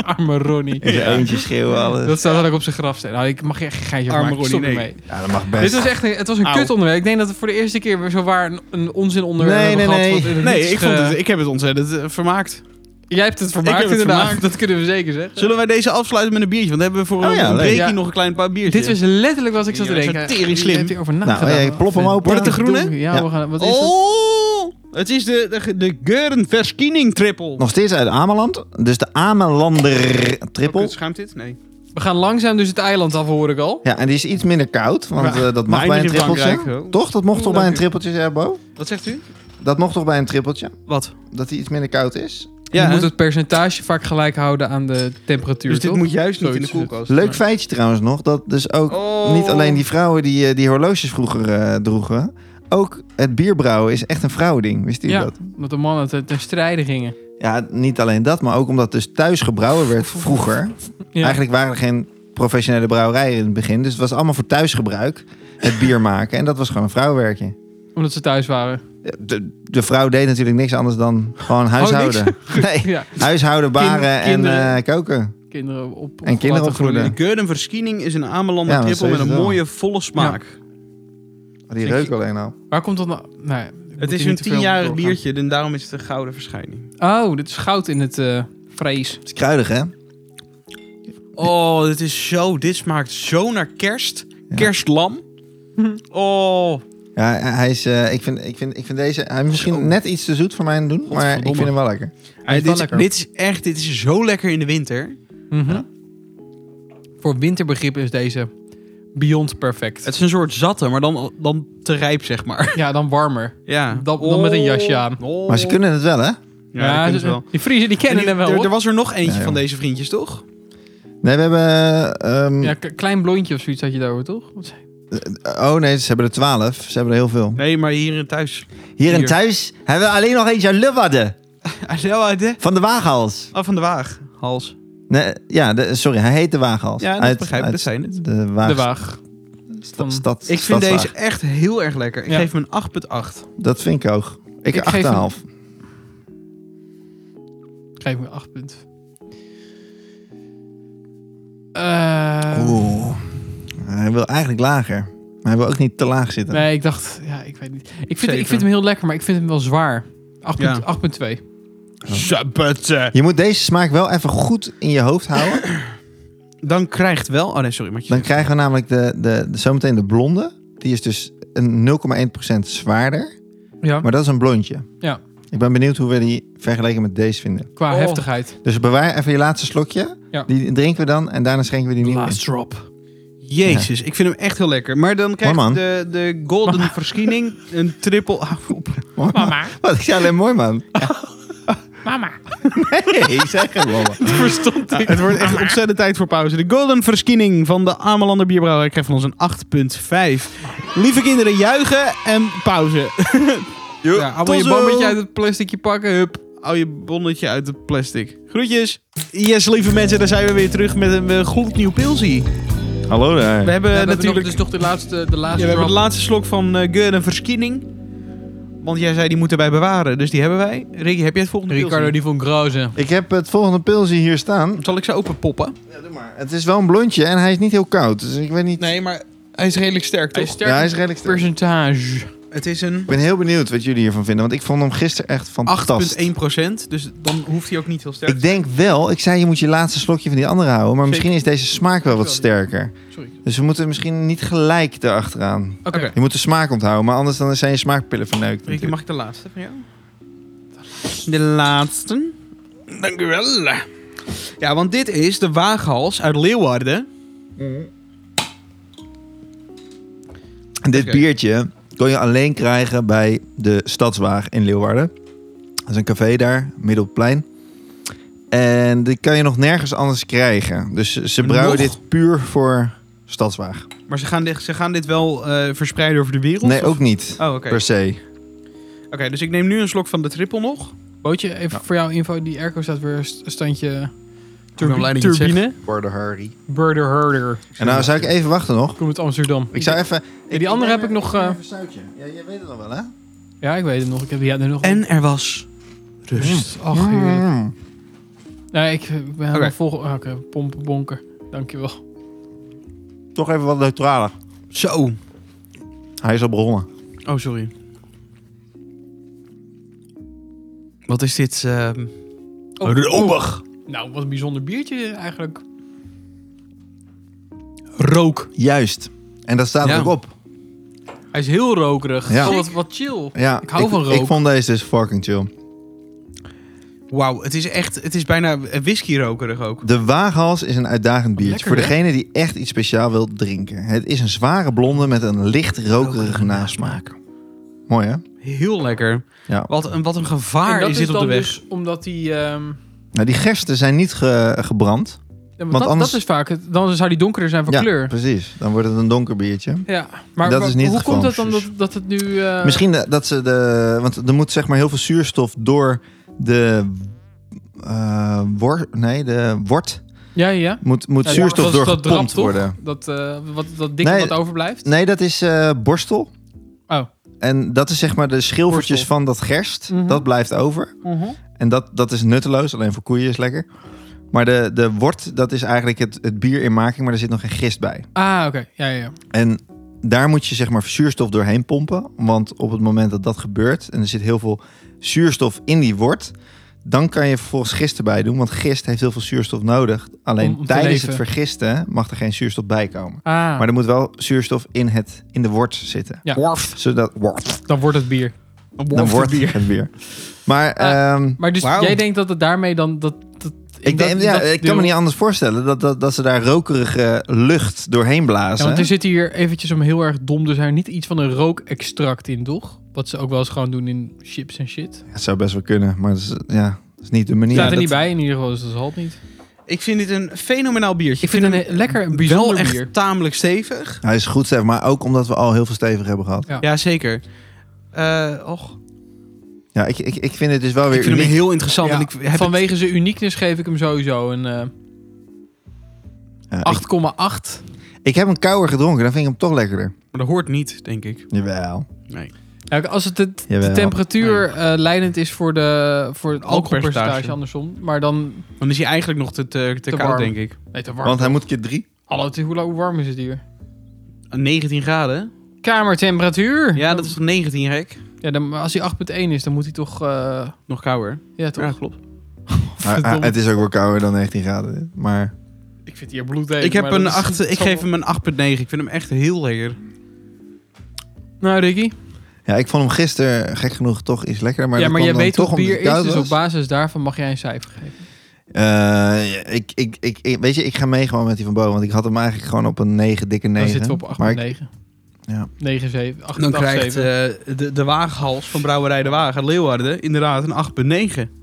[SPEAKER 2] Arme Ronnie.
[SPEAKER 3] In zijn eentje schreeuwen alles.
[SPEAKER 2] Dat staat dan ook op zijn grafsteen. Nou, ik mag je echt geen geintje over
[SPEAKER 1] Arme
[SPEAKER 2] maken. Stop
[SPEAKER 1] Ronnie,
[SPEAKER 2] ermee.
[SPEAKER 1] nee.
[SPEAKER 3] Ja, dat mag
[SPEAKER 2] Dit
[SPEAKER 3] best.
[SPEAKER 2] was echt een, het was een
[SPEAKER 1] Auw.
[SPEAKER 2] kut onderwerp. Ik denk dat we voor de eerste keer weer zo waar een, een onzin onderwerp
[SPEAKER 3] Nee,
[SPEAKER 2] hebben
[SPEAKER 3] nee,
[SPEAKER 2] gehad.
[SPEAKER 3] nee.
[SPEAKER 2] wat in
[SPEAKER 1] Nee,
[SPEAKER 2] niets
[SPEAKER 1] ik, vond
[SPEAKER 2] ge-
[SPEAKER 1] het, ik heb het ontzettend eh, vermaakt.
[SPEAKER 2] Jij hebt het vermaakt
[SPEAKER 1] heb het
[SPEAKER 2] inderdaad.
[SPEAKER 1] vermaakt.
[SPEAKER 2] Dat kunnen we zeker zeggen.
[SPEAKER 1] Zullen wij deze afsluiten met een biertje? Want dan hebben we voor
[SPEAKER 3] Oh
[SPEAKER 1] een
[SPEAKER 3] ja, leuk.
[SPEAKER 1] breakie
[SPEAKER 2] Ja.
[SPEAKER 1] nog een klein paar biertjes.
[SPEAKER 2] Dit was letterlijk wat ik zat te
[SPEAKER 1] Ja, dat is
[SPEAKER 2] denken.
[SPEAKER 1] tering
[SPEAKER 2] Wie
[SPEAKER 1] slim.
[SPEAKER 2] heeft hierover
[SPEAKER 3] Nou,
[SPEAKER 2] nagedapen?
[SPEAKER 3] hey, plop hem open.
[SPEAKER 1] Wordt het de groene?
[SPEAKER 2] Ja,
[SPEAKER 3] Ja.
[SPEAKER 2] we gaan... Wat is dat?
[SPEAKER 1] Oh! Het is de, de, de Geuren-Verskiening triple.
[SPEAKER 3] Nog steeds uit Ameland. Dus de Amelander trippel.
[SPEAKER 1] Schuimt dit? Nee.
[SPEAKER 2] We gaan langzaam dus het eiland af, hoor ik al.
[SPEAKER 3] Ja, en die is iets minder koud, want
[SPEAKER 1] Maar-
[SPEAKER 3] eh, dat
[SPEAKER 1] maar
[SPEAKER 3] mag bij een
[SPEAKER 1] eindig in Frankrijk,
[SPEAKER 3] trippeltje.
[SPEAKER 1] hoor.
[SPEAKER 3] Toch? Dat mocht toch
[SPEAKER 1] Leuk.
[SPEAKER 3] bij een trippeltje, zei Bo?
[SPEAKER 1] Wat zegt u?
[SPEAKER 3] Dat mocht toch bij een trippeltje?
[SPEAKER 1] Wat?
[SPEAKER 3] Dat hij iets minder koud is?
[SPEAKER 2] je
[SPEAKER 1] hè?
[SPEAKER 2] moet het percentage vaak gelijk houden aan de temperatuur,
[SPEAKER 1] dus dit
[SPEAKER 2] toch?
[SPEAKER 1] moet juist niet in de
[SPEAKER 2] Zoiets.
[SPEAKER 1] koelkast.
[SPEAKER 3] Leuk
[SPEAKER 1] Maar-
[SPEAKER 3] feitje trouwens nog, dat dus ook
[SPEAKER 1] Oh.
[SPEAKER 3] niet alleen die vrouwen die, eh, die horloges vroeger eh, droegen, ook het bierbrouwen is echt een vrouwending, wist u
[SPEAKER 2] Ja,
[SPEAKER 3] dat?
[SPEAKER 2] omdat de mannen ten, ten strijde gingen.
[SPEAKER 3] Ja, niet alleen dat, maar ook omdat dus thuis gebrouwen werd vroeger.
[SPEAKER 2] Ja.
[SPEAKER 3] Eigenlijk waren er geen professionele brouwerijen in het begin, dus het was allemaal voor thuisgebruik, het bier maken. En dat was gewoon een vrouwwerkje.
[SPEAKER 2] Omdat ze thuis waren.
[SPEAKER 3] De, de vrouw deed natuurlijk niks anders dan gewoon huishouden. [LAUGHS] nee,
[SPEAKER 2] Ja,
[SPEAKER 3] huishouden, baren en
[SPEAKER 2] kinderen.
[SPEAKER 3] eh, koken.
[SPEAKER 2] kinderen op, op
[SPEAKER 3] kinderen
[SPEAKER 2] laten
[SPEAKER 3] opgroeien.
[SPEAKER 1] De Geuren-Verskiening is een Amelander
[SPEAKER 3] Ja, maar
[SPEAKER 1] triple
[SPEAKER 3] zo
[SPEAKER 1] met
[SPEAKER 3] is
[SPEAKER 1] een
[SPEAKER 3] het wel.
[SPEAKER 1] mooie volle smaak.
[SPEAKER 3] Die reuk alleen al.
[SPEAKER 2] Waar komt dat nou? Nou ja, ik moet
[SPEAKER 1] Het is een
[SPEAKER 2] hier niet te veel
[SPEAKER 1] tienjarig
[SPEAKER 2] doorgaan.
[SPEAKER 1] biertje en daarom is het een gouden verschijning.
[SPEAKER 2] Oh, dit is goud in het eh vrees.
[SPEAKER 3] Het is kruidig, hè?
[SPEAKER 1] Oh, dit is zo... Dit smaakt zo naar kerst.
[SPEAKER 3] Ja.
[SPEAKER 1] Kerstlam. [LAUGHS] Oh.
[SPEAKER 3] Ja, hij is, eh, ik, vind, ik, vind, ik vind deze... Hij is misschien
[SPEAKER 1] Zo.
[SPEAKER 3] net iets te zoet voor mijn doen, maar ik
[SPEAKER 1] Godverdomme.
[SPEAKER 3] vind hem wel lekker.
[SPEAKER 2] Hij is
[SPEAKER 1] dit,
[SPEAKER 2] wel
[SPEAKER 1] is,
[SPEAKER 2] lekker.
[SPEAKER 1] dit is echt... Dit is zo lekker in de winter.
[SPEAKER 2] Mhm. Voor winterbegrip is deze beyond perfect.
[SPEAKER 1] Het is een soort zatte, maar dan, dan te rijp, zeg maar.
[SPEAKER 2] Ja, dan
[SPEAKER 1] [LAUGHS]
[SPEAKER 2] warmer.
[SPEAKER 1] Ja.
[SPEAKER 2] Dan- dan met een jasje aan.
[SPEAKER 1] Oh.
[SPEAKER 3] Maar ze kunnen het wel, hè?
[SPEAKER 1] Ja, dat kunnen
[SPEAKER 2] dus-
[SPEAKER 1] ze wel.
[SPEAKER 2] Die Friesen die kennen
[SPEAKER 1] En die-
[SPEAKER 2] hem wel.
[SPEAKER 1] er,
[SPEAKER 2] hoor.
[SPEAKER 1] er was er nog eentje
[SPEAKER 3] Ja,
[SPEAKER 1] van
[SPEAKER 3] joh.
[SPEAKER 1] deze vriendjes, toch?
[SPEAKER 3] Nee, we hebben... eh, ehm,
[SPEAKER 2] Ja, k- klein blondje of zoiets had je daarover, toch? Wat zei-
[SPEAKER 3] Oh nee, ze hebben er twaalf. Ze hebben er heel veel.
[SPEAKER 1] Nee, maar hier in thuis.
[SPEAKER 3] Hier in
[SPEAKER 1] Hier.
[SPEAKER 3] thuis hebben we alleen nog eentje uit Leeuwarden.
[SPEAKER 1] Ah,
[SPEAKER 3] Van de Waaghals.
[SPEAKER 1] van de Waag. Hals.
[SPEAKER 3] Nee, ja, de- sorry, hij heet de Waaghals.
[SPEAKER 1] Ja, dat
[SPEAKER 3] uit,
[SPEAKER 1] begrijp ik.
[SPEAKER 3] uit
[SPEAKER 1] Dat zijn het.
[SPEAKER 3] de Waag...
[SPEAKER 2] De waag. Van-
[SPEAKER 3] stad,
[SPEAKER 1] Ik vind
[SPEAKER 3] stadswaag.
[SPEAKER 1] deze echt heel erg lekker. Ik
[SPEAKER 2] Ja.
[SPEAKER 1] geef hem een 8,8.
[SPEAKER 3] Dat vind ik ook. Ik,
[SPEAKER 2] Ik geef hem-
[SPEAKER 3] 8,5.
[SPEAKER 2] Geef me acht punten. Eh,
[SPEAKER 3] Oeh. Hij wil eigenlijk lager. Maar hij wil ook niet te laag zitten.
[SPEAKER 2] nee, ik dacht, ja, ik weet niet. Ik vind, ik
[SPEAKER 1] Zeker.
[SPEAKER 2] vind hem heel lekker, maar ik vind hem wel zwaar. 8,2.
[SPEAKER 1] Ja. Sabbette.
[SPEAKER 3] Je moet deze smaak wel even goed in je hoofd houden.
[SPEAKER 1] Dan krijgt wel... Oh nee, sorry. Maar
[SPEAKER 3] Dan krijgen we namelijk de, de, de, zometeen de blonde. Die is dus een 0,1% zwaarder.
[SPEAKER 2] Ja,
[SPEAKER 3] Maar dat is een blondje.
[SPEAKER 2] Ja.
[SPEAKER 3] Ik ben benieuwd hoe we die vergeleken met deze vinden.
[SPEAKER 2] qua
[SPEAKER 1] Oh.
[SPEAKER 2] heftigheid.
[SPEAKER 3] Dus bewaar even je laatste slokje.
[SPEAKER 2] Ja.
[SPEAKER 3] Die drinken we dan en daarna schenken we die nieuwe in.
[SPEAKER 2] drop.
[SPEAKER 1] Jezus, ik vind hem echt heel lekker. Maar dan krijgt
[SPEAKER 3] man.
[SPEAKER 1] de, de golden
[SPEAKER 2] [LAUGHS]
[SPEAKER 1] verschiening een triple... [LAUGHS] Ah, op.
[SPEAKER 3] Mooi, man.
[SPEAKER 2] Mama,
[SPEAKER 3] Wat ik zei alleen mooi man. [LAUGHS]
[SPEAKER 2] mama.
[SPEAKER 3] Nee, ik zei geen
[SPEAKER 1] [LAUGHS]
[SPEAKER 3] mama.
[SPEAKER 1] Verstond ik. Het wordt echt ontzettend tijd voor pauze. De golden verschiening van de Amelander Bierbrouwer krijgt van ons een 8,5. Lieve kinderen, juichen en
[SPEAKER 2] [LAUGHS]
[SPEAKER 1] pauze.
[SPEAKER 2] Ja, allemaal je
[SPEAKER 1] Tot zo.
[SPEAKER 2] bommetje uit het plasticje pakken, hup.
[SPEAKER 1] Hou je bonnetje uit het plastic. Groetjes. Yes, lieve mensen, daar zijn we weer terug met een eh, gloednieuw pilsie.
[SPEAKER 3] Hallo
[SPEAKER 1] We hebben
[SPEAKER 2] Ja, dat is nog-
[SPEAKER 1] natuurlijk
[SPEAKER 2] dus toch de laatste, de
[SPEAKER 1] ja, we
[SPEAKER 2] laatste
[SPEAKER 1] hebben de
[SPEAKER 2] drop.
[SPEAKER 1] laatste slok van eh Geuren Verschiening. Want jij zei die moeten wij bewaren, dus die hebben wij. Ricky, heb jij het volgende
[SPEAKER 2] Ricardo die vond grozen.
[SPEAKER 3] Ik heb het volgende pilsje hier staan.
[SPEAKER 1] Zal ik ze open poppen?
[SPEAKER 3] Ja, doe maar. Het is wel een blondje en hij is niet heel koud. Dus ik weet niet...
[SPEAKER 1] Nee, maar hij is redelijk sterk,
[SPEAKER 2] Hij
[SPEAKER 1] toch?
[SPEAKER 2] is sterk
[SPEAKER 3] Ja, hij
[SPEAKER 2] in
[SPEAKER 3] is redelijk sterk.
[SPEAKER 2] percentage.
[SPEAKER 1] Het is een
[SPEAKER 3] Ik ben heel benieuwd wat jullie hiervan vinden. Want ik vond hem gisteren echt fantastisch.
[SPEAKER 1] 8,1 Dus dan hoeft hij ook niet heel sterk
[SPEAKER 3] Ik denk wel, ik zei je moet je laatste slokje van die andere houden. Maar
[SPEAKER 1] Zeker.
[SPEAKER 3] misschien is deze smaak wel wat sterker.
[SPEAKER 2] Sorry.
[SPEAKER 3] Dus we moeten misschien niet gelijk erachteraan.
[SPEAKER 2] Oké.
[SPEAKER 1] Oké.
[SPEAKER 3] Je moet de smaak onthouden, maar anders dan zijn je smaakpillen verneukt.
[SPEAKER 1] Ricky,
[SPEAKER 3] natuurlijk.
[SPEAKER 1] mag ik de laatste van jou? De laatste. Dank u wel. Ja, want dit is de waaghals uit Leeuwarden.
[SPEAKER 3] Dit
[SPEAKER 1] Oké.
[SPEAKER 3] biertje kon je alleen krijgen bij de Stadswaag in Leeuwarden. Dat is een café daar, midden op het plein. En die kan je nog nergens anders krijgen. Dus ze brouwen
[SPEAKER 1] Nog?
[SPEAKER 3] dit puur voor Stadswaag.
[SPEAKER 1] Maar ze gaan dit, ze gaan dit wel eh, verspreiden over de wereld?
[SPEAKER 3] Nee,
[SPEAKER 1] of-
[SPEAKER 3] ook niet.
[SPEAKER 1] Oh, oké.
[SPEAKER 3] Per se.
[SPEAKER 1] Oké, dus ik neem nu een slok van de triple nog.
[SPEAKER 2] Bootje, even voor jouw info. Die airco staat weer st- standje
[SPEAKER 4] ben blij dat je het
[SPEAKER 2] turbine.
[SPEAKER 3] Worden Harry.
[SPEAKER 2] Burder Herder.
[SPEAKER 3] En nou zou ik even wachten nog.
[SPEAKER 2] Komt uit Amsterdam.
[SPEAKER 3] Ik zou even...
[SPEAKER 2] die andere heb ik nog, eh,
[SPEAKER 3] Even een zoutje. Ja, jij weet het nog wel, hè?
[SPEAKER 2] Ja, ik weet het nog. Ik heb die er nog.
[SPEAKER 1] En er was rust.
[SPEAKER 2] Rust. Ach, heerlijk.
[SPEAKER 3] Mm-hmm.
[SPEAKER 2] Nee, ik eh, ben helemaal
[SPEAKER 1] Oké.
[SPEAKER 2] vol. ah, Oké, pompen, bonken. Dankjewel.
[SPEAKER 3] Toch even wat neutraler.
[SPEAKER 1] Zo.
[SPEAKER 3] Hij is al begonnen.
[SPEAKER 1] Oh, sorry. Wat is dit? ehm Romig.
[SPEAKER 2] Nou, wat een bijzonder biertje eigenlijk.
[SPEAKER 1] Rook.
[SPEAKER 3] Juist. En dat staat
[SPEAKER 1] Ja.
[SPEAKER 3] er ook op.
[SPEAKER 2] Hij is heel rokerig.
[SPEAKER 3] Ja.
[SPEAKER 2] Oh, wat, wat chill.
[SPEAKER 3] Ja,
[SPEAKER 2] Ik hou van rook.
[SPEAKER 3] Ik vond deze dus fucking chill.
[SPEAKER 1] Wauw, het is echt, het is bijna whisky-rokerig ook.
[SPEAKER 3] De Waaghals is een uitdagend biertje.
[SPEAKER 2] lekker,
[SPEAKER 3] voor
[SPEAKER 2] hè?
[SPEAKER 3] degene die echt iets speciaal wil drinken. Het is een zware blonde met een licht rokerige nasmaak. Mooi hè?
[SPEAKER 1] Heel lekker.
[SPEAKER 3] Ja.
[SPEAKER 1] Wat, een, wat een gevaar
[SPEAKER 2] dat
[SPEAKER 1] is dit op de
[SPEAKER 2] dan
[SPEAKER 1] weg.
[SPEAKER 2] dus omdat die... ehm,
[SPEAKER 3] Nou, die gersten zijn niet ge- gebrand.
[SPEAKER 2] ja, want
[SPEAKER 3] Want
[SPEAKER 2] dat,
[SPEAKER 3] anders-
[SPEAKER 2] dat is vaak het. Dan zou die donkerder zijn van
[SPEAKER 3] ja,
[SPEAKER 2] kleur.
[SPEAKER 3] precies. Dan wordt het een donker biertje.
[SPEAKER 2] Ja, maar
[SPEAKER 3] Dat
[SPEAKER 2] wa-
[SPEAKER 3] is niet
[SPEAKER 2] hoe
[SPEAKER 3] het
[SPEAKER 2] komt
[SPEAKER 3] geval.
[SPEAKER 2] het dan dat, dat het nu... eh,
[SPEAKER 3] Misschien de- dat ze de... Want er moet zeg maar heel veel zuurstof door de... eh wor, nee, de wort.
[SPEAKER 2] Ja, ja.
[SPEAKER 3] Moet, moet
[SPEAKER 2] Ja,
[SPEAKER 3] zuurstof
[SPEAKER 2] dat- dat drap
[SPEAKER 3] doorgepompt
[SPEAKER 2] toch?
[SPEAKER 3] worden.
[SPEAKER 2] Dat, eh, wat, dat dikke
[SPEAKER 3] Nee.
[SPEAKER 2] wat overblijft.
[SPEAKER 3] Nee, dat is eh, borstel.
[SPEAKER 2] Oh.
[SPEAKER 3] En dat is zeg maar de schilfertjes
[SPEAKER 2] Borstel.
[SPEAKER 3] van dat gerst.
[SPEAKER 2] Mhm.
[SPEAKER 3] Dat blijft over. En dat, dat is nutteloos, alleen voor koeien is lekker. Maar de, de wort, dat is eigenlijk het, het bier in making, maar er zit nog geen gist bij.
[SPEAKER 2] Ah, oké. Ja, ja, ja.
[SPEAKER 3] En daar moet je zeg maar zuurstof doorheen pompen. Want op het moment dat dat gebeurt en er zit heel veel zuurstof in die wort... dan kan je vervolgens gist erbij doen, want gist heeft heel veel zuurstof nodig. Alleen
[SPEAKER 2] Om- om te
[SPEAKER 3] tijdens
[SPEAKER 2] leven.
[SPEAKER 3] het vergisten mag er geen zuurstof bij komen.
[SPEAKER 2] Ah,
[SPEAKER 3] Maar er moet wel zuurstof in, het, in de wort zitten.
[SPEAKER 2] Ja.
[SPEAKER 3] Zodat, wort,
[SPEAKER 2] dan wordt het bier.
[SPEAKER 3] dan wordt het weer. Maar
[SPEAKER 2] Ah,
[SPEAKER 3] ehm,
[SPEAKER 2] Maar dus
[SPEAKER 1] Wauw.
[SPEAKER 2] jij denkt dat het daarmee dan... Dat, dat,
[SPEAKER 3] ik, denk,
[SPEAKER 2] dat-
[SPEAKER 3] ja,
[SPEAKER 2] dat
[SPEAKER 3] ik
[SPEAKER 2] deel-
[SPEAKER 3] kan me niet anders voorstellen dat, dat, dat ze daar rokerige lucht doorheen
[SPEAKER 2] Ja,
[SPEAKER 3] blazen.
[SPEAKER 2] want er zit hier eventjes om heel erg dom te zijn niet iets van een rookextract in, toch? Wat ze ook wel eens gewoon doen in chips en shit.
[SPEAKER 3] Het zou best wel kunnen, maar dat is, ja, dat is niet de manier.
[SPEAKER 2] Staat er
[SPEAKER 3] dat,
[SPEAKER 2] niet bij in ieder geval, dus dat halt niet.
[SPEAKER 1] Ik vind dit een fenomenaal biertje.
[SPEAKER 2] Ik vind het een lekker een
[SPEAKER 1] wel
[SPEAKER 2] bijzonder
[SPEAKER 1] echt
[SPEAKER 2] bier.
[SPEAKER 1] tamelijk stevig.
[SPEAKER 3] Hij is goed, zeg maar ook omdat we al heel veel stevig hebben gehad.
[SPEAKER 2] Ja.
[SPEAKER 1] Jazeker. Eh och,
[SPEAKER 3] Ja, ik, ik, ik vind het dus wel
[SPEAKER 1] ik
[SPEAKER 3] weer
[SPEAKER 1] vind hem
[SPEAKER 3] uniek.
[SPEAKER 1] heel interessant.
[SPEAKER 2] Ja,
[SPEAKER 1] en ik heb het-
[SPEAKER 2] Vanwege zijn uniekness geef ik hem sowieso een eh,
[SPEAKER 3] Ja, ik,
[SPEAKER 2] 8,8.
[SPEAKER 3] ik heb een kouwer gedronken, dan vind ik hem toch lekkerder.
[SPEAKER 1] Maar dat hoort niet, denk ik.
[SPEAKER 3] Jawel.
[SPEAKER 1] Nee.
[SPEAKER 2] Ja, als het de, de
[SPEAKER 3] Jawel.
[SPEAKER 2] temperatuur eh, leidend is voor, de, voor het alcoholpercentage,
[SPEAKER 1] Alcoholpercentage.
[SPEAKER 2] andersom. Maar dan...
[SPEAKER 1] Dan is hij eigenlijk nog te, te, te
[SPEAKER 2] Te
[SPEAKER 1] koud,
[SPEAKER 2] warm.
[SPEAKER 1] denk ik.
[SPEAKER 2] Nee, te warm.
[SPEAKER 3] Want hij moet keer drie.
[SPEAKER 2] Hallo, het is- hoe, la- hoe warm is het hier?
[SPEAKER 1] 19 Ah, graden.
[SPEAKER 2] Kamertemperatuur.
[SPEAKER 1] Ja, dat is toch 19, gek?
[SPEAKER 2] Ja, dan, maar als hij 8,1 is, dan moet hij toch... eh,
[SPEAKER 1] Nog kouder.
[SPEAKER 2] ja, toch? [LAUGHS]
[SPEAKER 1] Ja, klopt.
[SPEAKER 3] Maar, ah, het is ook wel kouder dan 19 graden. Maar
[SPEAKER 2] Ik vind hier bloed heen,
[SPEAKER 1] Ik, heb
[SPEAKER 2] maar
[SPEAKER 1] een
[SPEAKER 2] dat is-
[SPEAKER 1] acht,
[SPEAKER 2] dat
[SPEAKER 1] ik
[SPEAKER 2] zal
[SPEAKER 1] geef
[SPEAKER 2] wel-
[SPEAKER 1] hem een 8,9. Ik vind hem echt heel lekker.
[SPEAKER 2] Nou, Ricky.
[SPEAKER 3] ja, ik vond hem gisteren gek genoeg toch iets lekkerder. Maar
[SPEAKER 2] ja,
[SPEAKER 3] dat
[SPEAKER 2] maar jij
[SPEAKER 3] kwam dan
[SPEAKER 2] weet
[SPEAKER 3] toch
[SPEAKER 2] wat
[SPEAKER 3] omdat
[SPEAKER 2] bier
[SPEAKER 3] het
[SPEAKER 2] is,
[SPEAKER 3] koud
[SPEAKER 2] dus
[SPEAKER 3] was.
[SPEAKER 2] op basis daarvan mag jij een cijfer geven.
[SPEAKER 3] Eh, ik, ik, ik, ik- weet je, ik ga mee gewoon met die van Bo. Want ik had hem eigenlijk gewoon op een 9, dikke 9.
[SPEAKER 2] Dan zitten we op 8,9.
[SPEAKER 3] Maar ik- Ja.
[SPEAKER 2] 9, 7, 8,
[SPEAKER 1] Dan krijgt eh, de, de waaghals van Brouwerij de Waag uit Leeuwarden inderdaad een 8,9.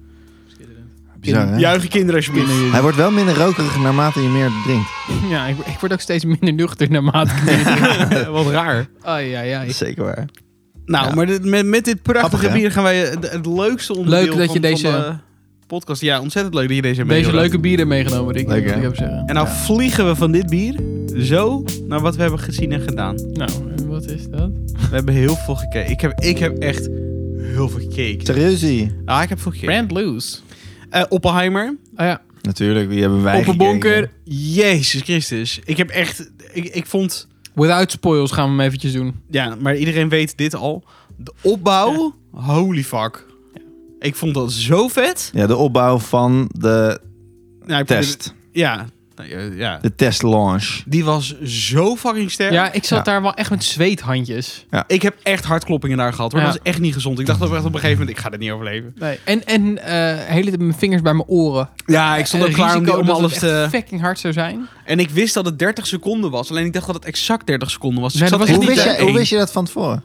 [SPEAKER 3] bizar, hè?
[SPEAKER 1] Juichen kinderen spinnen jullie.
[SPEAKER 3] Hij wordt wel minder rokerig naarmate je meer drinkt.
[SPEAKER 2] Ja, ik, ik word ook steeds minder nuchter naarmate ik
[SPEAKER 1] Wat raar.
[SPEAKER 2] Ai, ja, ja.
[SPEAKER 3] Dat is zeker waar.
[SPEAKER 1] Nou,
[SPEAKER 3] Ja.
[SPEAKER 1] maar dit- met, met dit prachtige
[SPEAKER 3] Grappig, hè?
[SPEAKER 1] bier gaan wij het, het leukste onderdeel
[SPEAKER 2] Leuk dat
[SPEAKER 1] van,
[SPEAKER 2] je deze-
[SPEAKER 1] van de podcast... Ja, ontzettend leuk dat je deze hebt
[SPEAKER 2] Deze
[SPEAKER 1] meegenomen.
[SPEAKER 2] leuke bieren meegenomen, Ricky.
[SPEAKER 3] Leuk,
[SPEAKER 2] moet
[SPEAKER 3] hè?
[SPEAKER 2] ik even zeggen.
[SPEAKER 1] En nou vliegen we van dit bier zo naar wat we hebben gezien en gedaan.
[SPEAKER 2] Nou, en wat is dat?
[SPEAKER 1] We hebben heel veel gekeken. Ik heb, ik heb echt heel veel gekeken.
[SPEAKER 3] Serieus?
[SPEAKER 1] Ah, ik heb veel gekeken.
[SPEAKER 2] Brand Loose.
[SPEAKER 1] Eh, Oppenheimer.
[SPEAKER 2] Ah ja,
[SPEAKER 3] Natuurlijk, die hebben wij
[SPEAKER 2] Oppenbonker.
[SPEAKER 3] gekeken.
[SPEAKER 1] Jezus Christus. Ik heb echt... Ik, ik vond...
[SPEAKER 2] Without spoils gaan we hem eventjes doen.
[SPEAKER 1] Ja, maar iedereen weet dit al. De opbouw, holy fuck. Ik vond dat zo vet.
[SPEAKER 3] Ja, de opbouw van de
[SPEAKER 1] Ja, ik probeerde-
[SPEAKER 3] test.
[SPEAKER 1] Ja, Nou, ja, ja.
[SPEAKER 3] De test launch.
[SPEAKER 1] Die was zo fucking sterk.
[SPEAKER 2] Ja, ik zat
[SPEAKER 3] Ja.
[SPEAKER 2] daar wel echt met zweethandjes.
[SPEAKER 1] Ik heb echt hartkloppingen daar gehad. Hoor.
[SPEAKER 2] Ja.
[SPEAKER 1] Dat is echt niet gezond. Ik dacht ook echt op een gegeven moment, ik ga dit niet overleven.
[SPEAKER 2] Nee. En, en eh, hele tijd mijn vingers bij mijn oren.
[SPEAKER 1] Ja, ik stond ook
[SPEAKER 2] Het
[SPEAKER 1] klaar om,
[SPEAKER 2] risico
[SPEAKER 1] die- om
[SPEAKER 2] dat
[SPEAKER 1] alles
[SPEAKER 2] het echt
[SPEAKER 1] te... Ah.
[SPEAKER 2] fucking hard zou zijn.
[SPEAKER 1] En ik wist dat het 30 seconden was. Alleen ik dacht dat het exact 30 seconden was. Dus
[SPEAKER 2] Nee,
[SPEAKER 1] ik zat
[SPEAKER 2] dat
[SPEAKER 1] echt
[SPEAKER 2] was
[SPEAKER 3] Hoe
[SPEAKER 2] niet
[SPEAKER 1] niet bij
[SPEAKER 3] wist, je, hoe
[SPEAKER 1] één.
[SPEAKER 3] wist je dat van tevoren?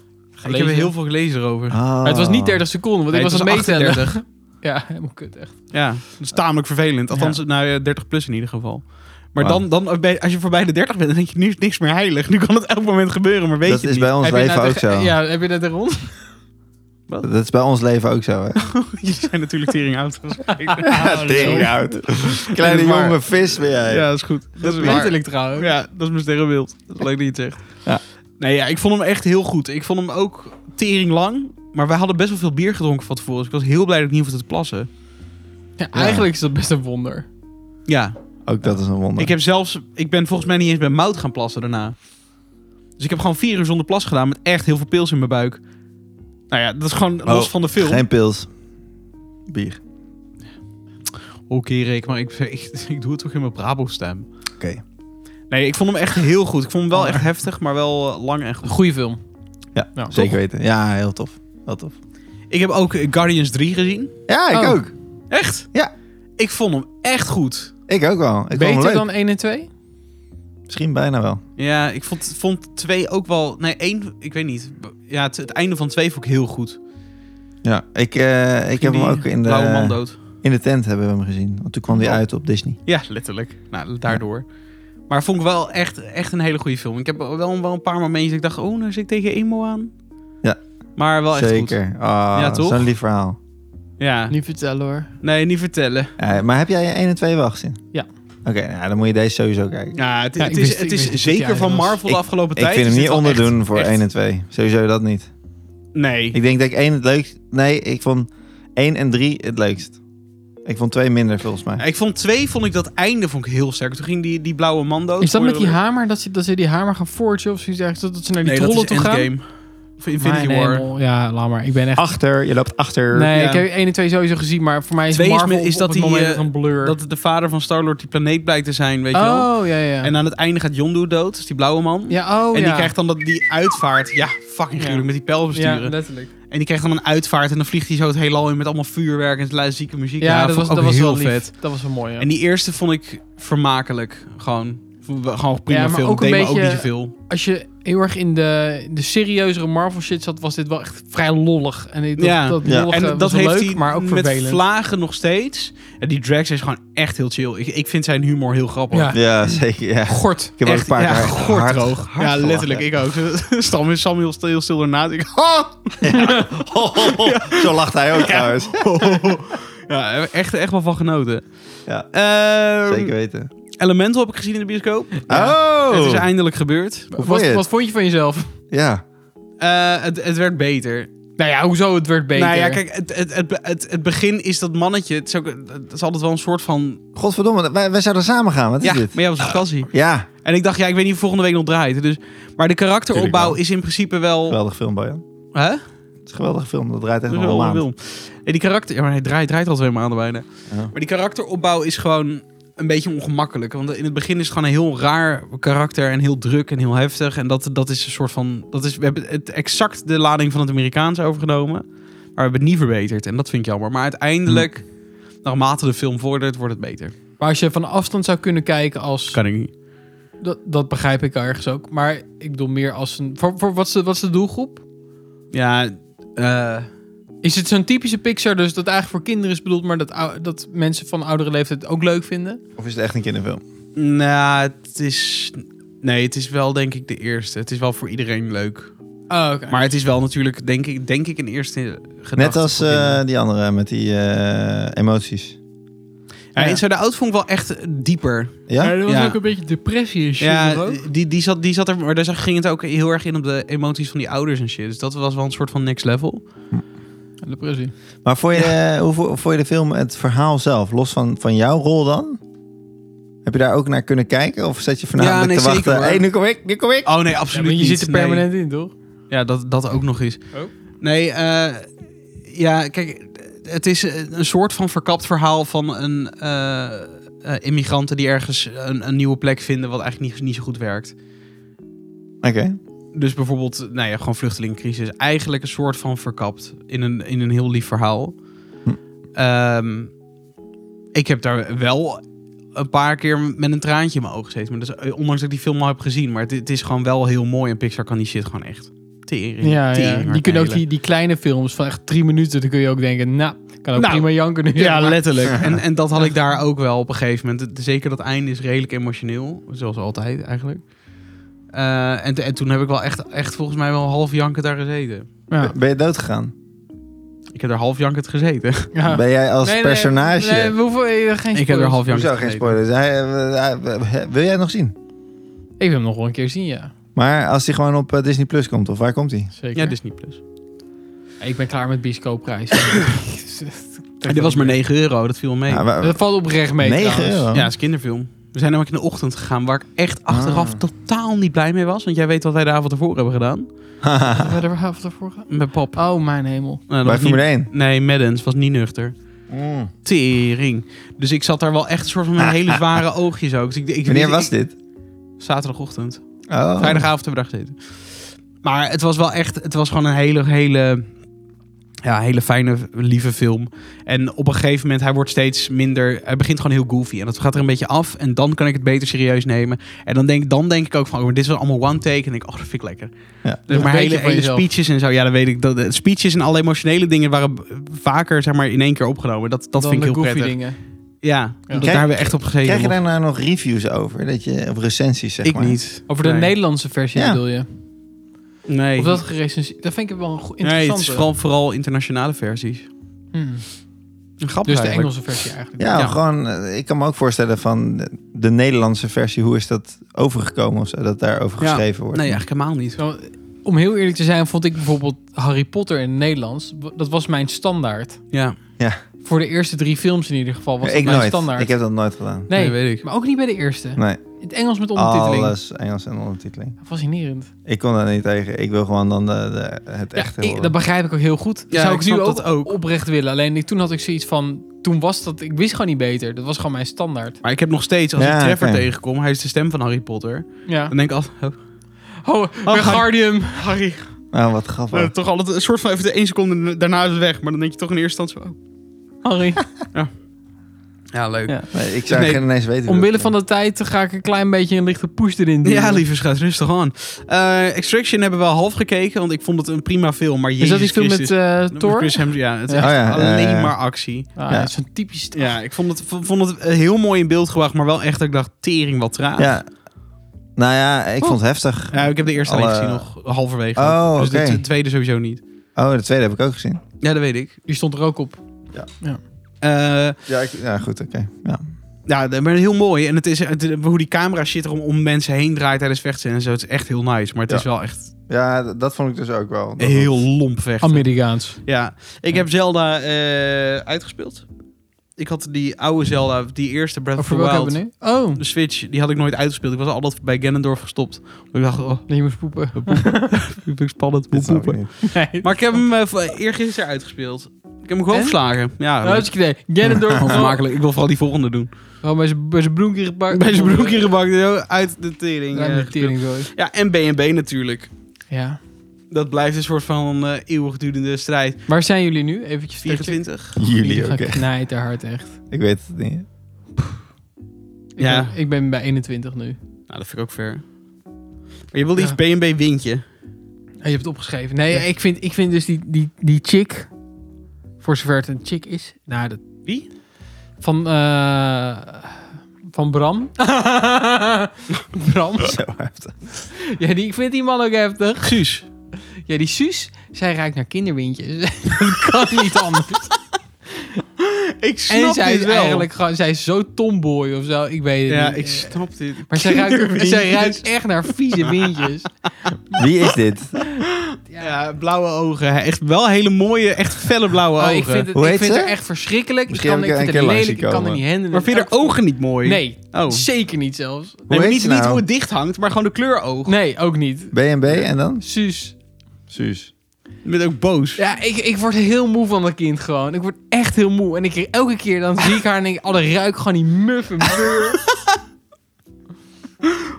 [SPEAKER 1] Ik heb er heel veel gelezen erover.
[SPEAKER 3] Ah.
[SPEAKER 2] Maar het was niet 30 seconden, want
[SPEAKER 1] Nee,
[SPEAKER 2] ik was
[SPEAKER 1] het
[SPEAKER 2] aan het meetellen.
[SPEAKER 1] 38.
[SPEAKER 2] Ja, [LAUGHS] helemaal kut echt.
[SPEAKER 1] Ja, dat is tamelijk vervelend. Althans, nou ja, 30 plus in ieder geval. Maar dan, dan, bij- als je voorbij de 30 bent, dan denk je, nu is niks meer heilig. Nu kan het elk moment gebeuren, maar weet
[SPEAKER 3] Dat
[SPEAKER 1] je
[SPEAKER 3] is
[SPEAKER 1] het
[SPEAKER 3] bij ons
[SPEAKER 2] Heb je
[SPEAKER 3] leven
[SPEAKER 2] nou
[SPEAKER 3] ook
[SPEAKER 2] tegen-
[SPEAKER 3] zo.
[SPEAKER 2] Ja, heb je dat er rond?
[SPEAKER 3] Dat is bij ons leven ook zo. Hè?
[SPEAKER 1] niet. Je zijn natuurlijk tering oud. [LAUGHS]
[SPEAKER 3] Ja, ding uit.
[SPEAKER 1] Dat
[SPEAKER 3] Kleine
[SPEAKER 1] is waar.
[SPEAKER 3] jonge vis weer. jij.
[SPEAKER 1] Ja, dat is goed. Dat, is waar.
[SPEAKER 2] Letterlijk trouwens.
[SPEAKER 1] Ja, dat is mijn sterrenbeeld. Dat is leuk dat je het zegt.
[SPEAKER 3] Ja.
[SPEAKER 1] Nee, ja, ik vond hem echt heel goed. Ik vond hem ook tering lang. Maar wij hadden best wel veel bier gedronken van tevoren. Dus ik was heel blij dat ik niet hoefde te plassen.
[SPEAKER 2] Ja, eigenlijk is dat best een wonder.
[SPEAKER 1] Ja,
[SPEAKER 3] Ook dat is een wonder.
[SPEAKER 1] ik heb zelfs... Ik ben volgens mij niet eens bij mout gaan plassen daarna. Dus ik heb gewoon vier uur zonder plas gedaan met echt heel veel pils in mijn buik. Nou ja, dat is gewoon los
[SPEAKER 3] Oh,
[SPEAKER 1] van de film.
[SPEAKER 3] Geen pils. Bier.
[SPEAKER 1] Oké, Rick, maar ik, [LAUGHS] ik, ik doe het toch in mijn Brabo-stem.
[SPEAKER 3] Oké.
[SPEAKER 1] Nee, ik vond hem echt heel goed. Ik vond hem wel echt heftig, maar wel eh, lang en goed.
[SPEAKER 2] Een goede film.
[SPEAKER 3] Ja,
[SPEAKER 2] Nou,
[SPEAKER 3] zeker weten. Ja, heel tof. Heel tof.
[SPEAKER 1] Ik heb ook eh, Guardians 3 gezien.
[SPEAKER 3] Ja, ik
[SPEAKER 2] Oh.
[SPEAKER 3] ook.
[SPEAKER 1] Echt?
[SPEAKER 3] Ja.
[SPEAKER 1] Ik vond hem echt goed.
[SPEAKER 3] Ik ook wel. Ik vond hem
[SPEAKER 2] Beter
[SPEAKER 3] leuk.
[SPEAKER 2] dan 1 en 2?
[SPEAKER 3] Misschien bijna wel.
[SPEAKER 1] Ja, ik vond, vond twee ook wel... Nee, één... Ik weet niet. Ja, het, het einde van twee vond ik heel goed.
[SPEAKER 3] Ja, ik, eh, ik heb hem
[SPEAKER 1] Die
[SPEAKER 3] ook in
[SPEAKER 1] Blauwe man
[SPEAKER 3] de,
[SPEAKER 1] dood.
[SPEAKER 3] in de tent hebben we hem gezien. Want toen kwam die
[SPEAKER 1] Oh.
[SPEAKER 3] uit op Disney.
[SPEAKER 1] Ja, letterlijk. Nou, daardoor. Maar vond ik wel echt, echt een hele goede film. Ik heb wel, wel een paar momentjes dat ik dacht... Oh, nou zit ik tegen Emo aan.
[SPEAKER 3] Ja.
[SPEAKER 1] Maar wel echt goed.
[SPEAKER 3] Zeker. Ah,
[SPEAKER 1] Ja, toch?
[SPEAKER 3] Zo'n lief verhaal.
[SPEAKER 1] Ja.
[SPEAKER 2] Niet vertellen hoor.
[SPEAKER 1] Nee, niet vertellen.
[SPEAKER 3] Eh, maar heb jij 1 en 2 wel gezien?
[SPEAKER 2] Ja.
[SPEAKER 3] Oké, nou, dan moet je deze sowieso kijken.
[SPEAKER 1] Ja, het,
[SPEAKER 2] Ja,
[SPEAKER 1] het
[SPEAKER 2] ik
[SPEAKER 1] is,
[SPEAKER 2] wist-
[SPEAKER 1] het
[SPEAKER 2] ik wist
[SPEAKER 1] is
[SPEAKER 2] niet
[SPEAKER 1] zeker
[SPEAKER 2] dat jij
[SPEAKER 1] van
[SPEAKER 2] dat
[SPEAKER 1] Marvel de afgelopen
[SPEAKER 3] Ik
[SPEAKER 1] tijd.
[SPEAKER 3] vind hem
[SPEAKER 1] is
[SPEAKER 3] niet
[SPEAKER 1] dit wel
[SPEAKER 3] onderdoen
[SPEAKER 1] echt-
[SPEAKER 3] voor
[SPEAKER 1] echt-
[SPEAKER 3] 1 en 2. Sowieso dat niet.
[SPEAKER 1] Nee.
[SPEAKER 3] Ik denk dat ik 1 het leukst... Nee, ik vond 1 en 3 het leukst. Ik vond 2 minder volgens mij.
[SPEAKER 1] Ik vond twee, vond ik dat einde vond ik heel sterk. Toen ging die, die blauwe man dood.
[SPEAKER 2] Is dat met die
[SPEAKER 1] Spoiler
[SPEAKER 2] hamer, dat ze, dat ze die hamer gaan forgen of zoiets dergelijks? Dat, dat ze naar die
[SPEAKER 1] alert. Nee,
[SPEAKER 2] trollen
[SPEAKER 1] dat is
[SPEAKER 2] toe gaan? Ah,
[SPEAKER 1] Endgame. Of Infinity
[SPEAKER 2] Mijn
[SPEAKER 1] War.
[SPEAKER 2] hemel. Ja, laat maar. Ik ben echt...
[SPEAKER 3] Achter, je loopt achter.
[SPEAKER 2] nee,
[SPEAKER 1] ja.
[SPEAKER 2] ik heb 1 en 2 sowieso gezien, maar voor mij is
[SPEAKER 1] Twee is
[SPEAKER 2] Marvel
[SPEAKER 1] me- is
[SPEAKER 2] op
[SPEAKER 1] dat
[SPEAKER 2] het
[SPEAKER 1] die,
[SPEAKER 2] moment
[SPEAKER 1] eh,
[SPEAKER 2] echt een blur.
[SPEAKER 1] Dat het de vader van Star-Lord die planeet blijkt te zijn, weet je wel.
[SPEAKER 2] oh, ja, ja.
[SPEAKER 1] En aan het einde gaat Yondu dood, dus die blauwe man.
[SPEAKER 2] ja, oh,
[SPEAKER 1] en die
[SPEAKER 2] ja.
[SPEAKER 1] krijgt dan dat, die uitvaart. Ja, fucking
[SPEAKER 2] Ja.
[SPEAKER 1] gruwelijk, met die pijl
[SPEAKER 2] Ja,
[SPEAKER 1] besturen.
[SPEAKER 2] letterlijk.
[SPEAKER 1] En die krijgt dan een uitvaart en dan vliegt hij zo het heelal in met allemaal vuurwerk en luid zieke muziek.
[SPEAKER 2] Ja, dat,
[SPEAKER 1] vond
[SPEAKER 2] was,
[SPEAKER 1] ik
[SPEAKER 2] dat
[SPEAKER 1] ook
[SPEAKER 2] was
[SPEAKER 1] heel
[SPEAKER 2] wel lief.
[SPEAKER 1] vet.
[SPEAKER 2] Dat was wel mooi, ja.
[SPEAKER 1] En die eerste vond ik vermakelijk. Gewoon, vond ik gewoon prima
[SPEAKER 2] Ja, maar
[SPEAKER 1] film.
[SPEAKER 2] ook een
[SPEAKER 1] Deed me ook
[SPEAKER 2] beetje-
[SPEAKER 1] niet zoveel.
[SPEAKER 2] Als je heel erg in de, de serieuzere Marvel shit zat, was dit wel echt vrij lollig. En ik- dat,
[SPEAKER 1] Ja.
[SPEAKER 2] dat
[SPEAKER 3] Ja.
[SPEAKER 2] lollige
[SPEAKER 1] En dat
[SPEAKER 2] was wel
[SPEAKER 1] heeft
[SPEAKER 2] leuk,
[SPEAKER 1] hij
[SPEAKER 2] maar ook
[SPEAKER 1] met
[SPEAKER 2] vervelend.
[SPEAKER 1] vlagen nog steeds. En die Drax is gewoon echt heel chill. Ik, ik vind zijn humor heel grappig.
[SPEAKER 2] Ja.
[SPEAKER 3] Ja, zeker. Ja.
[SPEAKER 2] Gort.
[SPEAKER 3] Ik heb ook
[SPEAKER 1] Echt,
[SPEAKER 3] een paar
[SPEAKER 1] ja,
[SPEAKER 3] keer
[SPEAKER 1] goor
[SPEAKER 3] hard-
[SPEAKER 1] droog.
[SPEAKER 3] hard
[SPEAKER 1] ja,
[SPEAKER 3] gelachen.
[SPEAKER 1] letterlijk. Ik ook. [LAUGHS] Sam is Sam heel stil, heel stil ernaast. Ik, [LAUGHS] oh!
[SPEAKER 3] Ho, ho, ho. [LAUGHS] Zo lacht hij ook
[SPEAKER 1] [LAUGHS]
[SPEAKER 3] trouwens.
[SPEAKER 1] Ja, daar heb ik echt, echt wel van genoten.
[SPEAKER 3] Ja.
[SPEAKER 1] Ehm,
[SPEAKER 3] Zeker weten.
[SPEAKER 1] Elemental heb ik gezien in de bioscoop.
[SPEAKER 3] Oh!
[SPEAKER 1] Het is eindelijk gebeurd.
[SPEAKER 3] Hoe vond
[SPEAKER 2] Wat,
[SPEAKER 3] je het?
[SPEAKER 2] wat vond je van jezelf?
[SPEAKER 3] Ja.
[SPEAKER 1] Eh, het, het werd beter.
[SPEAKER 2] Nou ja, hoezo het werd beter?
[SPEAKER 1] Nou ja, kijk, het, het, het, het, het begin is dat mannetje. Het is, ook, het is altijd wel een soort van.
[SPEAKER 3] Godverdomme, wij, wij zouden samen gaan. Wat is
[SPEAKER 1] Ja, maar
[SPEAKER 3] dit?
[SPEAKER 1] jij was op vakantie.
[SPEAKER 3] Ja.
[SPEAKER 1] En ik dacht, ja, ik weet niet of volgende week nog draait. Dus, maar de karakteropbouw
[SPEAKER 3] Tuurlijk wel.
[SPEAKER 1] is in principe wel.
[SPEAKER 3] Geweldige film, Bojan.
[SPEAKER 1] Hè?
[SPEAKER 3] Het is een geweldige film. Dat draait echt
[SPEAKER 1] Dat is
[SPEAKER 3] nog een
[SPEAKER 1] wel een
[SPEAKER 3] maand.
[SPEAKER 1] film. En die karakter. Ja, maar hij draait, draait al twee maanden bijna.
[SPEAKER 3] Ja.
[SPEAKER 1] Maar die karakteropbouw is gewoon een beetje ongemakkelijk. Want in het begin is het gewoon een heel raar karakter. En heel druk en heel heftig. En dat, dat is een soort van. Dat is, we hebben het exact de lading van het Amerikaans overgenomen. Maar we hebben het niet verbeterd. En dat vind ik jammer. Maar uiteindelijk. Naarmate de film vordert, wordt het beter.
[SPEAKER 2] Maar als je van afstand zou kunnen kijken als...
[SPEAKER 1] Kan ik niet.
[SPEAKER 2] Dat, dat begrijp ik ergens ook. Maar ik bedoel meer als een... Voor, voor, wat, is de, wat is de doelgroep?
[SPEAKER 1] Ja, eh,
[SPEAKER 2] Is het zo'n typische Pixar dus dat eigenlijk voor kinderen is bedoeld... maar dat, ou- dat mensen van oudere leeftijd ook leuk vinden?
[SPEAKER 3] Of is het echt een kinderfilm?
[SPEAKER 1] nou, het is. Nee, het is wel denk ik de eerste. Het is wel voor iedereen leuk.
[SPEAKER 2] Oh, oké.
[SPEAKER 1] Maar het is wel natuurlijk, denk ik, denk ik een eerste gedachte.
[SPEAKER 3] Net als
[SPEAKER 1] voor kinderen.
[SPEAKER 3] eh, die andere met die eh, emoties.
[SPEAKER 1] ja,
[SPEAKER 2] ja.
[SPEAKER 1] Inside Out vond ik wel echt dieper.
[SPEAKER 3] Ja?
[SPEAKER 2] dat
[SPEAKER 1] was Ja. ook een
[SPEAKER 2] beetje depressie en
[SPEAKER 1] Ja, die, die, zat, die zat er, maar daar zag- ging het ook heel erg in op de emoties van die ouders en shit. Dus dat was wel een soort van next level.
[SPEAKER 2] Depressie.
[SPEAKER 3] Maar eh, vond je, eh, hoe vo- vond je de film, het verhaal zelf, los van, van jouw rol dan? Heb Heb je daar ook naar kunnen kijken? Of zat je voornamelijk
[SPEAKER 1] Ja, nee,
[SPEAKER 3] te wachten?
[SPEAKER 1] zeker, hoor.
[SPEAKER 3] hey, nu kom ik, nu kom ik.
[SPEAKER 1] Oh nee, absoluut
[SPEAKER 2] maar je
[SPEAKER 1] niet.
[SPEAKER 2] zit er
[SPEAKER 1] Nee.
[SPEAKER 2] permanent in, toch?
[SPEAKER 1] Ja, dat, dat ook nog eens.
[SPEAKER 2] Oh.
[SPEAKER 1] Nee, eh, ja, kijk, het is een soort van verkapt verhaal van een eh, eh, immigranten die ergens een, een nieuwe plek vinden wat eigenlijk niet, niet zo goed werkt.
[SPEAKER 3] Oké.
[SPEAKER 1] Dus bijvoorbeeld, nou ja, gewoon vluchtelingencrisis. Eigenlijk een soort van verkapt in een, in een heel lief verhaal.
[SPEAKER 3] Hm.
[SPEAKER 1] Ehm, ik heb daar wel een paar keer met een traantje in mijn ogen gezeten. Maar dat is, eh, ondanks dat ik die film al heb gezien. Maar het, het is gewoon wel heel mooi. En Pixar kan die shit gewoon echt tering.
[SPEAKER 2] Ja, ja.
[SPEAKER 1] tering
[SPEAKER 2] Je kunt ook
[SPEAKER 1] hardnelen.
[SPEAKER 2] die, die kleine films van echt drie minuten, dan kun je ook denken, nou, kan ook
[SPEAKER 1] Nou,
[SPEAKER 2] prima janken nu.
[SPEAKER 1] Ja,
[SPEAKER 2] zeg maar.
[SPEAKER 1] letterlijk. En, en dat had ik daar ook wel op een gegeven moment. Het- Zeker dat einde is redelijk emotioneel. Zoals altijd eigenlijk. Eh, en, te- en toen heb ik wel echt, echt volgens mij wel half jankend daar gezeten.
[SPEAKER 2] Ja.
[SPEAKER 3] Ben je doodgegaan?
[SPEAKER 1] Ik heb daar half jankend gezeten.
[SPEAKER 2] Ja.
[SPEAKER 3] Ben jij als
[SPEAKER 2] Nee, nee,
[SPEAKER 3] personage...
[SPEAKER 2] Nee, we hoeven eh, geen
[SPEAKER 1] Ik heb er
[SPEAKER 2] spoilers.
[SPEAKER 1] half jankend
[SPEAKER 3] Hoezo geen
[SPEAKER 1] gezeten.
[SPEAKER 3] spoilers? Hij- eh, hij- eh, wil jij het nog zien?
[SPEAKER 2] Ik wil hem nog wel een keer zien, ja.
[SPEAKER 3] Maar als hij gewoon op eh, Disney Plus komt, of waar komt hij?
[SPEAKER 2] Zeker.
[SPEAKER 1] Ja, Disney Plus.
[SPEAKER 2] Ik ben klaar met bioscoopprijs. [LAUGHS]
[SPEAKER 1] En dit was maar 9 euro, dat viel mee.
[SPEAKER 3] Nou,
[SPEAKER 1] Ja,
[SPEAKER 3] wa-
[SPEAKER 2] Dat dus. valt oprecht mee
[SPEAKER 3] 9
[SPEAKER 2] trouwens.
[SPEAKER 3] euro?
[SPEAKER 1] dat is kinderfilm. We zijn namelijk in de ochtend gegaan waar ik echt achteraf
[SPEAKER 3] Ah.
[SPEAKER 1] totaal niet blij mee was. Want jij weet wat wij de avond ervoor hebben gedaan.
[SPEAKER 2] Hadden we er avond ervoor gehad?
[SPEAKER 1] Met pap.
[SPEAKER 2] Oh, mijn hemel.
[SPEAKER 1] Nou, dat
[SPEAKER 3] [LAUGHS] Bij
[SPEAKER 1] was niet-
[SPEAKER 3] Formule 1.
[SPEAKER 1] Nee, Maddens was niet nuchter.
[SPEAKER 3] Mm.
[SPEAKER 1] Tering. Dus ik zat daar wel echt een soort van
[SPEAKER 3] [LAUGHS]
[SPEAKER 1] met hele zware oogjes ook. Dus ik, ik,
[SPEAKER 3] Wanneer
[SPEAKER 1] ik-
[SPEAKER 3] was dit?
[SPEAKER 1] Zaterdagochtend.
[SPEAKER 3] Oh.
[SPEAKER 1] Vrijdagavond hebben we daar gezeten. Maar het was wel echt, het was gewoon een hele, hele, ja, hele fijne, lieve film. En op een gegeven moment, hij wordt steeds minder, hij begint gewoon heel goofy. En dat gaat er een beetje af en dan kan ik het beter serieus nemen. En dan denk, dan denk ik ook van, oh, maar dit is wel allemaal one take. En denk ik, oh, dat vind ik lekker.
[SPEAKER 3] Ja.
[SPEAKER 1] Dus
[SPEAKER 2] Nog
[SPEAKER 1] maar
[SPEAKER 2] een
[SPEAKER 1] hele,
[SPEAKER 2] beetje van
[SPEAKER 1] hele
[SPEAKER 2] jezelf.
[SPEAKER 1] speeches en zo, ja, dat weet ik. Dat, de speeches en alle emotionele dingen waren b- vaker, zeg maar, in één keer opgenomen. Dat, dat
[SPEAKER 2] Dan
[SPEAKER 1] vind ik
[SPEAKER 2] de
[SPEAKER 1] heel
[SPEAKER 2] goofy
[SPEAKER 1] prettig.
[SPEAKER 2] dingen.
[SPEAKER 1] Ja, omdat
[SPEAKER 2] Krijg-
[SPEAKER 1] daar hebben we echt op gezeten.
[SPEAKER 3] Krijg je daar nou nog reviews over? Dat je, of recensies, zeg
[SPEAKER 1] ik
[SPEAKER 3] maar?
[SPEAKER 1] niet.
[SPEAKER 2] Over de
[SPEAKER 1] Nee.
[SPEAKER 2] Nederlandse versie
[SPEAKER 3] Ja.
[SPEAKER 2] bedoel je?
[SPEAKER 1] Nee.
[SPEAKER 2] Of dat gerecenseerd? Dat vind ik wel een
[SPEAKER 1] nee,
[SPEAKER 2] go-
[SPEAKER 1] het
[SPEAKER 2] interessante.
[SPEAKER 1] is vooral, vooral internationale versies.
[SPEAKER 2] Hmm.
[SPEAKER 1] Een grap
[SPEAKER 2] Dus de
[SPEAKER 1] eigenlijk.
[SPEAKER 2] Engelse versie eigenlijk.
[SPEAKER 3] Ja,
[SPEAKER 1] Ja.
[SPEAKER 3] gewoon, eh, ik kan me ook voorstellen van de Nederlandse versie, hoe is dat overgekomen of zo, dat daarover
[SPEAKER 1] Ja.
[SPEAKER 3] geschreven wordt.
[SPEAKER 1] Nee, eigenlijk helemaal niet.
[SPEAKER 2] Zo, om heel eerlijk te zijn, vond ik bijvoorbeeld Harry Potter in het Nederlands. w- Dat was mijn standaard.
[SPEAKER 1] Ja,
[SPEAKER 2] Voor de eerste drie films in ieder geval was
[SPEAKER 3] ik
[SPEAKER 2] dat mijn
[SPEAKER 3] nooit.
[SPEAKER 2] standaard.
[SPEAKER 3] Ik heb dat nooit gedaan.
[SPEAKER 1] nee,
[SPEAKER 2] Nee,
[SPEAKER 1] weet ik.
[SPEAKER 2] maar ook niet bij de eerste.
[SPEAKER 3] Nee,
[SPEAKER 2] In het Engels met ondertiteling.
[SPEAKER 3] alles Engels en ondertiteling.
[SPEAKER 2] Fascinerend.
[SPEAKER 3] Ik kon daar niet tegen. Ik wil gewoon dan de, de- het
[SPEAKER 2] Ja,
[SPEAKER 3] echte
[SPEAKER 2] ik-
[SPEAKER 3] horen.
[SPEAKER 2] dat begrijp ik ook heel goed. Dat
[SPEAKER 1] Ja,
[SPEAKER 2] zou
[SPEAKER 1] ik
[SPEAKER 2] ik, nu
[SPEAKER 1] snap
[SPEAKER 2] ook,
[SPEAKER 1] dat ook.
[SPEAKER 2] oprecht willen. Alleen ik- toen had ik zoiets van... Toen was dat... Ik wist gewoon niet beter. Dat was gewoon mijn standaard.
[SPEAKER 1] Maar ik heb nog steeds, als
[SPEAKER 3] Ja,
[SPEAKER 1] ik Trevor
[SPEAKER 3] oké.
[SPEAKER 1] tegenkom, hij is de stem van Harry Potter.
[SPEAKER 2] Ja.
[SPEAKER 1] Dan denk ik altijd, oh,
[SPEAKER 2] Oh,
[SPEAKER 1] Harry.
[SPEAKER 2] Guardian.
[SPEAKER 1] Harry.
[SPEAKER 3] Ah, wat
[SPEAKER 1] Eh,
[SPEAKER 3] grappig.
[SPEAKER 1] toch altijd een soort van even de één seconde daarna is het weg. Maar dan denk je toch in eerste instantie, oh.
[SPEAKER 2] Harry.
[SPEAKER 1] Ja, leuk.
[SPEAKER 2] Ja.
[SPEAKER 1] Ja,
[SPEAKER 3] Nee, ik zou
[SPEAKER 1] Nee,
[SPEAKER 3] geen ineens weten. hoe
[SPEAKER 2] [LAUGHS] Omwille
[SPEAKER 3] dat-
[SPEAKER 2] van de tijd ga ik een klein beetje een lichte push erin doen.
[SPEAKER 1] lieve schat, rustig aan. Eh, Extraction hebben we half gekeken, want ik vond het een prima film. Maar
[SPEAKER 2] Is
[SPEAKER 1] jezus
[SPEAKER 2] dat die film met
[SPEAKER 1] Christus.
[SPEAKER 2] eh Thor?
[SPEAKER 1] Chris Hemsworth, ja, het is
[SPEAKER 2] Ja.
[SPEAKER 1] echt
[SPEAKER 3] Oh ja,
[SPEAKER 1] alleen
[SPEAKER 3] eh,
[SPEAKER 1] maar actie.
[SPEAKER 2] Ah,
[SPEAKER 3] Ja.
[SPEAKER 2] dat is een typisch...
[SPEAKER 1] Ja, ik vond het, v- vond het eh, heel mooi in beeld gebracht, maar wel echt dat ik dacht, tering wat traag.
[SPEAKER 3] Ja. Nou ja, ik
[SPEAKER 1] Oh.
[SPEAKER 3] vond het heftig.
[SPEAKER 1] Ja, ik heb de eerste
[SPEAKER 3] Alle-
[SPEAKER 1] alleen gezien nog, halverwege.
[SPEAKER 3] Oh,
[SPEAKER 1] dus de
[SPEAKER 3] oké.
[SPEAKER 1] t- tweede sowieso niet.
[SPEAKER 3] Oh, de tweede heb ik ook gezien.
[SPEAKER 1] Ja, dat weet ik.
[SPEAKER 2] Die stond er ook op.
[SPEAKER 1] Eh,
[SPEAKER 3] Ja, ik, ja goed, oké. Ja.
[SPEAKER 1] Ja, de- maar heel mooi. En het is het- hoe die camera shit er om, om mensen heen draait tijdens vechten en zo. Het is echt heel nice. Maar het
[SPEAKER 3] Ja.
[SPEAKER 1] is wel echt
[SPEAKER 3] ja, d- dat vond ik dus ook wel. Dat
[SPEAKER 1] heel lomp vechten.
[SPEAKER 2] Amerikaans.
[SPEAKER 1] ja, ik heb Zelda eh, uitgespeeld. Ik had die oude Zelda, die eerste Breath of the
[SPEAKER 2] Over welke hebben
[SPEAKER 1] Wild.
[SPEAKER 2] we nu? Oh,
[SPEAKER 1] De Switch, die had ik nooit uitgespeeld. Ik was altijd bij Ganondorf gestopt. Ik dacht, oh, [LAUGHS]
[SPEAKER 2] nee, je moest poepen.
[SPEAKER 1] vind ik spannend.
[SPEAKER 3] dit
[SPEAKER 1] Moet
[SPEAKER 3] snap ik
[SPEAKER 1] poepen.
[SPEAKER 3] niet.
[SPEAKER 2] Nee.
[SPEAKER 1] Maar ik heb hem uh, eergisteren uitgespeeld. Ik heb hem gewoon
[SPEAKER 2] En?
[SPEAKER 1] verslagen. Ja,
[SPEAKER 2] [LAUGHS] Nou,
[SPEAKER 1] dat
[SPEAKER 2] dat
[SPEAKER 1] is
[SPEAKER 2] is het idee.
[SPEAKER 1] [LAUGHS]
[SPEAKER 2] Ganondorf.
[SPEAKER 1] gewoon
[SPEAKER 2] Gewoon
[SPEAKER 1] vermakelijk. Ik wil vooral die volgende doen.
[SPEAKER 2] gewoon bij zijn- bij zijn broekje gepakt.
[SPEAKER 1] Bij zijn broekje gebakt, zo, uit de tering. eh,
[SPEAKER 2] Ruim de
[SPEAKER 1] gespeeld.
[SPEAKER 2] tering, sorry.
[SPEAKER 1] Ja, en BNB natuurlijk.
[SPEAKER 2] Ja.
[SPEAKER 1] Dat blijft een soort van eh, eeuwigdurende strijd.
[SPEAKER 2] Waar zijn jullie nu? Eventjes
[SPEAKER 1] 24.
[SPEAKER 3] Jullie ook
[SPEAKER 2] gaan
[SPEAKER 3] echt.
[SPEAKER 2] knijten hard echt.
[SPEAKER 3] Ik weet het niet.
[SPEAKER 2] Ik
[SPEAKER 1] Ja.
[SPEAKER 2] Ben, ik ben bij 21 nu.
[SPEAKER 1] Nou, dat vind ik ook ver. Maar je wilde
[SPEAKER 2] Ja.
[SPEAKER 1] iets BNB windje.
[SPEAKER 2] Oh, je hebt het opgeschreven. Nee, ik vind, ik vind dus die, die, die chick, voor zover het een chick is. Nou, dat,
[SPEAKER 1] Wie?
[SPEAKER 2] Van, eh,
[SPEAKER 1] [LAUGHS]
[SPEAKER 2] van Bram. Bram.
[SPEAKER 3] Zo heftig.
[SPEAKER 2] Ja, die, ik vind die man ook heftig.
[SPEAKER 1] Guus.
[SPEAKER 2] Ja, die Suus, zij ruikt naar kinderwindjes. [LAUGHS] dat kan
[SPEAKER 1] [LAUGHS]
[SPEAKER 2] niet anders.
[SPEAKER 1] Ik
[SPEAKER 2] en
[SPEAKER 1] snap
[SPEAKER 2] zij
[SPEAKER 1] dit
[SPEAKER 2] is
[SPEAKER 1] wel.
[SPEAKER 2] eigenlijk gewoon, zij is zo tomboy of zo. Ik weet het
[SPEAKER 1] Ja,
[SPEAKER 2] niet.
[SPEAKER 1] ik
[SPEAKER 2] Eh,
[SPEAKER 1] snap dit.
[SPEAKER 2] Maar zij ruikt,
[SPEAKER 1] Kinderwindjes.
[SPEAKER 2] zij ruikt echt naar vieze windjes.
[SPEAKER 3] Wie is dit?
[SPEAKER 1] Ja, blauwe ogen. Echt wel hele mooie, echt felle blauwe
[SPEAKER 2] Oh,
[SPEAKER 1] ogen.
[SPEAKER 2] ik vind het,
[SPEAKER 3] Hoe
[SPEAKER 2] ik
[SPEAKER 3] heet
[SPEAKER 2] vind
[SPEAKER 3] ze?
[SPEAKER 2] het echt verschrikkelijk. Ik
[SPEAKER 3] Misschien
[SPEAKER 2] kan,
[SPEAKER 3] heb
[SPEAKER 2] ik
[SPEAKER 3] ik
[SPEAKER 2] vind
[SPEAKER 3] een
[SPEAKER 2] het
[SPEAKER 3] keer langs
[SPEAKER 2] lelijk, ik kan
[SPEAKER 3] gekomen.
[SPEAKER 2] er niet handelen.
[SPEAKER 1] Maar vind je
[SPEAKER 2] Ook- Oh.
[SPEAKER 1] de ogen niet mooi?
[SPEAKER 2] Nee,
[SPEAKER 1] Oh.
[SPEAKER 2] zeker niet zelfs.
[SPEAKER 1] Nee, maar
[SPEAKER 3] heet
[SPEAKER 1] niet,
[SPEAKER 3] ze
[SPEAKER 1] niet
[SPEAKER 3] nou?
[SPEAKER 1] hoe het dicht hangt, maar gewoon de kleur oog.
[SPEAKER 2] Nee, ook niet.
[SPEAKER 3] BNB en dan?
[SPEAKER 2] Suus.
[SPEAKER 3] Suus.
[SPEAKER 1] Met ook boos.
[SPEAKER 2] Ja, ik, ik word heel moe van dat kind gewoon. Ik word echt heel moe. En ik, elke keer dan zie ik haar en denk ik, oh, dan ruik ik gewoon die muffe meur.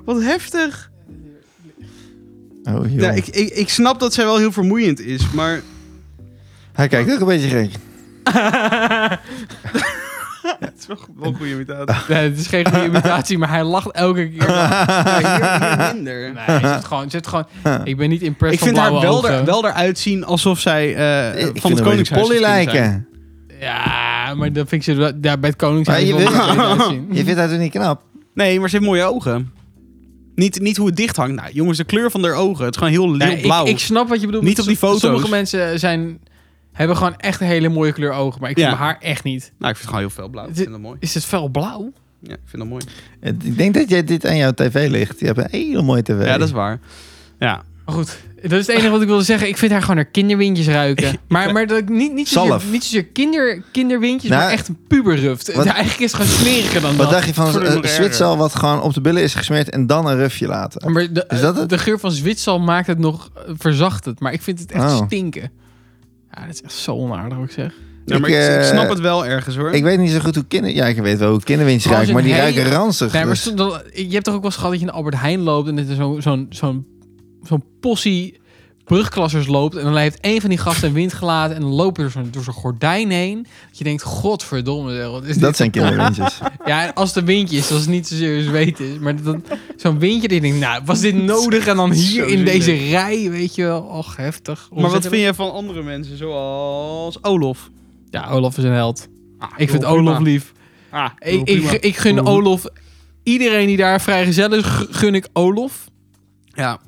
[SPEAKER 1] Wat heftig.
[SPEAKER 3] Oh, joh.
[SPEAKER 1] Ja, ik, ik, ik snap dat zij wel heel vermoeiend is, maar...
[SPEAKER 3] Hij kijkt ook een beetje gek.
[SPEAKER 1] Eh, Het is wel wel een goede
[SPEAKER 2] [LAUGHS]
[SPEAKER 1] imitatie.
[SPEAKER 2] [LAUGHS] nee, het is geen goede imitatie, maar hij lacht elke keer.
[SPEAKER 1] Ja, hier- hier minder.
[SPEAKER 3] [LAUGHS]
[SPEAKER 2] Nee, ze zit gewoon, ze zit gewoon, ik ben niet impressed
[SPEAKER 1] Ik
[SPEAKER 2] van
[SPEAKER 1] vind haar
[SPEAKER 2] blauwe
[SPEAKER 1] wel,
[SPEAKER 2] ogen.
[SPEAKER 1] er, wel eruit zien alsof zij eh,
[SPEAKER 3] ik
[SPEAKER 1] van
[SPEAKER 3] vind
[SPEAKER 1] het
[SPEAKER 3] hem een beetje
[SPEAKER 1] koningshuis
[SPEAKER 3] Polly
[SPEAKER 1] gestuurd zijn.
[SPEAKER 3] lijken.
[SPEAKER 2] Ja, maar dat vind ik ze wel- daar bij het
[SPEAKER 3] Maar
[SPEAKER 2] Koningshuis
[SPEAKER 3] je
[SPEAKER 2] wel
[SPEAKER 3] wil-
[SPEAKER 2] mooi
[SPEAKER 3] [LAUGHS]
[SPEAKER 2] uitzien.
[SPEAKER 3] Mm. Je vindt haar toch niet knap?
[SPEAKER 1] Nee, maar ze heeft mooie ogen. Niet, niet hoe het dicht hangt. Nou, jongens, de kleur van haar ogen. Het is gewoon heel,
[SPEAKER 2] Nee,
[SPEAKER 1] heel blauw.
[SPEAKER 2] Ik, ik snap wat je bedoelt.
[SPEAKER 1] Niet op die
[SPEAKER 2] Som- Sommige
[SPEAKER 1] foto's.
[SPEAKER 3] dus-
[SPEAKER 2] mensen zijn, hebben gewoon echt een hele mooie kleur ogen, maar ik vind
[SPEAKER 1] Ja.
[SPEAKER 2] haar echt niet.
[SPEAKER 1] Nou, ik vind het gewoon heel fel blauw. Ik vind dat mooi.
[SPEAKER 2] Is het fel blauw?
[SPEAKER 1] Ja, ik vind dat mooi.
[SPEAKER 3] Het- Ik denk dat jij dit aan jouw tv ligt. Je hebt een hele mooie tv.
[SPEAKER 1] Ja, dat is waar. Ja.
[SPEAKER 2] Maar goed, dat is het enige wat ik wilde zeggen. Ik vind haar gewoon haar kinderwindjes
[SPEAKER 3] [LAUGHS]
[SPEAKER 2] ruiken. Maar, maar dat ik niet, niet zozeer,
[SPEAKER 3] Zalf.
[SPEAKER 2] niet zozeer kinder, kinderwindjes,
[SPEAKER 3] Nou,
[SPEAKER 2] maar echt een puberruft.
[SPEAKER 3] wat-
[SPEAKER 2] Eigenlijk is het gewoon smeriger dan
[SPEAKER 3] Wat
[SPEAKER 2] dat.
[SPEAKER 3] dacht je van
[SPEAKER 1] Verdomme
[SPEAKER 3] een
[SPEAKER 1] erger.
[SPEAKER 3] Zwitser wat gewoon op de billen is gesmeerd en dan een rufje laten?
[SPEAKER 2] Maar de,
[SPEAKER 3] Is dat het?
[SPEAKER 2] de geur van Zwitsal maakt het nog, eh, verzacht het. Maar ik vind het echt
[SPEAKER 3] Oh.
[SPEAKER 2] stinken. Ja, dat is echt zo onaardig wat ik zeg.
[SPEAKER 1] Ja, maar ik,
[SPEAKER 3] Ik,
[SPEAKER 1] ik
[SPEAKER 3] eh,
[SPEAKER 1] snap het wel ergens hoor.
[SPEAKER 3] Ik weet niet zo goed hoe kinder... Ja, ik weet wel hoe kinderwindjes
[SPEAKER 2] Gewoon
[SPEAKER 3] ruiken, maar die
[SPEAKER 2] zo'n
[SPEAKER 3] ruiken
[SPEAKER 2] hele-
[SPEAKER 3] ranzig.
[SPEAKER 2] Nee, maar
[SPEAKER 3] dus-
[SPEAKER 2] zo- dan- je hebt toch ook wel eens gehad dat je in Albert Heijn loopt en dat er zo- zo'n zo'n zo'n possie brugklassers loopt en dan heeft één van die gasten een wind gelaten en dan lopen er zo'n- door zo'n gordijn heen. Dat je denkt, godverdomme, zeg, wat is dit?
[SPEAKER 3] Dat
[SPEAKER 1] [LAUGHS]
[SPEAKER 3] zijn kinderwindjes.
[SPEAKER 2] Ja, en als het een windje is, als het niet zozeer zweet is, maar dat- zo'n windje die je denkt, nou, was dit nodig? En
[SPEAKER 1] [LAUGHS]
[SPEAKER 2] dan
[SPEAKER 1] Zo
[SPEAKER 2] hier in
[SPEAKER 1] zielig.
[SPEAKER 2] deze rij, weet je wel, och, heftig.
[SPEAKER 1] maar wat vind jij van andere mensen zoals Olof?
[SPEAKER 2] Ja, Olaf is een held.
[SPEAKER 1] Ah,
[SPEAKER 2] Ik vind
[SPEAKER 1] joh, prima.
[SPEAKER 2] Olaf lief.
[SPEAKER 1] Ah, joh,
[SPEAKER 2] Ik, ik,
[SPEAKER 1] prima.
[SPEAKER 2] ik gun Olaf, iedereen die daar vrijgezel is, gu- gun ik Olaf.
[SPEAKER 1] ja.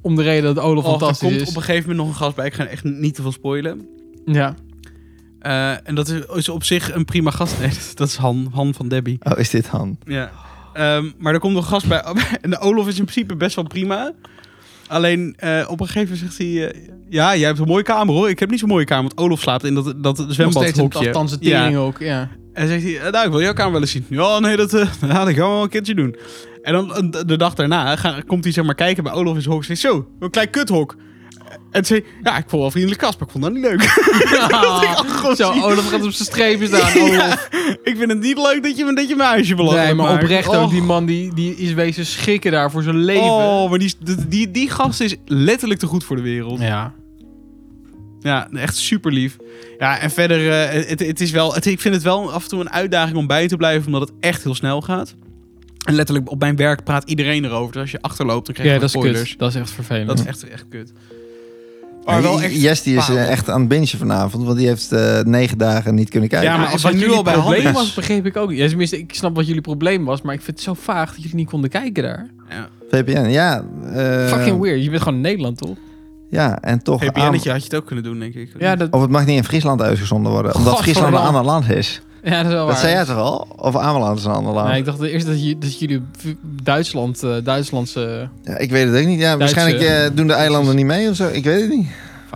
[SPEAKER 2] Om de reden dat Olaf
[SPEAKER 1] Oh, er
[SPEAKER 2] fantastisch
[SPEAKER 1] komt
[SPEAKER 2] is.
[SPEAKER 1] op een gegeven moment nog een gast bij. Ik ga echt niet te veel spoilen.
[SPEAKER 2] Ja.
[SPEAKER 1] Eh, en dat is, is op zich een prima gast. Nee, dat- dat is Han, Han van Debbie.
[SPEAKER 3] Oh, is dit Han?
[SPEAKER 1] Ja. Ehm, maar er komt nog een gast bij. [LAUGHS] En de Olof is in principe best wel prima. Alleen eh, op een gegeven moment zegt hij... eh, ja, jij hebt een mooie kamer hoor. Ik heb niet zo'n mooie kamer. Want Olof slaapt in dat, dat
[SPEAKER 2] Nog steeds een
[SPEAKER 1] zwembadhokje.
[SPEAKER 2] Afstanse
[SPEAKER 1] Ja.
[SPEAKER 2] tering ook, [LAUGHS] ja.
[SPEAKER 1] En zegt hij, eh, nou, ik wil jouw kamer wel eens zien. Ja, nee, dat, eh, [LAUGHS] ja, dat gaan we wel een keertje doen. En dan eh, de- de dag daarna ga- komt hij zeg maar kijken bij Olof in zijn hok. Zegt, zo, een klein kuthok. En zei, ja, ik vond wel een vriendelijk kast, maar ik vond dat niet leuk. [LAUGHS]
[SPEAKER 2] [LAUGHS] Zo, Olaf gaat op zijn streepjes staan. [LAUGHS] Olaf.
[SPEAKER 1] ik vind het niet leuk dat je, me- dat je mijn huisje belast.
[SPEAKER 2] Nee, maar oprecht ook. Die man die, die is wezen schikken daar voor zijn leven.
[SPEAKER 1] Oh, maar die, is- die, die, die gast is letterlijk te goed voor de wereld. Ja,
[SPEAKER 2] Ja.
[SPEAKER 1] echt super lief. Ja, en verder, eh, het, het is wel, het, ik vind het wel af en toe een uitdaging om bij te blijven, omdat het echt heel snel gaat. En letterlijk op mijn werk praat iedereen erover. Dus als je achterloopt, dan krijg je
[SPEAKER 2] Ja, dat is
[SPEAKER 1] gewoon spoilers.
[SPEAKER 2] kut. Dat is echt vervelend.
[SPEAKER 1] Dat is echt, echt kut.
[SPEAKER 3] Mhm. Ja,
[SPEAKER 1] Maar wel echt.
[SPEAKER 3] Jess die is
[SPEAKER 1] parel.
[SPEAKER 3] eh, echt aan het bingen vanavond, want die heeft eh, negen dagen niet kunnen kijken.
[SPEAKER 1] Ja, maar als
[SPEAKER 2] wat
[SPEAKER 1] hij nu
[SPEAKER 2] jullie
[SPEAKER 1] al bij
[SPEAKER 2] probleem
[SPEAKER 1] handen is.
[SPEAKER 2] was, begreep ik ook niet. Ja, tenminste, ik snap wat jullie probleem was, maar ik vind het zo vaag dat jullie niet konden kijken daar.
[SPEAKER 3] VPN, ja. eh,
[SPEAKER 2] Fucking weird. Je bent gewoon in Nederland, toch?
[SPEAKER 3] Ja, en toch... aan-
[SPEAKER 1] VPN-etje had je het ook kunnen doen, denk ik.
[SPEAKER 2] Ja, dat,
[SPEAKER 3] Of het mag niet in Friesland uitgezonden worden, omdat Friesland een
[SPEAKER 2] Godverdamme.
[SPEAKER 3] ander land is.
[SPEAKER 2] Oh, ja, dat is wel waar.
[SPEAKER 3] Dat zei jij toch al? Of Ameland is een ander land?
[SPEAKER 2] Nee, ik dacht eerst dat, je, dat jullie v- Duitsland, eh, Duitslandse...
[SPEAKER 3] Ja, ik weet het ook niet. Ja,
[SPEAKER 2] Duitse-
[SPEAKER 3] waarschijnlijk eh, doen de eilanden niet mee of zo. Ik weet het niet.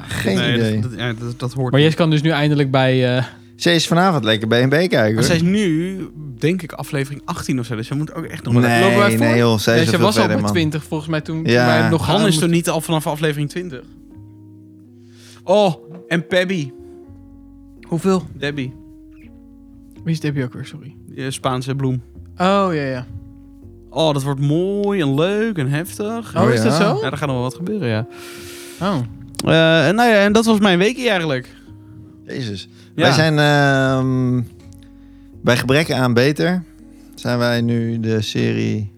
[SPEAKER 3] Geen
[SPEAKER 1] nee,
[SPEAKER 3] idee.
[SPEAKER 1] Dat, dat, ja, dat, dat hoort.
[SPEAKER 2] Maar
[SPEAKER 1] niet.
[SPEAKER 2] Jes kan dus nu eindelijk bij... eh,
[SPEAKER 3] Ze is vanavond lekker B&B kijken.
[SPEAKER 1] Maar
[SPEAKER 3] hoor.
[SPEAKER 1] zij is nu, denk ik, aflevering 18 of zo. Dus zij moet ook echt nog wel even-
[SPEAKER 2] Lopen wij
[SPEAKER 3] Nee,
[SPEAKER 2] voor?
[SPEAKER 3] nee joh. Zij
[SPEAKER 2] Nee,
[SPEAKER 3] is
[SPEAKER 2] ze
[SPEAKER 3] er
[SPEAKER 2] was
[SPEAKER 3] veel
[SPEAKER 2] al
[SPEAKER 3] verder,
[SPEAKER 2] bij
[SPEAKER 3] man.
[SPEAKER 2] 20 volgens mij toen.
[SPEAKER 3] Ja.
[SPEAKER 2] toen wij nog
[SPEAKER 1] Han
[SPEAKER 2] aan
[SPEAKER 1] is toch
[SPEAKER 2] moesten-
[SPEAKER 1] niet al vanaf aflevering 20? Oh, en Pebby.
[SPEAKER 2] Hoeveel?
[SPEAKER 1] Debbie.
[SPEAKER 2] Wie is Debbie ook weer, sorry.
[SPEAKER 1] eh, Spaanse bloem.
[SPEAKER 2] Oh, ja, ja.
[SPEAKER 1] Oh, dat wordt mooi en leuk en heftig.
[SPEAKER 2] Oh,
[SPEAKER 3] Oh,
[SPEAKER 2] is dat
[SPEAKER 3] ja.
[SPEAKER 2] zo?
[SPEAKER 1] Ja, er gaat nog wel wat gebeuren, ja.
[SPEAKER 2] Oh.
[SPEAKER 1] Eh, en nou ja, en dat was mijn weekje eigenlijk.
[SPEAKER 3] Jezus.
[SPEAKER 1] Ja.
[SPEAKER 3] Wij zijn ehm, bij gebrek aan beter... zijn wij nu de serie...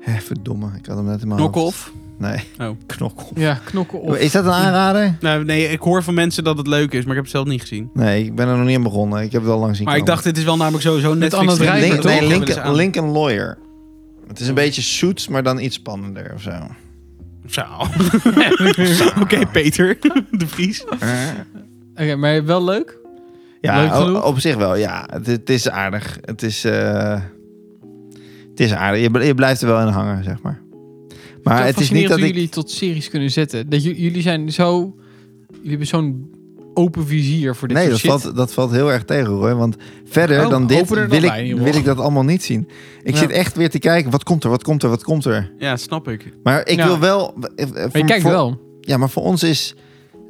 [SPEAKER 3] Hè, verdomme. Ik had hem net in mijn hoofd.
[SPEAKER 1] Knock-off.
[SPEAKER 3] Nee. [LAUGHS]
[SPEAKER 1] Oh.
[SPEAKER 3] Knokkel.
[SPEAKER 2] Ja, knokken op.
[SPEAKER 3] Is dat een aanrader?
[SPEAKER 1] Nou, nee, ik hoor van mensen dat het leuk is, maar ik heb het zelf niet gezien.
[SPEAKER 3] Nee, ik ben er nog niet aan begonnen. Ik heb het al lang zien
[SPEAKER 1] Maar ik
[SPEAKER 3] komen.
[SPEAKER 1] dacht, dit is wel namelijk sowieso net
[SPEAKER 2] Anne Drijver,
[SPEAKER 3] Link-
[SPEAKER 2] toch?
[SPEAKER 3] nee,
[SPEAKER 1] Linken
[SPEAKER 3] Lincoln, Lincoln Lawyer. Het
[SPEAKER 2] Oh.
[SPEAKER 3] is een beetje Suits, maar dan iets spannender of zo.
[SPEAKER 2] [LAUGHS]
[SPEAKER 1] Zo. [LAUGHS] Oké, Peter. [LAUGHS] De Vries.
[SPEAKER 2] Oké, maar wel leuk?
[SPEAKER 3] Ja,
[SPEAKER 2] Leuk genoeg?
[SPEAKER 3] o- op zich wel. Ja, het, het is aardig. Het is, eh, het is aardig. Je, bl- je blijft er wel in hangen, zeg maar. Maar het is niet dat ik...
[SPEAKER 2] jullie tot series kunnen zetten. Dat j- jullie zijn zo... Jullie hebben zo'n open vizier voor dit
[SPEAKER 3] Nee,
[SPEAKER 2] soort
[SPEAKER 3] dat
[SPEAKER 2] shit.
[SPEAKER 3] valt, dat valt heel erg tegen, hoor. Want verder
[SPEAKER 2] Oh,
[SPEAKER 3] dan dit
[SPEAKER 2] opener
[SPEAKER 3] wil,
[SPEAKER 2] dan wij in
[SPEAKER 3] ik,
[SPEAKER 2] ieder
[SPEAKER 3] wil
[SPEAKER 2] geval.
[SPEAKER 3] ik dat allemaal niet zien. Ik
[SPEAKER 2] Ja.
[SPEAKER 3] zit echt weer te kijken, wat komt er, wat komt er, wat komt er.
[SPEAKER 1] Ja, snap ik.
[SPEAKER 3] Maar ik
[SPEAKER 2] Ja.
[SPEAKER 3] wil wel... eh, eh,
[SPEAKER 2] Maar je
[SPEAKER 3] voor-
[SPEAKER 2] kijkt
[SPEAKER 3] voor-
[SPEAKER 2] wel.
[SPEAKER 3] Ja, maar voor ons is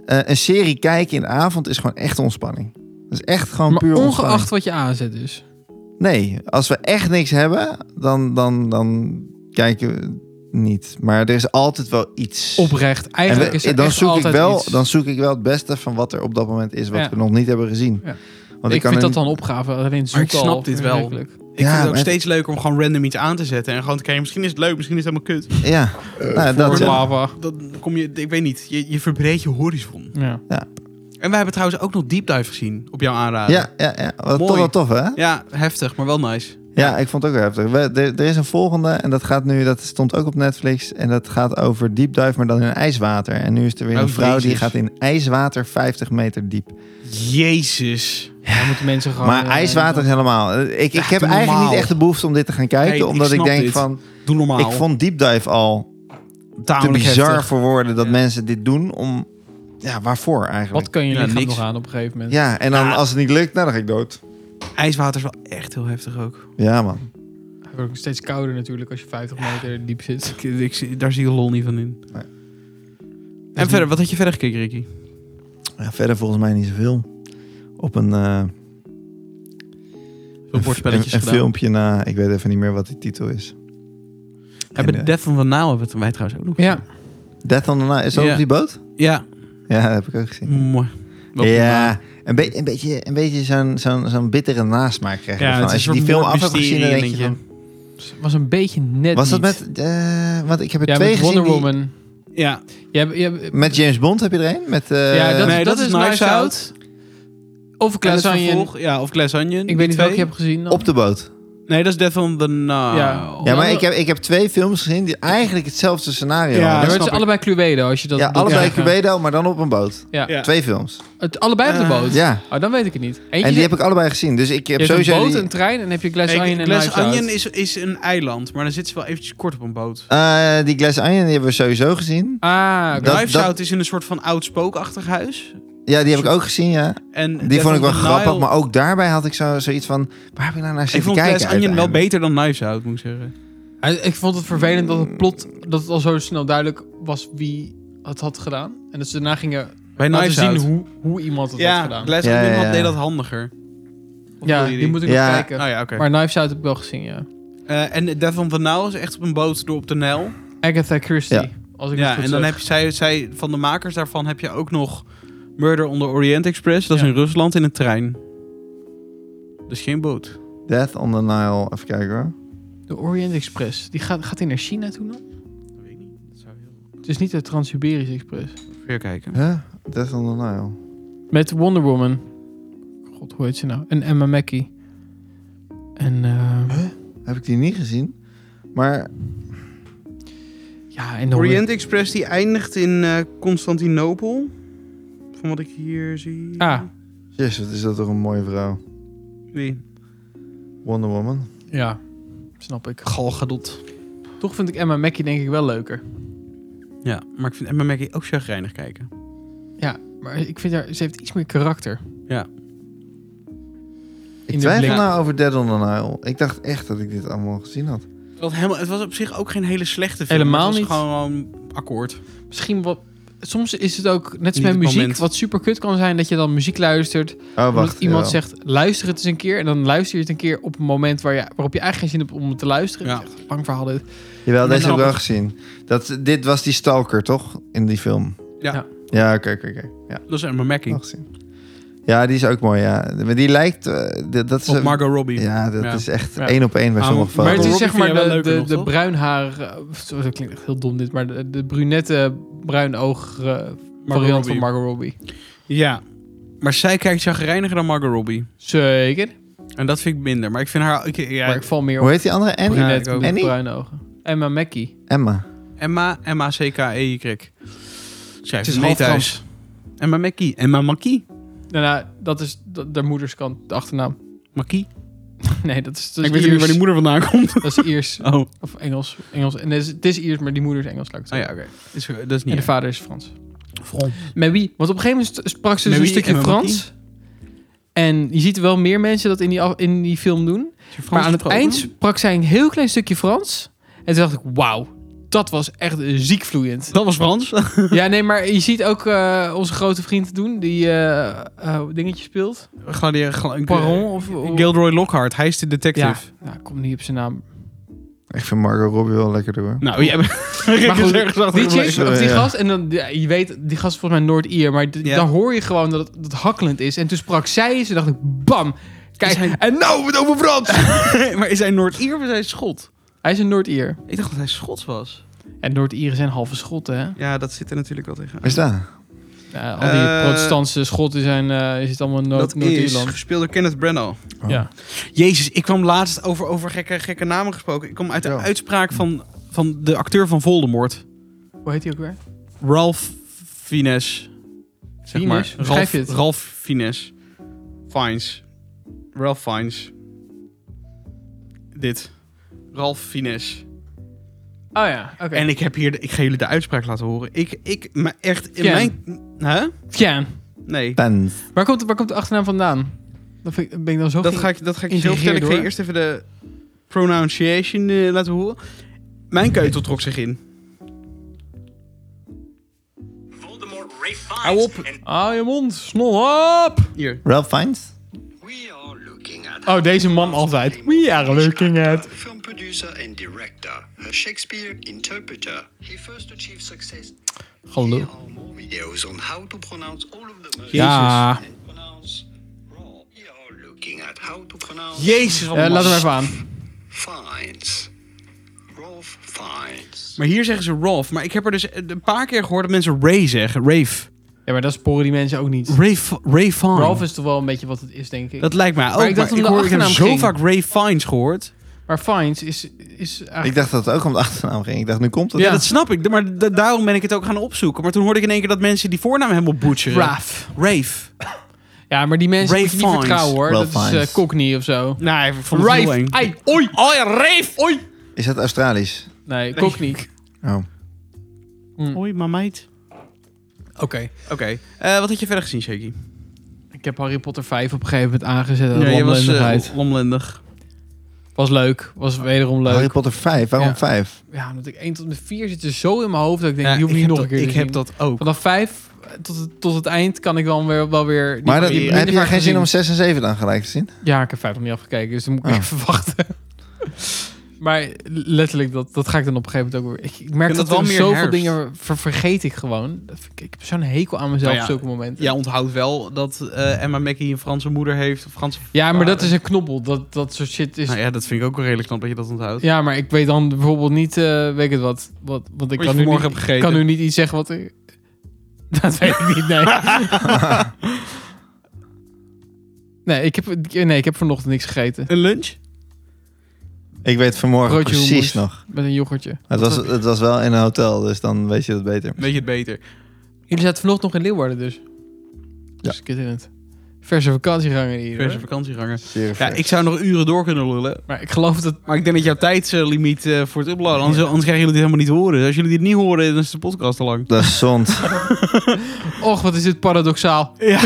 [SPEAKER 3] eh, een serie kijken in de avond is gewoon echt ontspanning. Dat is echt gewoon
[SPEAKER 2] Maar
[SPEAKER 3] puur
[SPEAKER 2] ongeacht wat je aanzet dus.
[SPEAKER 3] ontspanning. Nee, als we echt niks hebben, dan, dan, dan kijken we niet. Maar er is altijd wel iets.
[SPEAKER 2] Oprecht.
[SPEAKER 3] En
[SPEAKER 2] Eigenlijk
[SPEAKER 3] we-
[SPEAKER 2] is er
[SPEAKER 3] dan,
[SPEAKER 2] echt
[SPEAKER 3] zoek ik
[SPEAKER 2] altijd
[SPEAKER 3] wel,
[SPEAKER 2] iets.
[SPEAKER 3] dan zoek ik wel het beste van wat er op dat moment is, wat
[SPEAKER 2] Ja.
[SPEAKER 3] we nog niet hebben gezien.
[SPEAKER 2] Ja.
[SPEAKER 3] Want
[SPEAKER 2] ik
[SPEAKER 3] kan
[SPEAKER 2] vind dat
[SPEAKER 3] er
[SPEAKER 2] dan opgave. Alleen zoek
[SPEAKER 1] ik snap
[SPEAKER 2] al
[SPEAKER 1] dit wel.
[SPEAKER 2] werkelijk.
[SPEAKER 1] Ik
[SPEAKER 3] Ja,
[SPEAKER 1] vind het ook
[SPEAKER 3] maar-
[SPEAKER 1] steeds leuker om gewoon random iets aan te zetten. En gewoon te kijken, misschien is het leuk, misschien is het helemaal kut.
[SPEAKER 3] niet- Ja, nou, dat,
[SPEAKER 2] Voor
[SPEAKER 3] ja.
[SPEAKER 2] lava.
[SPEAKER 1] Dan kom je, ik weet niet, je, je verbreedt je horizon.
[SPEAKER 2] Ja.
[SPEAKER 1] En wij hebben trouwens ook nog Deep Dive gezien, op jouw aanraden.
[SPEAKER 3] ja, ja, ja. Wat
[SPEAKER 1] Mooi.
[SPEAKER 3] toch wel tof, hè?
[SPEAKER 1] Ja, heftig, maar wel nice.
[SPEAKER 3] Ja, ik vond het ook wel heftig. We- er, er is een volgende en dat gaat nu, dat stond ook op Netflix. En dat gaat over diepduif, maar dan in ijswater. En nu is er weer
[SPEAKER 1] Oh,
[SPEAKER 3] een vrouw die
[SPEAKER 1] Jezus. Oh,
[SPEAKER 3] gaat in ijswater 50 meter diep.
[SPEAKER 1] Jezus.
[SPEAKER 2] Dan moeten mensen gewoon...
[SPEAKER 3] maar
[SPEAKER 2] eh,
[SPEAKER 3] ijswater is helemaal. eh, Ik, ik
[SPEAKER 1] Ja,
[SPEAKER 3] heb
[SPEAKER 1] doe
[SPEAKER 3] eigenlijk
[SPEAKER 1] normaal.
[SPEAKER 3] niet echt de behoefte om dit te gaan kijken.
[SPEAKER 1] Nee, ik
[SPEAKER 3] omdat ik,
[SPEAKER 1] snap
[SPEAKER 3] denk
[SPEAKER 1] dit.
[SPEAKER 3] van,
[SPEAKER 1] Doe normaal.
[SPEAKER 3] ik vond diepduif al te
[SPEAKER 1] Tamelijk
[SPEAKER 3] bizar
[SPEAKER 1] heftig.
[SPEAKER 3] voor woorden dat
[SPEAKER 2] Ja.
[SPEAKER 3] mensen dit doen. Om, ja, waarvoor eigenlijk?
[SPEAKER 2] Wat kan je
[SPEAKER 1] Ja,
[SPEAKER 2] lichaam
[SPEAKER 1] niks.
[SPEAKER 2] nog aan op een gegeven moment?
[SPEAKER 3] Ja, en dan
[SPEAKER 1] Ja.
[SPEAKER 3] als het niet lukt, nou, dan ga ik dood.
[SPEAKER 1] IJswater is wel echt heel heftig ook.
[SPEAKER 3] Ja, man.
[SPEAKER 2] Het wordt ook steeds kouder natuurlijk als je 50 meter diep zit.
[SPEAKER 1] Ik, ik zie- daar zie je lol niet van in.
[SPEAKER 3] Nee.
[SPEAKER 1] En verder, wat had je verder gekeken, Ricky?
[SPEAKER 3] Ja, verder volgens mij niet zoveel. Op een... eh,
[SPEAKER 1] Veel bordspelletjes
[SPEAKER 3] een, een
[SPEAKER 1] gedaan.
[SPEAKER 3] filmpje na, ik weet even niet meer wat die titel is.
[SPEAKER 1] Hebben
[SPEAKER 3] En, eh,
[SPEAKER 1] Death van Van Nijl hebben wij trouwens ook nog
[SPEAKER 2] Ja,
[SPEAKER 3] Death on the Nile, is dat
[SPEAKER 1] Ja.
[SPEAKER 3] op die boot?
[SPEAKER 1] Ja,
[SPEAKER 3] Ja, dat heb ik ook gezien.
[SPEAKER 1] mooi. Wel prima.
[SPEAKER 3] Ja, een, be- een beetje, een beetje zo'n, zo'n, zo'n bittere nasmaak krijg je
[SPEAKER 1] Ja,
[SPEAKER 3] ervan.
[SPEAKER 1] het is
[SPEAKER 3] Als je
[SPEAKER 1] een
[SPEAKER 3] die
[SPEAKER 1] soort
[SPEAKER 3] film af hebt
[SPEAKER 1] moordmysterie,
[SPEAKER 3] gezien, dan denk je
[SPEAKER 1] denk
[SPEAKER 3] van-
[SPEAKER 2] was een beetje net
[SPEAKER 3] Was dat
[SPEAKER 2] niet.
[SPEAKER 3] met... eh, want ik heb er
[SPEAKER 2] ja,
[SPEAKER 3] twee
[SPEAKER 2] met
[SPEAKER 3] gezien.
[SPEAKER 2] Wonder
[SPEAKER 3] die- Eh,
[SPEAKER 2] Woman.
[SPEAKER 1] Ja,
[SPEAKER 2] Je hebt- je hebt-
[SPEAKER 3] met James Bond heb je er een? Met, eh,
[SPEAKER 2] ja, dat,
[SPEAKER 1] nee,
[SPEAKER 2] dat, is Knives Out. Of
[SPEAKER 1] En het
[SPEAKER 2] Glass Onion.
[SPEAKER 1] vervolg- ja, of Glass Onion.
[SPEAKER 2] Ik
[SPEAKER 1] die
[SPEAKER 2] weet niet
[SPEAKER 1] twee.
[SPEAKER 2] welke je hebt gezien dan.
[SPEAKER 3] Op de boot.
[SPEAKER 1] Nee, dat is Death on the Nile.
[SPEAKER 2] Ja.
[SPEAKER 3] Ja, maar
[SPEAKER 2] Ja,
[SPEAKER 3] ik heb, ik heb twee films gezien die eigenlijk hetzelfde scenario
[SPEAKER 1] Ja,
[SPEAKER 2] Ja,
[SPEAKER 3] hadden.
[SPEAKER 2] maar het
[SPEAKER 1] snap
[SPEAKER 2] is
[SPEAKER 1] ik.
[SPEAKER 2] allebei Cluedo als je dat
[SPEAKER 3] Ja,
[SPEAKER 2] doet.
[SPEAKER 3] allebei
[SPEAKER 2] Ja.
[SPEAKER 3] Cluedo, maar dan op een boot.
[SPEAKER 2] Ja.
[SPEAKER 1] Ja.
[SPEAKER 3] Twee films.
[SPEAKER 2] Het, allebei op de
[SPEAKER 1] Eh,
[SPEAKER 2] boot?
[SPEAKER 3] Ja,
[SPEAKER 2] Oh, dan weet ik het niet. Eentje
[SPEAKER 3] en die
[SPEAKER 2] zit-
[SPEAKER 3] heb ik allebei gezien. Dus ik heb
[SPEAKER 2] je hebt
[SPEAKER 3] sowieso...
[SPEAKER 2] een boot,
[SPEAKER 3] die-
[SPEAKER 2] een trein en heb je Glass
[SPEAKER 1] Ik-
[SPEAKER 2] Onion en
[SPEAKER 1] Glass
[SPEAKER 2] Knives Out.
[SPEAKER 1] Onion is, is een eiland, maar daar zitten ze wel eventjes kort op een boot.
[SPEAKER 3] Eh, die Glass Onion die hebben we sowieso gezien.
[SPEAKER 2] Ah, oké.
[SPEAKER 3] Dat-
[SPEAKER 1] Knives
[SPEAKER 3] dat-
[SPEAKER 1] Out is in een soort van oud spookachtig huis.
[SPEAKER 3] Ja, die heb ik ook gezien, ja.
[SPEAKER 1] En
[SPEAKER 3] Die
[SPEAKER 1] Death
[SPEAKER 3] vond ik
[SPEAKER 1] on
[SPEAKER 3] wel
[SPEAKER 1] the
[SPEAKER 3] grappig,
[SPEAKER 1] Nile-
[SPEAKER 3] maar ook daarbij had ik zo, zoiets van... Waar heb ik nou naar
[SPEAKER 1] Ik
[SPEAKER 3] zitten
[SPEAKER 1] vond
[SPEAKER 3] kijken?
[SPEAKER 1] Glass Onion wel
[SPEAKER 3] uiteindelijk?
[SPEAKER 1] beter dan Knives Out, moet ik zeggen.
[SPEAKER 2] Ah, Ik vond het vervelend dat het plot dat het al zo snel duidelijk was wie het had gedaan. En dat ze daarna gingen
[SPEAKER 1] Bij
[SPEAKER 2] laten
[SPEAKER 1] Knives
[SPEAKER 2] zien
[SPEAKER 1] Out.
[SPEAKER 2] hoe, hoe iemand het had
[SPEAKER 1] ja,
[SPEAKER 2] gedaan.
[SPEAKER 1] Glass
[SPEAKER 3] Ja,
[SPEAKER 1] Onion
[SPEAKER 3] ja,
[SPEAKER 1] had-
[SPEAKER 3] ja.
[SPEAKER 1] deed dat handiger. Of
[SPEAKER 2] ja,
[SPEAKER 1] bedoel je
[SPEAKER 2] die moet ik
[SPEAKER 3] Ja.
[SPEAKER 2] nog kijken.
[SPEAKER 1] Oh ja, oké.
[SPEAKER 2] Maar Knives Out heb ik wel gezien, ja.
[SPEAKER 1] Eh, en Death on the Nile is echt op een boot door op de Nijl.
[SPEAKER 2] Agatha Christie.
[SPEAKER 3] Ja.
[SPEAKER 2] Als ik
[SPEAKER 1] Ja,
[SPEAKER 2] het goed
[SPEAKER 1] en dan
[SPEAKER 2] zeg.
[SPEAKER 1] heb je, zij, zij, van de makers daarvan heb je ook nog Murder on the Orient Express. Dat
[SPEAKER 2] Ja.
[SPEAKER 1] is in Rusland in een trein. Dus geen boot.
[SPEAKER 3] Death on the Nile. Even kijken hoor.
[SPEAKER 2] De Orient Express. Die gaat, gaat die naar China toe dan? Het is niet de Trans-Siberische Express.
[SPEAKER 1] Weer kijken.
[SPEAKER 3] Huh? Death on the Nile.
[SPEAKER 2] Met Wonder Woman. God, hoe heet ze nou? En Emma Mackey. En, eh,
[SPEAKER 3] Heb ik die niet gezien? Maar
[SPEAKER 2] ja, en
[SPEAKER 1] De
[SPEAKER 2] dan-
[SPEAKER 1] Orient Express die eindigt in eh, Constantinopel. Van wat ik hier zie.
[SPEAKER 2] Ah,
[SPEAKER 3] jezus, wat is dat toch een mooie vrouw.
[SPEAKER 1] Wie?
[SPEAKER 3] Wonder Woman.
[SPEAKER 2] ja. Snap ik.
[SPEAKER 1] Galgadot.
[SPEAKER 2] Toch vind ik Emma Mackey denk ik wel leuker.
[SPEAKER 1] Ja, maar ik vind Emma Mackey ook chagrijnig kijken.
[SPEAKER 2] Ja, maar ik vind haar... Ze heeft iets meer karakter.
[SPEAKER 3] Ik
[SPEAKER 2] de
[SPEAKER 3] twijfel
[SPEAKER 2] blik.
[SPEAKER 3] nou over Death on the Nile. Ik dacht echt dat ik dit allemaal gezien had.
[SPEAKER 1] Het was, helemaal, het was op zich ook geen hele slechte film.
[SPEAKER 2] Helemaal
[SPEAKER 1] het was
[SPEAKER 2] niet.
[SPEAKER 1] gewoon akkoord.
[SPEAKER 2] Misschien wat... Soms is het ook, net als
[SPEAKER 1] Niet
[SPEAKER 2] met
[SPEAKER 1] het
[SPEAKER 2] muziek,
[SPEAKER 1] moment. Ah,
[SPEAKER 2] wat super kut kan zijn... dat je dan muziek luistert
[SPEAKER 3] Oh,
[SPEAKER 2] Omdat
[SPEAKER 3] wacht.
[SPEAKER 2] iemand
[SPEAKER 3] jawel.
[SPEAKER 2] zegt, luister het eens een keer. En dan luister je het een keer op een moment waar je, waarop je eigenlijk geen zin hebt om het te luisteren.
[SPEAKER 1] Ja.
[SPEAKER 2] Het is echt een lang verhaal dit.
[SPEAKER 3] Jawel, deze heb
[SPEAKER 1] Nou,
[SPEAKER 3] ik wel gezien. Dat, dit was die stalker, toch? In die film.
[SPEAKER 1] Ja.
[SPEAKER 2] Ja.
[SPEAKER 3] Ja, oké, oké, oké. Ja,
[SPEAKER 1] Dat is Emma Mackey.
[SPEAKER 3] wel gezien. Ja, die is ook mooi, ja. Maar die lijkt... eh, dat- dat is,
[SPEAKER 1] Op Margot Robbie.
[SPEAKER 3] Ja, dat
[SPEAKER 1] Ja.
[SPEAKER 3] is echt
[SPEAKER 2] Ja.
[SPEAKER 3] één op één bij
[SPEAKER 1] Ah,
[SPEAKER 3] sommige
[SPEAKER 1] maar
[SPEAKER 2] Maar het
[SPEAKER 3] foto's.
[SPEAKER 2] is
[SPEAKER 1] Robbie
[SPEAKER 2] zeg
[SPEAKER 1] vind
[SPEAKER 2] maar
[SPEAKER 1] je wel
[SPEAKER 2] de,
[SPEAKER 1] leuker
[SPEAKER 2] de,
[SPEAKER 1] nog,
[SPEAKER 2] de
[SPEAKER 1] toch?
[SPEAKER 2] bruinharige... of, zo, Dat klinkt echt heel dom dit, maar de, de brunette, eh, bruinoogige variant van
[SPEAKER 1] Robbie.
[SPEAKER 2] Margot Robbie.
[SPEAKER 1] Ja. Maar zij kijkt chagrijniger dan Margot Robbie.
[SPEAKER 2] Zeker.
[SPEAKER 1] En dat vind ik minder. Maar ik vind haar... Ik, ja,
[SPEAKER 2] Maar ik val meer
[SPEAKER 3] Hoe
[SPEAKER 2] op
[SPEAKER 3] heet die andere? Annie?
[SPEAKER 1] Ja,
[SPEAKER 2] brunette
[SPEAKER 1] ik ook.
[SPEAKER 2] met
[SPEAKER 3] Annie?
[SPEAKER 2] bruine ogen. Emma Mackey.
[SPEAKER 3] Emma.
[SPEAKER 1] Emma, E M-A-C-K-E-Y. Schrijf het
[SPEAKER 2] Het is
[SPEAKER 1] mee
[SPEAKER 2] half Nou,
[SPEAKER 1] thuis. Emma Mackie. Emma Mackie.
[SPEAKER 2] Daarna, dat is de, de moederskant, de achternaam. [LAUGHS]
[SPEAKER 1] Mackie.
[SPEAKER 2] Nee, dat is, dat is
[SPEAKER 1] Ik weet niet
[SPEAKER 2] Iers.
[SPEAKER 1] waar die moeder vandaan komt.
[SPEAKER 2] Dat is
[SPEAKER 1] [LAUGHS]
[SPEAKER 2] Iers.
[SPEAKER 1] Oh, oh
[SPEAKER 2] Of Engels. Engels. En het, is, het is Iers, maar die moeder is Engels. Laat ik het
[SPEAKER 1] ja,
[SPEAKER 2] zeggen.
[SPEAKER 1] oké. Dus, eh, dat is
[SPEAKER 2] En
[SPEAKER 1] niet
[SPEAKER 2] de vader is Frans.
[SPEAKER 1] erg. Frans.
[SPEAKER 2] Mais oui. Want op een gegeven moment sprak ze dus
[SPEAKER 1] Mais
[SPEAKER 2] een
[SPEAKER 1] oui,
[SPEAKER 2] stukje
[SPEAKER 1] en mais
[SPEAKER 2] Frans. En je ziet wel meer mensen dat in die, af- in die film doen. maar aan het eind sprak zij een heel klein stukje Frans. En toen dacht ik, wauw, dat was echt eh, ziek
[SPEAKER 1] [LAUGHS]
[SPEAKER 2] vloeiend.
[SPEAKER 1] Dat was Frans.
[SPEAKER 2] ja, nee, maar je ziet ook eh, onze grote vriend doen, die eh eh, dingetje speelt.
[SPEAKER 1] Gladiator- gla-
[SPEAKER 2] Paron of... of-
[SPEAKER 1] Gilderoy Lockhart, hij is de detective.
[SPEAKER 2] ja, nou, ik kom niet op zijn naam.
[SPEAKER 3] Ik vind Margot Robbie wel lekkerder hoor.
[SPEAKER 1] Nou, [LAUGHS] jij
[SPEAKER 2] Maar goed,
[SPEAKER 1] bent...
[SPEAKER 2] Die chick,
[SPEAKER 3] Sorry,
[SPEAKER 2] of die
[SPEAKER 3] ja.
[SPEAKER 2] gast, en dan, ja, je weet, die gast is volgens mij Noord-Ier, maar d-
[SPEAKER 1] Ja.
[SPEAKER 2] dan hoor je gewoon dat het, dat het hakkelend is. En toen sprak zij eens en dacht ik, bam, kijk,
[SPEAKER 1] Is hij-
[SPEAKER 2] en nou het over Frans!
[SPEAKER 1] [LAUGHS] maar is hij Noord-Ier of is hij Schot?
[SPEAKER 2] hij is een Noord-Ier.
[SPEAKER 1] Ik dacht dat hij Schots was.
[SPEAKER 2] En Noord-Ieren zijn halve schotten, hè?
[SPEAKER 1] Ja, dat zit er natuurlijk wel tegen.
[SPEAKER 3] Is dat?
[SPEAKER 2] Ja, al die
[SPEAKER 1] Eh,
[SPEAKER 2] protestantse schotten zijn, eh, is het allemaal Noord-
[SPEAKER 1] dat is
[SPEAKER 2] Noord-Ierland.
[SPEAKER 1] gespeeld door Kenneth Branagh.
[SPEAKER 3] Oh.
[SPEAKER 2] Ja.
[SPEAKER 1] Jezus, ik kwam laatst over, over gekke, gekke namen gesproken. Ik kom uit de
[SPEAKER 3] Ja.
[SPEAKER 1] uitspraak van, van de acteur van Voldemort.
[SPEAKER 2] Hoe heet die ook weer?
[SPEAKER 1] Ralph Fiennes. Zeg
[SPEAKER 2] Fiennes?
[SPEAKER 1] maar.
[SPEAKER 2] Hoe schrijf je het?
[SPEAKER 1] Ralph Fiennes. Fiennes. Ralph Fiennes. Dit. Ralph Fiennes.
[SPEAKER 2] Oh ja, oké.
[SPEAKER 1] En ik heb hier, de- ik ga jullie de uitspraak laten horen. Ik, ik, maar echt, in
[SPEAKER 2] Ken.
[SPEAKER 1] mijn, hè?
[SPEAKER 2] Tja,
[SPEAKER 1] Nee.
[SPEAKER 3] Pens.
[SPEAKER 2] waar komt, waar komt de achternaam vandaan? Dat vind ik, ben ik dan zo
[SPEAKER 1] Dat
[SPEAKER 2] ge-
[SPEAKER 1] ga ik, dat ga ik je zelf vertellen.
[SPEAKER 2] Intrigeerd,
[SPEAKER 1] Ik ga je
[SPEAKER 2] hoor.
[SPEAKER 1] eerst even de pronunciation eh, laten horen. Mijn keutel trok zich in.
[SPEAKER 4] Voldemort Ralph
[SPEAKER 1] Hou op.
[SPEAKER 4] And
[SPEAKER 2] Ah, je mond, snol op!
[SPEAKER 1] Hier.
[SPEAKER 3] Ralph Fiennes?
[SPEAKER 4] we are looking at
[SPEAKER 2] Oh, deze man altijd. We are looking at...
[SPEAKER 4] film producer and director, a Shakespeare interpreter. He first achieved success. Here
[SPEAKER 2] Gelul.
[SPEAKER 4] are more videos on how to pronounce all of the most
[SPEAKER 2] Ja.
[SPEAKER 4] and pronounce raw. We are looking at how to pronounce
[SPEAKER 1] Jezus, wat
[SPEAKER 2] Eh,
[SPEAKER 1] een
[SPEAKER 2] laat hem
[SPEAKER 1] last.
[SPEAKER 2] even aan.
[SPEAKER 4] fines. Rolf Fines.
[SPEAKER 1] Maar hier zeggen ze Rolf. Maar ik heb er dus eh, een paar keer gehoord dat mensen Ray zeggen. Rave.
[SPEAKER 2] Ja, maar dat sporen die mensen ook niet.
[SPEAKER 1] [LAUGHS] Ray, F- Ray Fine.
[SPEAKER 2] Ralph is toch wel een beetje wat het is, denk ik.
[SPEAKER 1] Dat lijkt mij ook. Maar
[SPEAKER 2] ik
[SPEAKER 1] ik,
[SPEAKER 2] dacht
[SPEAKER 1] maar ik,
[SPEAKER 2] om de
[SPEAKER 1] hoor, ik heb
[SPEAKER 2] achternaam
[SPEAKER 1] zo
[SPEAKER 2] ging.
[SPEAKER 1] vaak Ray Fines gehoord.
[SPEAKER 2] Maar Fines is, is eigenlijk...
[SPEAKER 3] Ik dacht dat het ook om de achternaam ging. Ik dacht, nu komt het.
[SPEAKER 1] Ja, dat snap ik. Maar da- daarom ben ik het ook gaan opzoeken. Maar toen hoorde ik in één keer dat mensen die voornaam helemaal butcheren.
[SPEAKER 2] Raaf.
[SPEAKER 1] Rave.
[SPEAKER 2] Ja, maar die mensen
[SPEAKER 1] Ray
[SPEAKER 2] moet je niet
[SPEAKER 1] Fiennes.
[SPEAKER 2] vertrouwen, hoor.
[SPEAKER 3] Ralph
[SPEAKER 2] dat is
[SPEAKER 3] Fiennes.
[SPEAKER 2] eh, Cockney of zo.
[SPEAKER 1] Nee, Nou, ik vond het heel
[SPEAKER 2] Rife,
[SPEAKER 1] eng.
[SPEAKER 2] ei, oi!
[SPEAKER 1] Oh ja, Rave. Oi.
[SPEAKER 3] Is dat Australisch?
[SPEAKER 2] Nee, Cockney.
[SPEAKER 3] Oh.
[SPEAKER 1] Hoi, maar meid.
[SPEAKER 2] Oké.
[SPEAKER 1] [LAUGHS] Oké. Eh, wat had je verder gezien, Shaky?
[SPEAKER 2] Ik heb Harry Potter 5 op een gegeven moment aangezet. Ja,
[SPEAKER 1] je was
[SPEAKER 2] was,
[SPEAKER 1] eh, lomlendig.
[SPEAKER 2] leuk. Was wederom leuk.
[SPEAKER 3] Harry Potter 5. Waarom
[SPEAKER 2] Ja.
[SPEAKER 3] 5?
[SPEAKER 2] Ja, omdat ik 1 tot en met 4 zit er zo in mijn hoofd dat ik denk,
[SPEAKER 1] Ja,
[SPEAKER 2] die hoef ik niet
[SPEAKER 1] heb
[SPEAKER 2] nog
[SPEAKER 1] dat-
[SPEAKER 2] een keer te
[SPEAKER 1] Ik
[SPEAKER 2] zien.
[SPEAKER 1] heb dat ook.
[SPEAKER 2] Vanaf 5 tot het, tot het eind kan ik dan weer, wel weer... die-
[SPEAKER 3] Maar dat,
[SPEAKER 2] die
[SPEAKER 1] heb
[SPEAKER 3] heb
[SPEAKER 2] minder
[SPEAKER 3] je
[SPEAKER 2] vaak
[SPEAKER 3] geen zin
[SPEAKER 2] gezien.
[SPEAKER 3] om 6 en 7 dan gelijk te zien?
[SPEAKER 2] Ja, ik heb 5 nog niet afgekeken, dus dan moet ik
[SPEAKER 3] Oh.
[SPEAKER 2] [LAUGHS] even wachten. maar letterlijk, dat, dat ga ik dan op een gegeven moment ook weer... Ik, ik merk
[SPEAKER 1] vind dat
[SPEAKER 2] dat
[SPEAKER 1] wel
[SPEAKER 2] er
[SPEAKER 1] meer
[SPEAKER 2] zoveel
[SPEAKER 1] herfst.
[SPEAKER 2] dingen ver- vergeet ik gewoon. Dat vind ik, ik heb zo'n hekel aan mezelf
[SPEAKER 1] Nou ja,
[SPEAKER 2] op zulke momenten.
[SPEAKER 1] Jij onthoudt wel dat eh, Emma Mackey een Franse moeder heeft. Of Franse
[SPEAKER 2] Ja, maar dat
[SPEAKER 1] vader.
[SPEAKER 2] is een knobbel. Dat, dat soort shit is...
[SPEAKER 1] Nou ja, dat vind ik ook wel redelijk knap dat je dat onthoudt.
[SPEAKER 2] Ja, maar ik weet dan bijvoorbeeld niet, eh, weet ik het wat, wat, want
[SPEAKER 1] Wat
[SPEAKER 2] ik kan
[SPEAKER 1] je
[SPEAKER 2] nu, niet,
[SPEAKER 1] vanmorgen hebt gegeten.
[SPEAKER 2] ik kan nu niet iets zeggen wat ik... [LAUGHS] Dat weet ik
[SPEAKER 1] [LAUGHS]
[SPEAKER 2] niet, nee. nee, ik heb, nee, ik heb vanochtend niks gegeten.
[SPEAKER 1] Een lunch?
[SPEAKER 3] Ik weet vanmorgen
[SPEAKER 2] Broodje
[SPEAKER 3] precies
[SPEAKER 2] hummus.
[SPEAKER 3] nog.
[SPEAKER 2] Met een yoghurtje.
[SPEAKER 3] Het was, het was wel in een hotel, dus dan weet je dat beter.
[SPEAKER 1] Weet je het beter.
[SPEAKER 2] Jullie zaten vanochtend nog in Leeuwarden dus. Dus ik in het. Verse vakantieganger hier.
[SPEAKER 1] Verse
[SPEAKER 2] hoor.
[SPEAKER 1] vakantieganger.
[SPEAKER 3] Zeer
[SPEAKER 1] Ja,
[SPEAKER 3] ver.
[SPEAKER 1] ik zou nog uren door kunnen lullen.
[SPEAKER 2] Maar ik geloof dat...
[SPEAKER 1] Maar ik denk dat jouw tijdslimiet eh, voor het uploaden... Anders, anders krijgen jullie dit helemaal niet horen. Als jullie dit niet horen, dan is de podcast te lang.
[SPEAKER 3] Dat is zond.
[SPEAKER 2] Och, wat is dit paradoxaal.
[SPEAKER 1] Ja,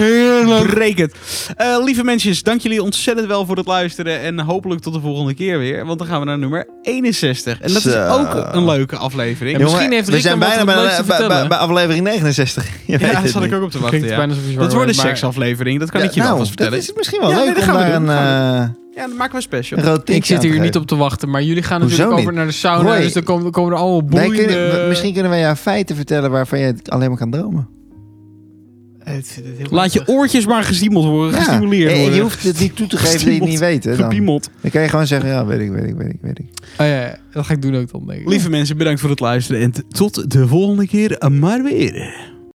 [SPEAKER 1] breek het. Eh, lieve mensen, dank jullie ontzettend wel voor het luisteren. En hopelijk tot de volgende keer weer. Want dan gaan we naar nummer 61. En dat is
[SPEAKER 3] Zo.
[SPEAKER 1] ook een leuke aflevering.
[SPEAKER 2] Ja, misschien
[SPEAKER 3] Jongen,
[SPEAKER 2] heeft
[SPEAKER 3] we
[SPEAKER 2] Rick
[SPEAKER 3] zijn
[SPEAKER 2] hem wat
[SPEAKER 3] bijna
[SPEAKER 2] het
[SPEAKER 3] bij,
[SPEAKER 2] leukste
[SPEAKER 3] bij-
[SPEAKER 2] vertellen.
[SPEAKER 3] bij- bij aflevering 69. [LAUGHS] Je weet
[SPEAKER 1] Ja,
[SPEAKER 3] het
[SPEAKER 1] daar zat
[SPEAKER 3] niet.
[SPEAKER 1] ik ook op te wachten.
[SPEAKER 2] Klinkt
[SPEAKER 1] Ja.
[SPEAKER 2] bijna alsof je zwanger
[SPEAKER 1] Dat wordt een
[SPEAKER 2] bent, maar-
[SPEAKER 1] seksaflevering. Dat kan ik je
[SPEAKER 3] nou,
[SPEAKER 1] nou, alvast
[SPEAKER 3] dat
[SPEAKER 1] vertellen.
[SPEAKER 3] is misschien wel
[SPEAKER 1] Ja, nee,
[SPEAKER 3] leuk
[SPEAKER 1] dat
[SPEAKER 3] om
[SPEAKER 1] gaan we
[SPEAKER 3] daar een,
[SPEAKER 1] doen.
[SPEAKER 3] eh
[SPEAKER 1] Ja, dan maken we een special.
[SPEAKER 3] een rood
[SPEAKER 2] Ik
[SPEAKER 3] tintje
[SPEAKER 2] zit
[SPEAKER 3] aan
[SPEAKER 2] hier
[SPEAKER 3] te
[SPEAKER 2] niet
[SPEAKER 3] geven.
[SPEAKER 2] op te wachten, maar jullie gaan
[SPEAKER 3] Hoezo
[SPEAKER 2] natuurlijk over
[SPEAKER 3] niet?
[SPEAKER 2] naar de sauna,
[SPEAKER 3] Roy.
[SPEAKER 2] dus dan komen, komen er allemaal
[SPEAKER 3] Wij
[SPEAKER 2] boeiende...
[SPEAKER 3] kunnen, misschien kunnen wij jou feiten vertellen waarvan je het alleen maar kan dromen.
[SPEAKER 1] Laat je oortjes maar gestimuleerd worden.
[SPEAKER 3] Ja.
[SPEAKER 1] Gestimuleerd
[SPEAKER 3] En
[SPEAKER 1] worden.
[SPEAKER 3] je
[SPEAKER 1] [LAUGHS]
[SPEAKER 3] hoeft het niet toe te geven dat je het niet weet. Hè, dan.
[SPEAKER 1] Gepiemeld.
[SPEAKER 3] dan kan je gewoon zeggen, ja, weet ik, weet ik, weet ik, weet ik.
[SPEAKER 2] Oh ja, ja, dat ga ik doen ook dan, denk ik.
[SPEAKER 1] Lieve mensen, bedankt voor het luisteren. En t- tot de volgende keer. Maar weer.